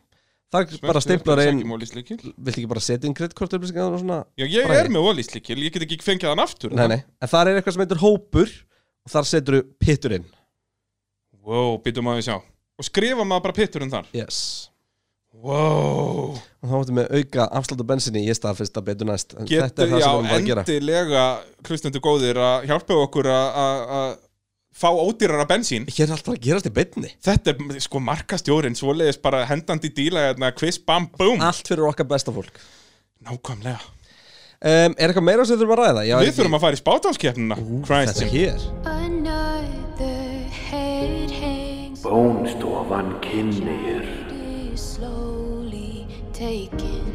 S1: þar bara stimplar einn
S3: Sækjum Olís lykill.
S1: vilt ekki bara setja inn kreditkort upplýsingar og svona
S3: Já, ég
S1: Bragi.
S3: er með ólýslíkil, ég get ekki fengið hann aftur
S1: Nei, nei, en þar er eitthvað sem heitir hópur og þar setur þú pitturinn
S3: Wow, býtum að við sjá Og skrifa maður bara pitturinn þar
S1: Yes
S3: Wow
S1: Og þá áttu með auka afslátt á bensinni í stað fyrst að betur næst En Þetta
S3: Getu,
S1: er það sem við
S3: já,
S1: erum bara að gera
S3: endilega hlustendur góðir að hjálpa okkur að- að að fá ódýrara bensín
S1: Hér er alltaf að gerast í beinni
S3: Þetta er sko markastjórin svoleiðis bara hendandi í díla hérna, quiz, bam, boom
S1: Allt fyrir okkar besta fólk
S3: Nákvæmlega
S1: um, Er eitthvað meira sem við þurfum að ræða? Já,
S3: Við þurfum að fara í spátámskeppnina Christ.
S1: Þetta hér
S4: Another head hangs
S5: Bónstofan kynir
S4: is slowly taken.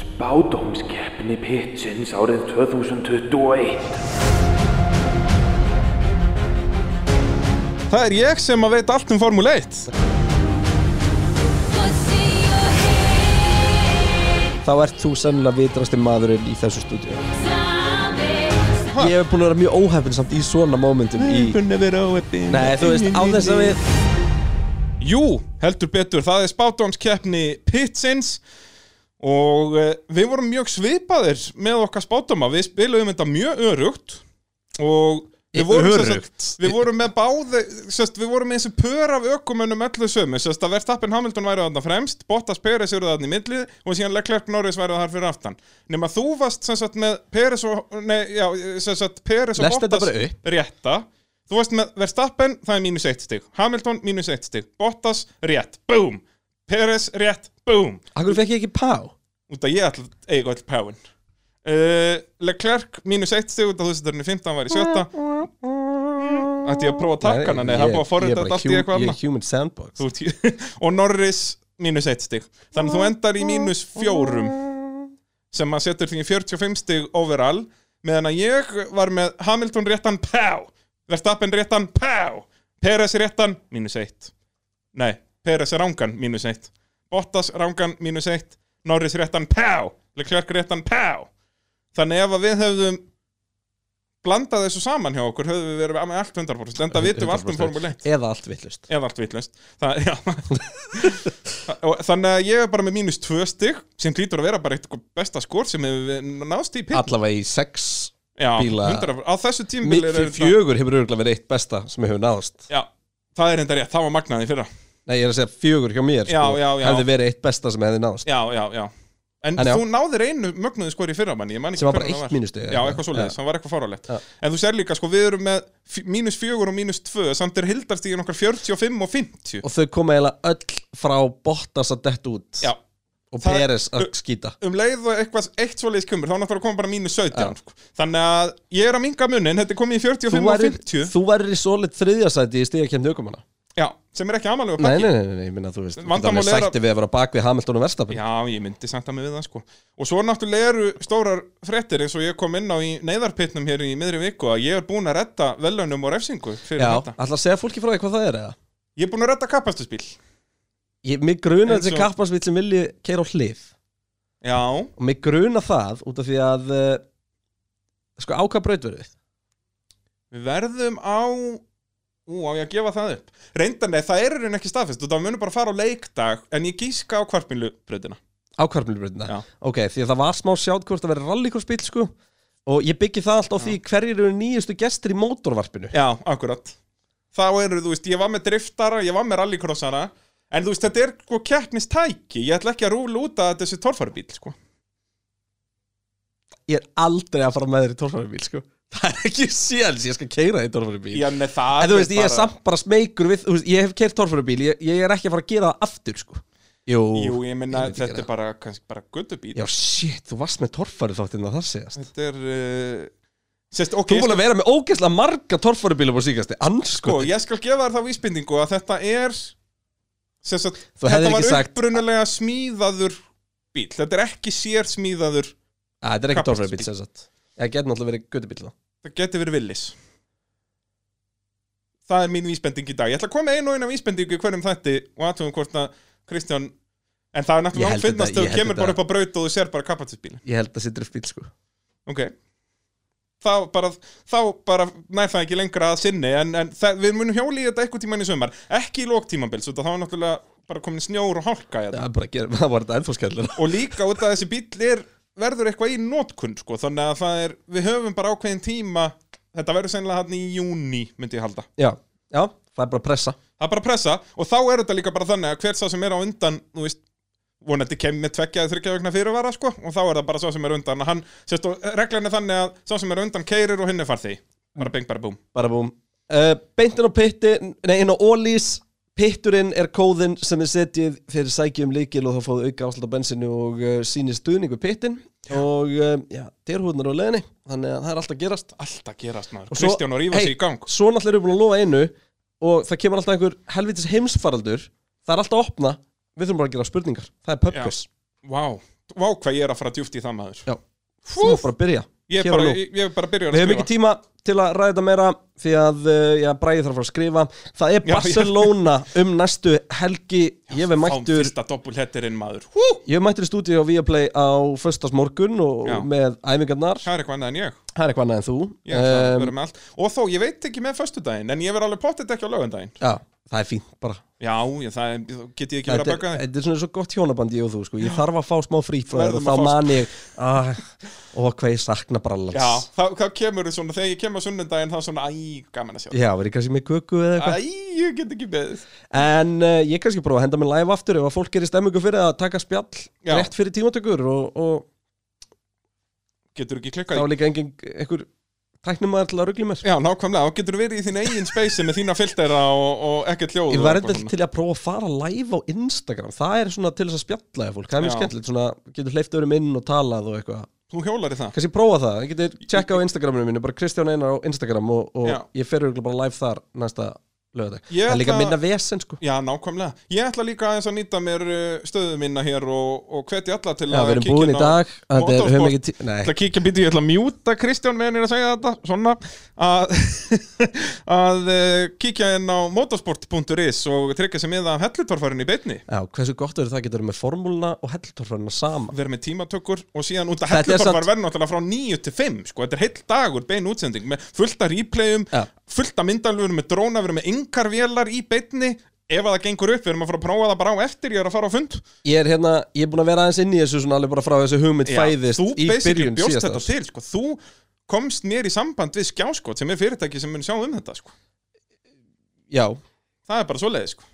S5: Spádomskeppni Pitsins árið 2021
S3: Það er ég sem að veit allt um Formule 1
S4: What's in your
S1: Þá ert þú sennilega vitrasti maðurinn í þessu stúdíu
S4: head?
S1: Ég hef búin að vera mjög óhefn samt í svona momentum í... Nei, þú veist, á þess að við
S3: Jú, heldur betur, það er spátdómskeppni Pitsins og uh, við vorum mjög svipaðir með okkar spátdóma, við spiluðum þetta mjög örugt og
S1: Eh,
S3: við vorum, sem sagt-
S1: Örugt?
S3: við vorum með báði sest, við vorum með þessu pör af ökumönnum öllu sömu, sest, að Verstappen Hamilton væri þarna fremst, Bottas Peres eru þarna í millið og síðan Leclerc Norris væri þar fyrir aftan nema þú varst sem sagt, með Peres og, nei, já, sem sagt, Peres og
S1: Lest þetta
S3: Bottas
S1: bara upp.
S3: rétta Þú veist með Verstappen, það er mínus eitt stig Hamilton, mínus eitt stig Bottas, rétt, boom Peres, rétt, boom
S1: Akkur fekk ég ekki pá
S3: Út að ég ætla að eiga all powen uh, Leclerc, mínus eitt stig Út að þú veist þetta er 15, var í sjötta Ætti ég að prófa að taka hana Nei, það er búið að forrita þetta allt í
S1: Mm, Ég er
S3: eitthvað annað
S1: human sandbox
S3: Þú ert- (laughs) Og Norris, mínus eitt stig Þannig að þú endar í mínus fjórum Sem að setur því í 45 stig overall Meðan að ég var með Hamilton réttan, pá Verstappen réttan, pá Peres réttan, mínus eitt Nei, Peres rángan, mínus eitt Bottas rángan, mínus eitt Norris réttan, pá Leclerc réttan, pá Þannig ef að við höfðum blandað þessu saman hjá okkur höfðum við verið með allt 100% enda vitum við allt um
S1: 100%.
S3: Formule 1
S1: Eða allt vittlust
S3: eða allt vitlust það, já. Og þannig að ég er bara með mínus tvö stygg sem hlýtur að vera bara eitthvað besta skor sem hefur náðst í pitt
S1: allavega í sex
S3: já,
S1: bíla.
S3: 100 á þessu tímbil
S1: Mikið fjögur hefur örgulega verið eitt besta sem hefur náðst
S3: já, það er enda rétt, það var magnaði fyrra
S1: Nei, ég er að segja fjögur hjá mér sko,
S3: Já, já, já.
S1: hefði verið eitt besta sem hefði náðst
S3: já, já, já En
S1: En já.
S3: þú náðir einu mögnuðu skori í fyrra manni, ég man ekki
S1: Sem var bara
S3: hvernig það
S1: eitt mínustig,
S3: Já,
S1: eða?
S3: eitthvað svoleiðis,
S1: Já.
S3: það var eitthvað faralegt
S1: Já.
S3: En þú sér líka, sko, við erum með f- mínus fjögur og mínus tvö Samt er hildarstíðin okkar 45 og 50
S1: og þau koma eiginlega öll frá Bottas að dett út
S3: Já,
S1: og
S3: Það-
S1: Peres að skýta
S3: um leið og eitthvað eitt svoleiðis kemur þá náttúrulega kom bara mínus 17 sko. þannig að ég er að minga munin þetta er komið í
S1: Þú
S3: 45 og
S1: værir,
S3: 50
S1: þú værir í solid þriðjasæti í stíðakemni aukumanna
S3: já, sem er ekki amalega
S1: Nei,
S3: pakki
S1: nei, nei, nei, nei, ég minna, þú veist þú getur
S3: Vandamál
S1: alveg
S3: er að-
S1: Sætti við að vera bak við Hamilton og Verstapin
S3: já, ég myndi samt að mig við það sko. og svo náttúrulega eru stórar frettir eins og ég kom inn á í neyðarpittnum hér í miðri viku að ég er búin að redda velunum og refsingu fyrir
S1: Já,
S3: þetta
S1: ætla að segja fólki frá því hvað það er eða
S3: ég er búin að redda kapastusbíl
S1: ég, Mig gruna
S3: Eins
S1: þessi
S3: og-
S1: kapparsvill sem vilji keira á hlið
S3: já,
S1: og mig gruna það út af því að uh, sko ákvað brautverðið
S3: við verðum á ú, á ég að gefa það upp reyndan eða það er í raun ekki staðfest og það munum bara fara á leikdag en ég gíska á kvartmýlu
S1: ákvarfmjölubrautina
S3: Já.
S1: ok, því að það var smá sjátt hvort að vera rallykursbíl sko og ég byggi það allt á því hverjir eru nýjustu gestir í mótorvarpinu
S3: Já, akkurat Þá eru, þú veist, ég var með driftara, ég var með rallycrossara En þú veist, þetta er sko keppnistæki Ég ætla ekki að rúla út að þetta sé torfarubíl, sko
S1: ég er aldrei að fara með þér í torfarubíl sko (laughs) það er ekki séls, ég skal keira í torfarubíl
S3: Já, nei, það
S1: en þú veist, ég er samt bara smeykur við, þú veist, ég hef keirt torfarubíl ég, ég er ekki að fara að gera það aftur sko jú,
S3: Jú, ég minna,
S1: myndi
S3: þetta
S1: gera
S3: er bara, kannski bara guttubíl
S1: það. já, shit, þú varst með torfaru þáttinn að það segast
S3: Þetta er uh, Sérst, ok,
S1: þú er
S3: ég
S1: búin
S3: skal,
S1: að vera með ógeðslega marga torfarubílum á síkasti,
S3: sko,
S1: anskot
S3: ég skal gefa þér þá vísbendingu að þetta er Sérst, að
S1: Þú hefðir
S3: þetta var
S1: ekki sagt-
S3: upprunalega smíðaður bíl Þetta er ekki sér smíðaður
S1: þetta er ekki
S3: Kappakstursbíll.
S1: torfarubíl sem sagt það getur náttúrulega verið göttubíl þá
S3: Það geti verið villis Það er mín vísbending í dag Ég ætla að koma með einu og einu vísbendingu í hverjum þætti og aðtöfum hvort að Kristján En það er
S1: Ég
S3: náttúrulega
S1: held
S3: áfinnast
S1: þetta-
S3: þegar
S1: ég
S3: þú
S1: held
S3: kemur
S1: þetta-
S3: bara upp á braut og þú sér bara kapatisbílin
S1: ég held að það sé driftbíl sko
S3: Ok Þá bara, þá bara nær það ekki lengra að sinni en, en það, við munum hjóli í þetta eitthvað tíman í sömar ekki í lóktímabils þá er náttúrulega bara komin snjór og hálka í þetta.
S1: það, er bara að gera, (laughs) það var þetta ennþá skellur
S3: og líka út af þessi bíl er, verður eitthvað í nótkunn sko, þannig að það er, við höfum bara ákveðin tíma þetta verður sennilega hann í júni myndi ég halda
S1: já, já, það er bara að pressa
S3: það er bara pressa og þá er þetta líka bara þannig að hver sá sem er á undan þú veist, vonandi kemur með tveggja eða þryggja vegna fyrirvara sko, og þá er það bara sá sem er á undan að hann, sérst, og reglan er þannig að sá sem er á undan keirir og hinn er farþegi bara bing bara búm
S1: bara búm uh, beintin á pitti, nei inn á ólís pitturinn er kóðinn sem er setjið þegar sækjum líkil um og þá fóðu auka áslut á bensinu og uh, sýnir stuðningu pittin og uh, já, derhúðnar á leðinni þannig að það er alltaf að gerast
S3: alltaf gerast maður,
S1: Og svo-
S3: Kristján og rífa
S1: hey.
S3: sig í gang
S1: svo náttúrulega erum við búin að lofa einu og það kemur alltaf einhver helvitis heimsfaraldur það er alltaf að opna, við þurfum bara að gera spurningar það er pubquiz,
S3: vá, vá hvað ég er að fara djúft í það maður
S1: já, þú er bara að byrja
S3: ég
S1: hér
S3: er
S1: og
S3: bara,
S1: nú.
S3: ég, ég er bara að byrja að
S1: Við hefum ekki tíma til að ræða þetta meira því að uh, já, Bræði þarf að fara að skrifa Það er
S3: Já,
S1: Barcelona um næstu helgi Ég hef
S3: Þá
S1: mættur
S3: fyrsta doppulhettirinn maður Hú!
S1: Ég hef mættur í stúdíu á Viaplay á föstasmorgun og
S3: Já.
S1: með æfingarnar
S3: Það er eitthvað annað en ég
S1: Það er eitthvað annað en þú
S3: Ég ætla að
S1: Ehm,
S3: vera með allt Og þó, ég veit ekki með föstudaginn En ég verð alveg pottet ekki á lögundaginn
S1: Já, það er fínt bara
S3: Já, ég, það er- þá get ég ekki verið
S1: Þetta
S3: að
S1: er,
S3: baka þig
S1: þetta er svona svo gott hjónaband ég og þú sko. Ég þarf að fá smá frí frá þér og
S3: Verðum að
S1: þá
S3: fá
S1: man ég ah, Og hvað ég sakna brallans
S3: Já, þá, þá kemur þú svona Þegar ég kemur á sunnundaginn þá svona Æ, gaman að sjá þig.
S1: Já, verið kannski með köku eða eitthvað
S3: Æ, ég get ekki beðið
S1: En uh, ég kannski prófa að henda mig live aftur ef að fólk er í stemmingu fyrir að taka spjall
S3: Já.
S1: rétt fyrir tímatökur og, og
S3: Getur ekki
S1: þá
S3: klikkað
S1: er
S3: í
S1: líka engin einhver tæknumæður til að ruggli mér.
S3: Já, nákvæmlega, þá getur verið í þín eigin space með þína filtera og, og ekkert hljóð
S1: Ég
S3: og
S1: var
S3: eitthvað
S1: eitthvað
S3: svona.
S1: til að prófa að fara live á Instagram. Það er svona til þess að spjalla við fólk. Það er mjög
S3: Já.
S1: skemmtilegt, svona getur hleyft örum inn og talað og eitthvað.
S3: Þú hjólar í það
S1: Kannski prófa það, ég getur tjekka á Instagraminu mínu, bara Kristján Einar á Instagram og, og
S3: Já.
S1: ég fer örugglega bara live þar næsta lögadag.
S3: Ég
S1: Það er líka
S3: ætla-
S1: minna vesen sko.
S3: Já, nákvæmlega Ég ætla líka aðeins að nýta mér uh, stöðu minna hér og, og hveti alla til
S1: Já,
S3: að
S1: við erum
S3: kíkja
S1: búin í
S3: inn á
S1: dag, þetta er, höfum
S3: Motorsport.
S1: ekki tí... Nei,
S3: ætla að kíkja býti, ég ætla að mjúta Kristján meðan ég er að segja þetta, svona að, að (laughs) eh, kíkja inn á motorsport.is og tryggja sér miða af hellutorfærin í beinni
S1: já, hversu gott verður það getur með formúluna og hellutorfarina sama.
S3: verið með tímatökur og síðan út að
S1: Þetta er
S3: hellutorfar
S1: samt-
S3: verður náttúrulega frá 9 til 5 sko, þetta er heill dagur bein útsending með fullta replayum,
S1: Já.
S3: fullta myndalvörum með dróna, við erum með yngarvélar í beinni ef að það gengur upp, við erum að fara að prófa það bara á eftir, ég er að fara á fund
S1: Ég er hérna, ég er búin að vera aðeins inn í þessu svona alveg bara frá þessu hugmynd
S3: Já,
S1: fæðist
S3: þú
S1: í
S3: basically
S1: byrjun
S3: bjóst
S1: síðast
S3: þetta
S1: árs.
S3: til sko. þú komst mér í samband við skjáskot sem er fyrirtæki sem mun sjá um þetta sko.
S1: Já,
S3: það er bara svo leiði sko.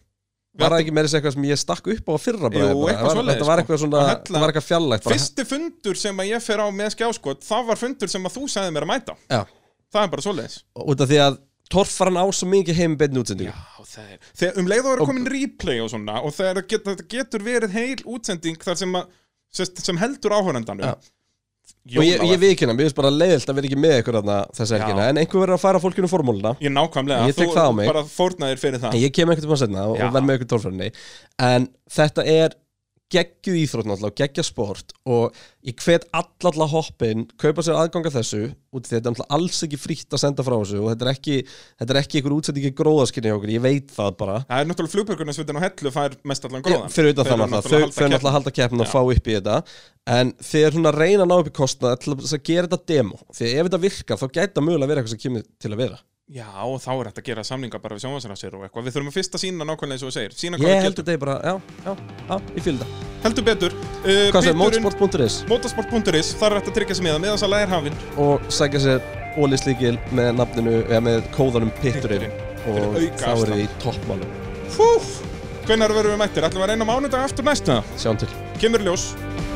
S1: var það ekki með þessu eitthvað sem ég stakk upp á að fyrra bara, hérna?
S3: Jú, eitthvað
S1: var,
S3: svoleiðis,
S1: Þetta var
S3: sko.
S1: eitthvað svona,
S3: Að hella-
S1: þetta var eitthvað fjallægt bara,
S3: fyrsti fundur sem að ég fer á með skjáskot það var fundur sem að þú sagði mér að mæta á.
S1: Já,
S3: það er bara svoleiðis
S1: út af því að torfar hann á svo mikið heim beinn útsendingu
S3: þegar, þegar um leið og eru komin replay og svona og þegar þetta get, þetta getur verið heil útsending þar sem, að, sem, sem heldur áhörendanu
S1: Já. og ég, ég viðkynna, mér finnst bara leiðilt að vera ekki með ykkur þarna þessa
S3: Já.
S1: helgina en einhver verður að færa fólkinu formúluna
S3: ég nákvæmlega,
S1: Ég tek það á mig.
S3: bara fórnaðir fyrir það
S1: en ég kem einhvern tímann setna og,
S3: Já.
S1: og verð með ykkur tólfræðinni en þetta er geggjuð íþrótt náttúrulega, og geggja sport og ég hvet allalla hoppin kaupa sér aðganga þessu út af því að þetta er náttúrulega alls ekki frítt að senda frá þessu og þetta er ekki, þetta er ekki ykkur útsendingi gróðaskinni hjá okkur, ég veit það bara
S3: það er náttúrulega flugbjörgunarsvitin og hellu fær mest allan
S1: Já,
S3: góðan
S1: fyrir utan
S3: Þeir
S1: það
S3: eru
S1: náttúrulega, þau þau náttúrulega að halda keppin og fá upp í þetta en þegar hún að reyna að ná upp í kostnað til að að gera þetta demo því að ef þetta virkar þá gæti það mögulega að vera eitthvað sem kemur til að vera
S3: Já, og þá er þetta að gera samlinga bara við sjónvarsrásir og eitthvað. Við þurfum að fyrst að sína nákvæmlega eins og þú segir. Sína hvað
S1: ég
S3: við
S1: held
S3: getum.
S1: þetta er bara, já, já, já, ég fylg það
S3: Heldur betur. Uh,
S1: hvað sem, motorsport.is
S3: Motorsport.is, þar er þetta að tryggja sig meða, meðan sala er hafinn.
S1: og sækja sér ólislíkil með nafninu, eða með kóðanum Pitturinn og
S3: Fyrir auka
S1: þá er
S3: afslátt.
S1: þið í toppmálum
S3: Húf! Hvenær verðum við mættir? Ætlum við að reyna á mánudag aftur næstu?
S1: sjáum til
S3: Kemur í ljós.